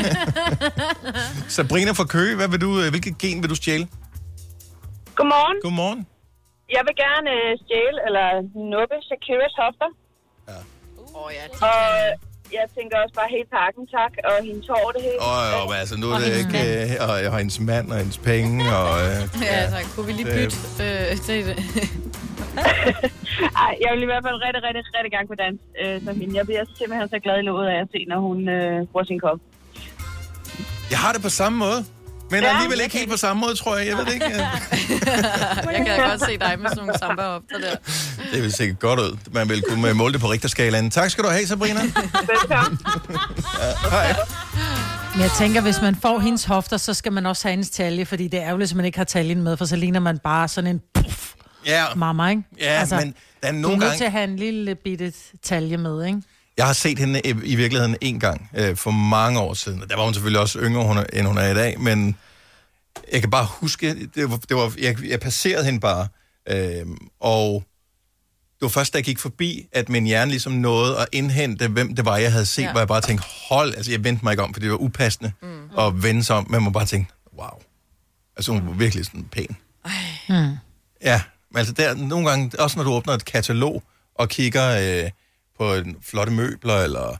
Speaker 1: Sabrina fra Køge, hvad vil du, øh, hvilket gen vil du stjæle?
Speaker 13: Godmorgen.
Speaker 1: Godmorgen.
Speaker 13: Jeg vil gerne øh, stjæle eller nuppe Shakiras hofter. Ja.
Speaker 3: Åh, ja,
Speaker 13: og,
Speaker 20: jeg tænker også bare helt pakken, tak, og hendes hår det hele.
Speaker 1: Åh, jo, men altså, nu er
Speaker 20: Og
Speaker 1: det
Speaker 20: hendes
Speaker 1: ikke... Øh, og, og hendes mand og hendes penge, og... Øh,
Speaker 20: Ja, tak. Kunne vi lige
Speaker 1: det-
Speaker 20: bytte?
Speaker 3: Øh, det,
Speaker 20: Ej, jeg vil i hvert fald rigtig, rigtig, rigtig gerne kunne danse øh, som hende. Jeg bliver simpelthen så glad i låget af at se, når hun øh, bruger sin kop.
Speaker 1: Jeg har det på samme måde. Men
Speaker 20: Ja,
Speaker 1: ja, alligevel
Speaker 20: jeg
Speaker 1: ikke helt på samme måde, tror jeg. Jeg ved det ikke.
Speaker 3: jeg kan godt se dig med sådan nogle samba op der.
Speaker 1: Det vil sikkert godt ud. Man vil kunne øh, måle det på rigterskalaen. Tak skal du have, Sabrina.
Speaker 2: Men jeg tænker, hvis man får hendes hofter, så skal man også have hendes talje, fordi det er ærgerligt, hvis man ikke har taljen med, for så ligner man bare sådan en puff
Speaker 1: Ja,
Speaker 2: mamma, ikke? Altså,
Speaker 1: ja men der er
Speaker 2: du er
Speaker 1: nogle
Speaker 2: nødt til
Speaker 1: gange...
Speaker 2: at have en lille bitte talje med, ikke?
Speaker 1: Jeg har set hende i, i virkeligheden en gang øh, for mange år siden. Og Der var hun selvfølgelig også yngre, hun, er- end hun er i dag, men jeg kan bare huske, det var, det var, jeg, jeg passerede hende bare, øh, og det var først, da jeg gik forbi, at min hjerne ligesom nåede at indhente, hvem det var, jeg havde set,
Speaker 7: Ja.
Speaker 1: ja. hvor jeg bare tænkte, hold, altså jeg vendte mig ikke om, for det var upassende mm. at vende sig om, men man bare tænkte, wow. Altså hun var virkelig sådan pæn.
Speaker 2: Mm.
Speaker 1: Ja, men altså der, nogle gange, også når du åbner et katalog og kigger øh, på en flotte møbler, eller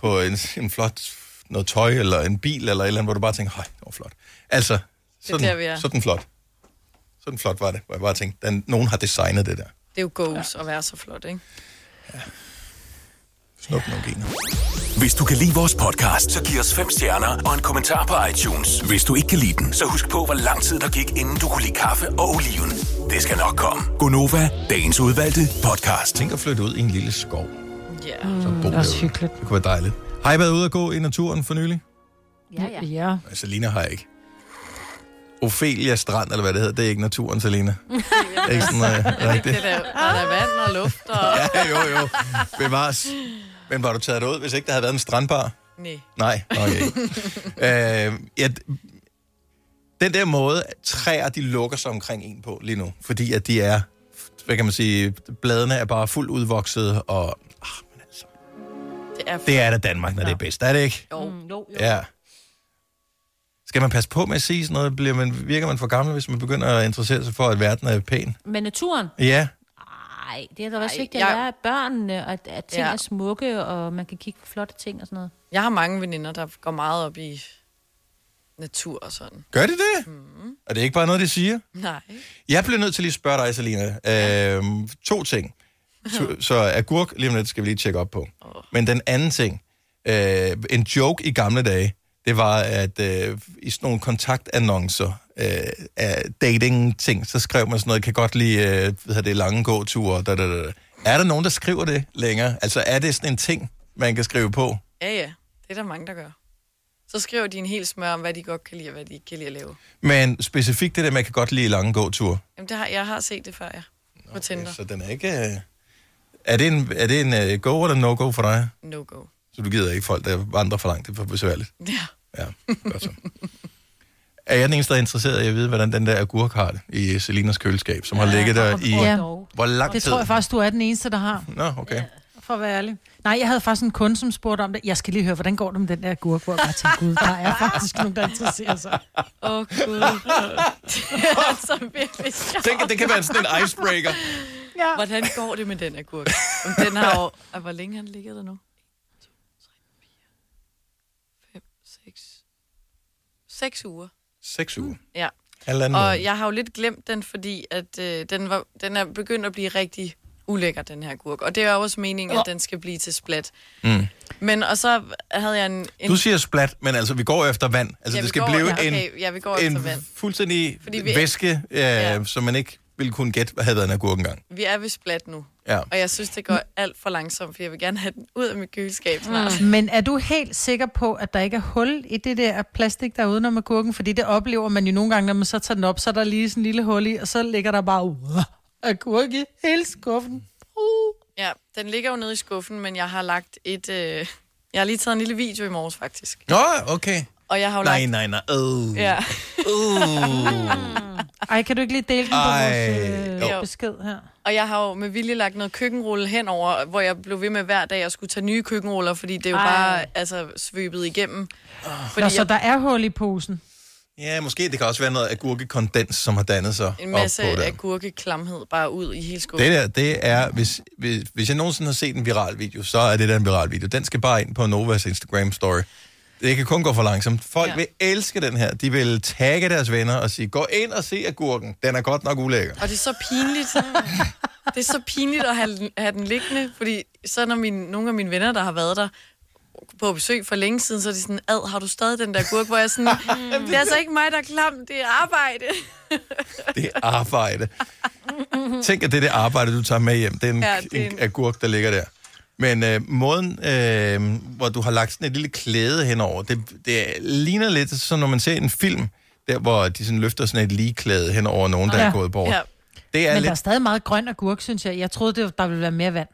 Speaker 1: på en, en flot noget tøj, eller en bil, eller et eller andet, hvor du bare tænker, hej, det var flot. Altså, sådan,
Speaker 3: der, vi er.
Speaker 1: sådan flot. Sådan flot var det, hvor jeg bare tænkte, den, nogen har designet det der.
Speaker 3: Det er jo goals ja. at være så flot, ikke?
Speaker 1: Snup nogle gener.
Speaker 6: Hvis du kan lide vores podcast, så giv os fem stjerner og en kommentar på iTunes. Hvis du ikke kan lide den, så husk på, hvor lang tid der gik, inden du kunne lide kaffe og oliven. Det skal nok komme.
Speaker 1: Gonova, dagens udvalgte podcast. Tænk at flytte ud i en lille skov.
Speaker 3: Ja.
Speaker 1: Mm, det er også hyggeligt. Det kunne være dejligt. Har I været ude at gå i naturen for nylig?
Speaker 2: Ja, ja. ja.
Speaker 1: Nej, Selina har jeg ikke. Ophelia Strand, eller hvad det hedder, det er ikke naturen, Selina. Det er ikke sådan uh, rigtigt.
Speaker 3: Det der, der er vand og luft og...
Speaker 1: Ja, jo, jo. Bevares. Men var du taget derud, hvis ikke der havde været en strandbar?
Speaker 3: Nej.
Speaker 1: Nej, okay. øh, ja, den der måde, træer, de lukker sig omkring en på lige nu, fordi at de er, hvad kan man sige, bladene er bare fuldt udvoksede, og Ah, altså.
Speaker 3: Det er,
Speaker 1: det er da Danmark, når det er bedst, er det ikke?
Speaker 3: Jo. Mm, jo.
Speaker 1: Ja. Skal man passe på med at sige sådan noget? Bliver man, virker man for gammel, hvis man begynder at interessere sig for, at verden er pæn?
Speaker 4: Men naturen?
Speaker 1: Ja.
Speaker 4: Nej, det er da også
Speaker 3: Ej,
Speaker 4: vigtigt at
Speaker 3: jeg-
Speaker 4: lære af børnene, og at, at ting
Speaker 3: Ja.
Speaker 4: ja. er smukke, og man kan kigge på flotte ting og sådan noget.
Speaker 3: Jeg har mange veninder, der går meget op i natur og sådan.
Speaker 1: Gør det det? Mm. Er det ikke bare noget, de siger?
Speaker 3: Nej.
Speaker 1: Jeg bliver nødt til lige at spørge dig, Selina. Øhm, to ting. Så, så agurk, lige om lidt, skal vi lige tjekke op på. Men den anden ting, øh, en joke i gamle dage, det var, at øh, i sådan nogle kontaktannoncer øh, af dating-ting, så skrev man sådan noget, kan godt lide øh, hvad hedder det, lange gåture. Da, da, da. da." Er der nogen, der skriver det længere? Altså, er det sådan en ting, man kan skrive på?
Speaker 3: Ja, ja. Det er der mange, der gør. Så skriver de en hel smør om, hvad de godt kan lide, og hvad de ikke kan lide at lave.
Speaker 1: Men specifikt det der med, kan godt lide lange gåture.
Speaker 3: Jamen, det har, jeg har set det før, ja. På Tinder.
Speaker 1: Så den er ikke... øh, Er det en, er det en øh, go eller no-go for dig?
Speaker 3: No-go.
Speaker 1: Så du gider ikke folk, der vandrer for langt. Det er for besværligt.
Speaker 3: Ja.
Speaker 1: Ja, godt så. Er jeg den eneste, der er interesseret i at vide, hvordan den der agurk har det i Selinas køleskab, som har ligget der i...
Speaker 2: Ja.
Speaker 1: Hvor lang tid?
Speaker 2: Det tror jeg faktisk, du er den eneste, der har,
Speaker 1: Nå, okay.
Speaker 2: for at være ærlig. Nej, jeg havde faktisk en kunde, som spurgte om det. Jeg skal lige høre, hvordan går det med den der gurk, hvor jeg bare tænkte, gud, der er faktisk nogen, der interesserer sig.
Speaker 3: Åh, oh, gud. det er altså virkelig sjovt.
Speaker 1: Tænk, at det kan være sådan en icebreaker.
Speaker 3: Ja. Hvordan går det med den agurk? Om den har jo... Ah, Hvor længe har den ligget der nu? 1, 2, 3, 4, 5, 6... 6 uger.
Speaker 1: Seks uger.
Speaker 3: Ja.
Speaker 1: Halvanden
Speaker 3: Og
Speaker 1: måned.
Speaker 3: jeg har jo lidt glemt den, fordi at, øh, den, var, den er begyndt at blive rigtig ulækker, den her gurk. Og det er jo også meningen, at den skal blive til splat.
Speaker 1: Mm.
Speaker 3: Men, og så havde jeg en... en
Speaker 1: Du siger splat, men altså, vi går efter vand. Altså,
Speaker 3: Ja, vi
Speaker 1: det skal
Speaker 3: går-
Speaker 1: blive
Speaker 3: ja, okay,
Speaker 1: en,
Speaker 3: ja, vi går efter
Speaker 1: en
Speaker 3: vand.
Speaker 1: fuldstændig
Speaker 3: Fordi vi-
Speaker 1: væske, øh,
Speaker 3: Ja.
Speaker 1: som man ikke ville kunne gætte, hvad havde været en agurk engang.
Speaker 3: vi er ved splat nu.
Speaker 1: Ja.
Speaker 3: Og jeg synes, det går alt for langsomt, for jeg vil gerne have den ud af mit køleskab snart.
Speaker 2: Mm. Men er du helt sikker på, at der ikke er hul i det der plastik, der er udenom agurken? Fordi det oplever man jo nogle gange, når man så tager den op, så er der lige sådan en lille hul i, og så ligger der bare uh, agurk i hele skuffen.
Speaker 3: Ja, den ligger jo nede i skuffen, men jeg har lagt et... Øh, jeg har lige taget en lille video i morges, faktisk.
Speaker 1: Nå, okay.
Speaker 3: Og jeg har jo
Speaker 1: Nej,
Speaker 3: lagt...
Speaker 1: nej, nej. Øh.
Speaker 3: Ja.
Speaker 1: Uh.
Speaker 2: Ej, kan du ikke lige dele den på
Speaker 1: Ej,
Speaker 2: vores
Speaker 1: jo.
Speaker 2: øh, besked her?
Speaker 3: Og jeg har jo med vilje lagt noget køkkenrulle henover, hvor jeg blev ved med hver dag at skulle tage nye køkkenruller, fordi det er jo
Speaker 2: Ej.
Speaker 3: bare altså, svøbet igennem.
Speaker 2: Fordi Nå, så
Speaker 3: jeg-
Speaker 2: der er hul i posen.
Speaker 1: Ja, måske det kan også være noget agurkekondens, som har dannet sig
Speaker 3: En masse
Speaker 1: op på det.
Speaker 3: agurkeklamhed bare ud i hele skoven.
Speaker 1: Det der, det er, hvis, hvis, hvis jeg nogensinde har set en viral video, så er det der en viral video. Den skal bare ind på Novas Instagram story. Det kan kun gå for langsomt. Folk ja. vil elske den her. De vil tagge deres venner og sige, gå ind og se agurken. Den er godt nok ulækker.
Speaker 3: Og det er så pinligt. det er så pinligt at have, den- have den liggende, fordi så når mine, nogle af mine venner, der har været der på besøg for længe siden, så er de sådan, ad, har du stadig den der gurk, hvor jeg er sådan, mm, det er altså ikke mig, der er klam, det er arbejde.
Speaker 1: Det er arbejde. Tænk, at det er det arbejde, du tager med hjem. Det er en,
Speaker 3: Ja,
Speaker 1: ja,
Speaker 3: det er
Speaker 1: en... en
Speaker 3: en-
Speaker 1: agurk, der ligger der. Men øh, måden, øh, hvor du har lagt sådan et lille klæde henover, det, det ligner lidt, som når man ser en film, der hvor de sådan løfter sådan et ligeklæde henover nogen, der ja. er gået bort. Ja. Det,
Speaker 2: Men
Speaker 1: er
Speaker 2: der er
Speaker 1: lidt,
Speaker 2: stadig meget grøn agurk, synes jeg. Jeg troede, det var, der ville være mere vand.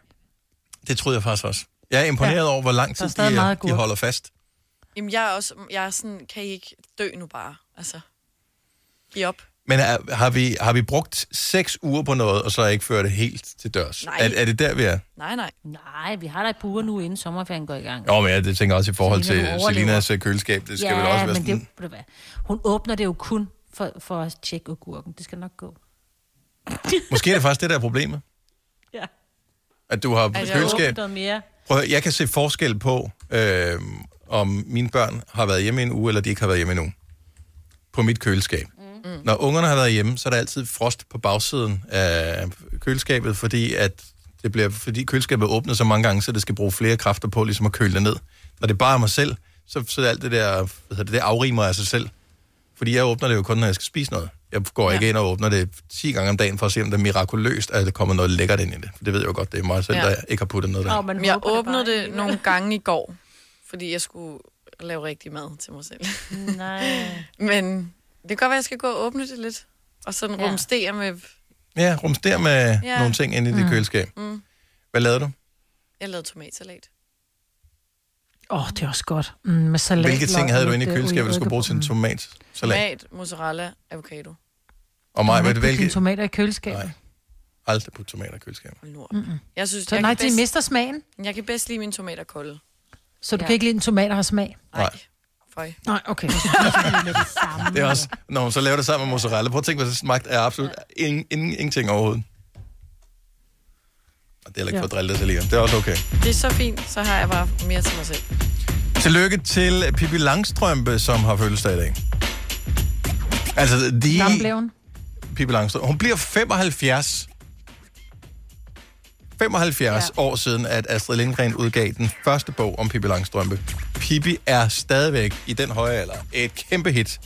Speaker 1: det troede jeg faktisk også. Jeg er imponeret
Speaker 2: Ja.
Speaker 1: ja. over, hvor lang
Speaker 2: Der er
Speaker 1: tid
Speaker 2: stadig
Speaker 1: de,
Speaker 2: meget
Speaker 1: øh,
Speaker 2: agurk.
Speaker 1: de holder fast.
Speaker 3: Jamen, jeg er også, jeg er sådan, kan I ikke dø nu bare? Altså, giv op.
Speaker 1: Men er, har, vi, har vi brugt seks uger på noget, og så ikke ført det helt til dørs?
Speaker 4: Nej.
Speaker 1: Er, er det der, vi er?
Speaker 3: Nej, nej.
Speaker 4: Nej, vi har da et par uger nu, inden sommerferien går i gang.
Speaker 1: Jo, men jeg det tænker også i forhold
Speaker 4: Selina, hun
Speaker 1: til
Speaker 4: overlever.
Speaker 1: Selinas øh, køleskab. Det skal
Speaker 4: ja,
Speaker 1: vel også være
Speaker 4: men
Speaker 1: sådan...
Speaker 4: det, ved du hvad, hun åbner det jo kun for, for at tjekke agurken. Det skal nok gå.
Speaker 1: Måske er det faktisk det, der er problemet.
Speaker 4: Ja.
Speaker 1: At du har
Speaker 4: Altså,
Speaker 1: køleskab.
Speaker 4: åbne noget mere.
Speaker 1: Prøv at høre, jeg kan se forskel på, øh, om mine børn har været hjemme i en uge, eller de ikke har været hjemme endnu. På mit køleskab. Mm. Når ungerne har været hjemme, så er der altid frost på bagsiden af køleskabet, fordi at det bliver, fordi køleskabet åbner så mange gange, så det skal bruge flere kræfter på ligesom at køle det ned. Når det bare er mig selv, så, så er alt det der, hvad hedder det, det afrimer af sig selv. Fordi jeg åbner det jo kun, når jeg skal spise noget. Jeg går ja. ikke ind og åbner det 10 gange om dagen, for at se, om det er mirakuløst, at der kommer noget lækkert ind i det. For det ved jeg jo godt, det er mig selv,
Speaker 3: Ja.
Speaker 1: ja. der ikke har puttet noget der.
Speaker 3: Nå, men jeg åbnede det, det nogle gange i går, fordi jeg skulle lave rigtig mad til mig selv.
Speaker 4: Mm, Nej.
Speaker 3: Men det kan godt være, at jeg skal gå og åbne det lidt. Og sådan
Speaker 4: Ja.
Speaker 3: ja. rumstere med...
Speaker 1: Ja, rumster med
Speaker 3: Ja.
Speaker 1: ja. nogle ting inde i det
Speaker 3: Mm.
Speaker 1: mm. køleskab.
Speaker 3: Mm,
Speaker 1: Hvad lavede du?
Speaker 3: jeg lavede tomatsalat.
Speaker 2: Åh, oh, det er også godt. Mm, med salat.
Speaker 1: Hvilke ting havde du inde i
Speaker 2: løg,
Speaker 1: køleskabet, du
Speaker 2: øh,
Speaker 1: skulle bruge til en tomatsalat?
Speaker 3: Tomat, mozzarella, avocado.
Speaker 1: Og
Speaker 2: Du
Speaker 1: mig,
Speaker 2: må ikke putte
Speaker 1: ved du
Speaker 2: dine
Speaker 1: hvilke?
Speaker 2: tomater i køleskabet. Nej.
Speaker 1: Aldrig putte tomater i køleskabet.
Speaker 2: Mm-mm.
Speaker 3: Jeg synes,
Speaker 2: Så
Speaker 3: jeg
Speaker 2: nej,
Speaker 3: kan
Speaker 2: de mister smagen.
Speaker 3: Jeg kan bedst lide mine tomater kolde.
Speaker 2: Så du
Speaker 3: Ja.
Speaker 2: ja. kan ikke lide, at en tomat har smag?
Speaker 1: Nej.
Speaker 3: Føj.
Speaker 2: Nej, okay.
Speaker 1: Det er også, når man så laver det sammen med mozzarella. Prøv at tænke, hvad det smagt er absolut ingen, ingen, ingenting overhovedet. Og det er heller ikke
Speaker 3: Ja.
Speaker 1: for at drille dig til lige. Det er også okay.
Speaker 3: Det er så fint, så har jeg bare mere til mig selv.
Speaker 1: Tillykke til Pippi Langstrømpe, som har fødselsdag i dag. Altså, de...
Speaker 2: Gammel blev hun.
Speaker 1: Pippi Langstrømpe. Hun bliver 75. 75 ja. år siden, at Astrid Lindgren udgav den første bog om Pippi Langstrømpe. Pippi er stadigvæk i den høje alder et kæmpe hit.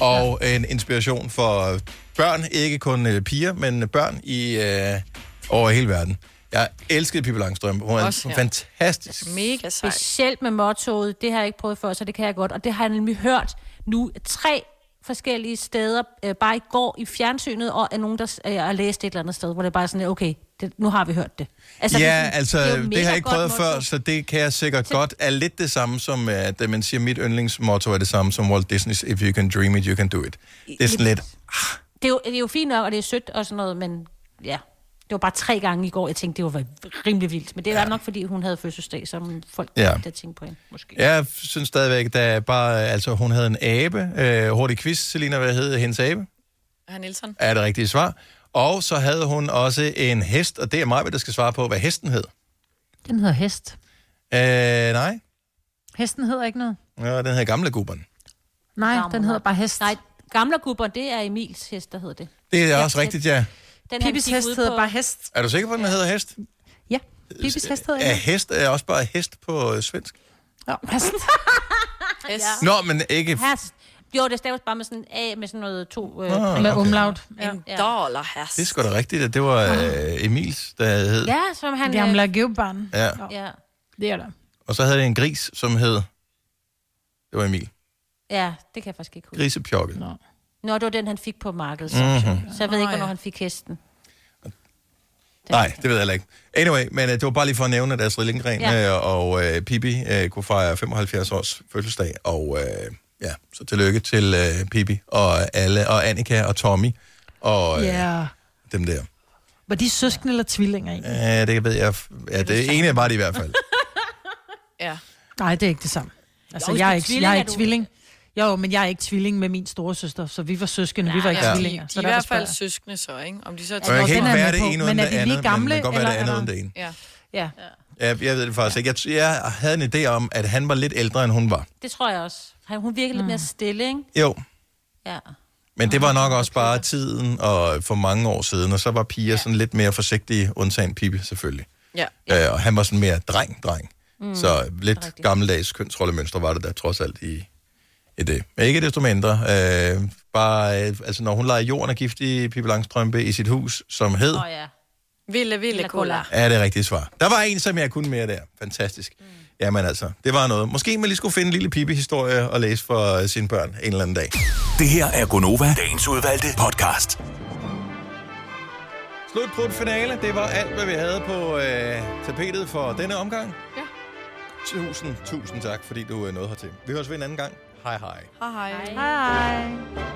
Speaker 1: Og ja. en inspiration for børn, ikke kun øh, piger, men børn i øh, over hele verden. Jeg elskede Pippi Langstrømpe. Hun er
Speaker 4: Også,
Speaker 1: Også,
Speaker 4: ja.
Speaker 1: ja.
Speaker 2: Altså,
Speaker 1: fantastisk.
Speaker 3: Mega sej.
Speaker 4: Specielt med mottoet, det har jeg ikke prøvet før, så det kan jeg godt. Og det har jeg nemlig hørt nu tre forskellige steder, øh, bare i går i fjernsynet, og af nogen, der øh, har læst et eller andet sted, hvor det bare er sådan, okay, det, nu har vi hørt det.
Speaker 1: Altså,
Speaker 4: det er
Speaker 1: ja,
Speaker 4: sådan-
Speaker 1: altså,
Speaker 4: er jo
Speaker 1: det,
Speaker 4: mega
Speaker 1: har jeg ikke
Speaker 4: godt
Speaker 1: prøvet
Speaker 4: motto.
Speaker 1: før, så det kan jeg sikkert godt. Er lidt det samme som, øh, at man siger, mit yndlingsmotto er det samme som Walt Disney's, if you can dream it, you can do it. Det er sådan lidt,
Speaker 4: Det er, jo, det er jo fint nok, og det er sødt og sådan noget, men ja, det var bare tre gange i går, jeg tænkte, det var rimelig vildt. Men det var nok, fordi hun havde fødselsdag, som folk ja.
Speaker 1: Ja.
Speaker 4: der tænkte på hende, måske.
Speaker 1: jeg synes stadigvæk, der er bare, altså hun havde en abe, øh, hurtig quiz, Selina, hvad hed hendes abe?
Speaker 3: Herr Nielsen.
Speaker 1: Er det rigtige svar? Og så havde hun også en hest, og det er mig, der skal svare på, hvad hesten hed.
Speaker 2: Den hedder hest.
Speaker 1: Øh, nej,
Speaker 2: Hesten hedder ikke noget.
Speaker 1: ja, den hedder gamle gubben.
Speaker 2: Nej,
Speaker 4: Gamle.
Speaker 2: den hedder bare hest.
Speaker 4: Nej, gamle gubber, det er Emils hest, der hedder det.
Speaker 1: Det er også rigtigt, ja.
Speaker 4: Den
Speaker 2: Pippis hest hedder bare hest.
Speaker 1: Er du sikker på, at den hedder hest?
Speaker 2: Ja, Pippis hest hedder
Speaker 1: Er
Speaker 2: ikke.
Speaker 1: hest er også bare hest på øh, svensk?
Speaker 2: Ja, hest.
Speaker 4: Hest.
Speaker 1: Nå, men ikke
Speaker 4: Hast. Jo, det staves bare med sådan A med sådan noget to... øh,
Speaker 1: Nå, Med okay.
Speaker 2: umlaut.
Speaker 4: Ja. En dollar hast.
Speaker 1: Det er sgu da rigtigt, at det var øh, Emils, der hed.
Speaker 4: Ja, som han...
Speaker 2: Jamen,
Speaker 3: øh,
Speaker 2: lad gøvbarn.
Speaker 1: Ja.
Speaker 4: Ja.
Speaker 2: Det er der.
Speaker 1: Og så havde det en gris, som hed... Det var Emil.
Speaker 4: Ja, det kan jeg faktisk ikke huske.
Speaker 1: Grisepjokket.
Speaker 4: Nå, det var den, han fik på markedet. Så,
Speaker 1: Mhm.
Speaker 4: så jeg ved ikke,
Speaker 2: Nå, ja.
Speaker 4: hvornår han fik hesten.
Speaker 1: Nej, det ved jeg heller ikke. Anyway, men øh, det var bare lige for at nævne, at Astrid Lindgren
Speaker 4: Ja.
Speaker 1: ja. og øh, Pippi øh, kunne fejre 75 års fødselsdag. Og øh, ja, så tillykke til øh, Pippi og alle, og Annika og Tommy og øh, yeah.
Speaker 2: Ja.
Speaker 1: dem der.
Speaker 2: Var de søskende eller tvillinger egentlig?
Speaker 1: Ja, det ved jeg. Ja, det ene var det i hvert fald.
Speaker 3: Ja.
Speaker 2: Nej, det er ikke det samme. Altså,
Speaker 4: Jo,
Speaker 2: jeg er
Speaker 4: hvis
Speaker 2: ikke,
Speaker 4: du er
Speaker 2: jeg
Speaker 4: tvilling,
Speaker 2: er
Speaker 4: er
Speaker 2: ikke
Speaker 4: du-
Speaker 2: tvilling. Jo, men jeg er ikke tvilling med min store søster, så vi var søskende, vi var ikke
Speaker 3: Ja.
Speaker 2: tvillinger.
Speaker 3: De, de
Speaker 2: så
Speaker 3: er i
Speaker 2: der var
Speaker 3: hvert fald
Speaker 2: spørg-
Speaker 3: søskende så, ikke? Om de så er
Speaker 1: Og jeg kan ikke
Speaker 3: tvillinger.
Speaker 1: være det ene uden
Speaker 2: Men er de
Speaker 1: det
Speaker 2: lige
Speaker 1: andet, men
Speaker 2: gamle,
Speaker 1: det kan godt være det
Speaker 2: eller
Speaker 1: andet
Speaker 2: er
Speaker 1: uden
Speaker 2: der-
Speaker 1: det ene.
Speaker 3: Ja.
Speaker 4: Ja,
Speaker 1: Jeg, jeg ved det faktisk ikke. Jeg, t- jeg havde en idé om, at han var lidt ældre, end hun var.
Speaker 4: det tror jeg også. Han- Hun virker
Speaker 2: Mm.
Speaker 4: lidt mere stille, ikke?
Speaker 1: Jo,
Speaker 4: Ja.
Speaker 1: men det var nok også bare tiden og for mange år siden, og så var piger sådan lidt mere forsigtige, undtagen Pippi selvfølgelig.
Speaker 3: Ja.
Speaker 1: Øh, og han var sådan mere dreng-dreng.
Speaker 3: Mm,
Speaker 1: Mm, så lidt gammeldags kønsrollemønstre var det der trods alt i, i det. Men ikke desto mindre. Øh, bare, øh, altså når hun leger jorden og gift i Pippi Langstrømpe i sit hus, som hed...
Speaker 4: Åh, ja.
Speaker 3: Ville, ville, cola.
Speaker 1: Ja, det er rigtige svar. Der var en, som jeg kunne mere der. Fantastisk. Mm. Jamen altså, det var noget. Måske man lige skulle finde en lille pipi-historie og læse for øh, sine børn en eller anden dag.
Speaker 6: Det her er Gonova, dagens udvalgte podcast.
Speaker 1: Slut på finale. Det var alt, hvad vi havde på øh, tapetet for denne omgang.
Speaker 3: Ja.
Speaker 1: Tusind, tusind tak, fordi du øh, nåede hertil. Vi høres ved en anden gang. Hej hej.
Speaker 3: Hej hej. Hej hej.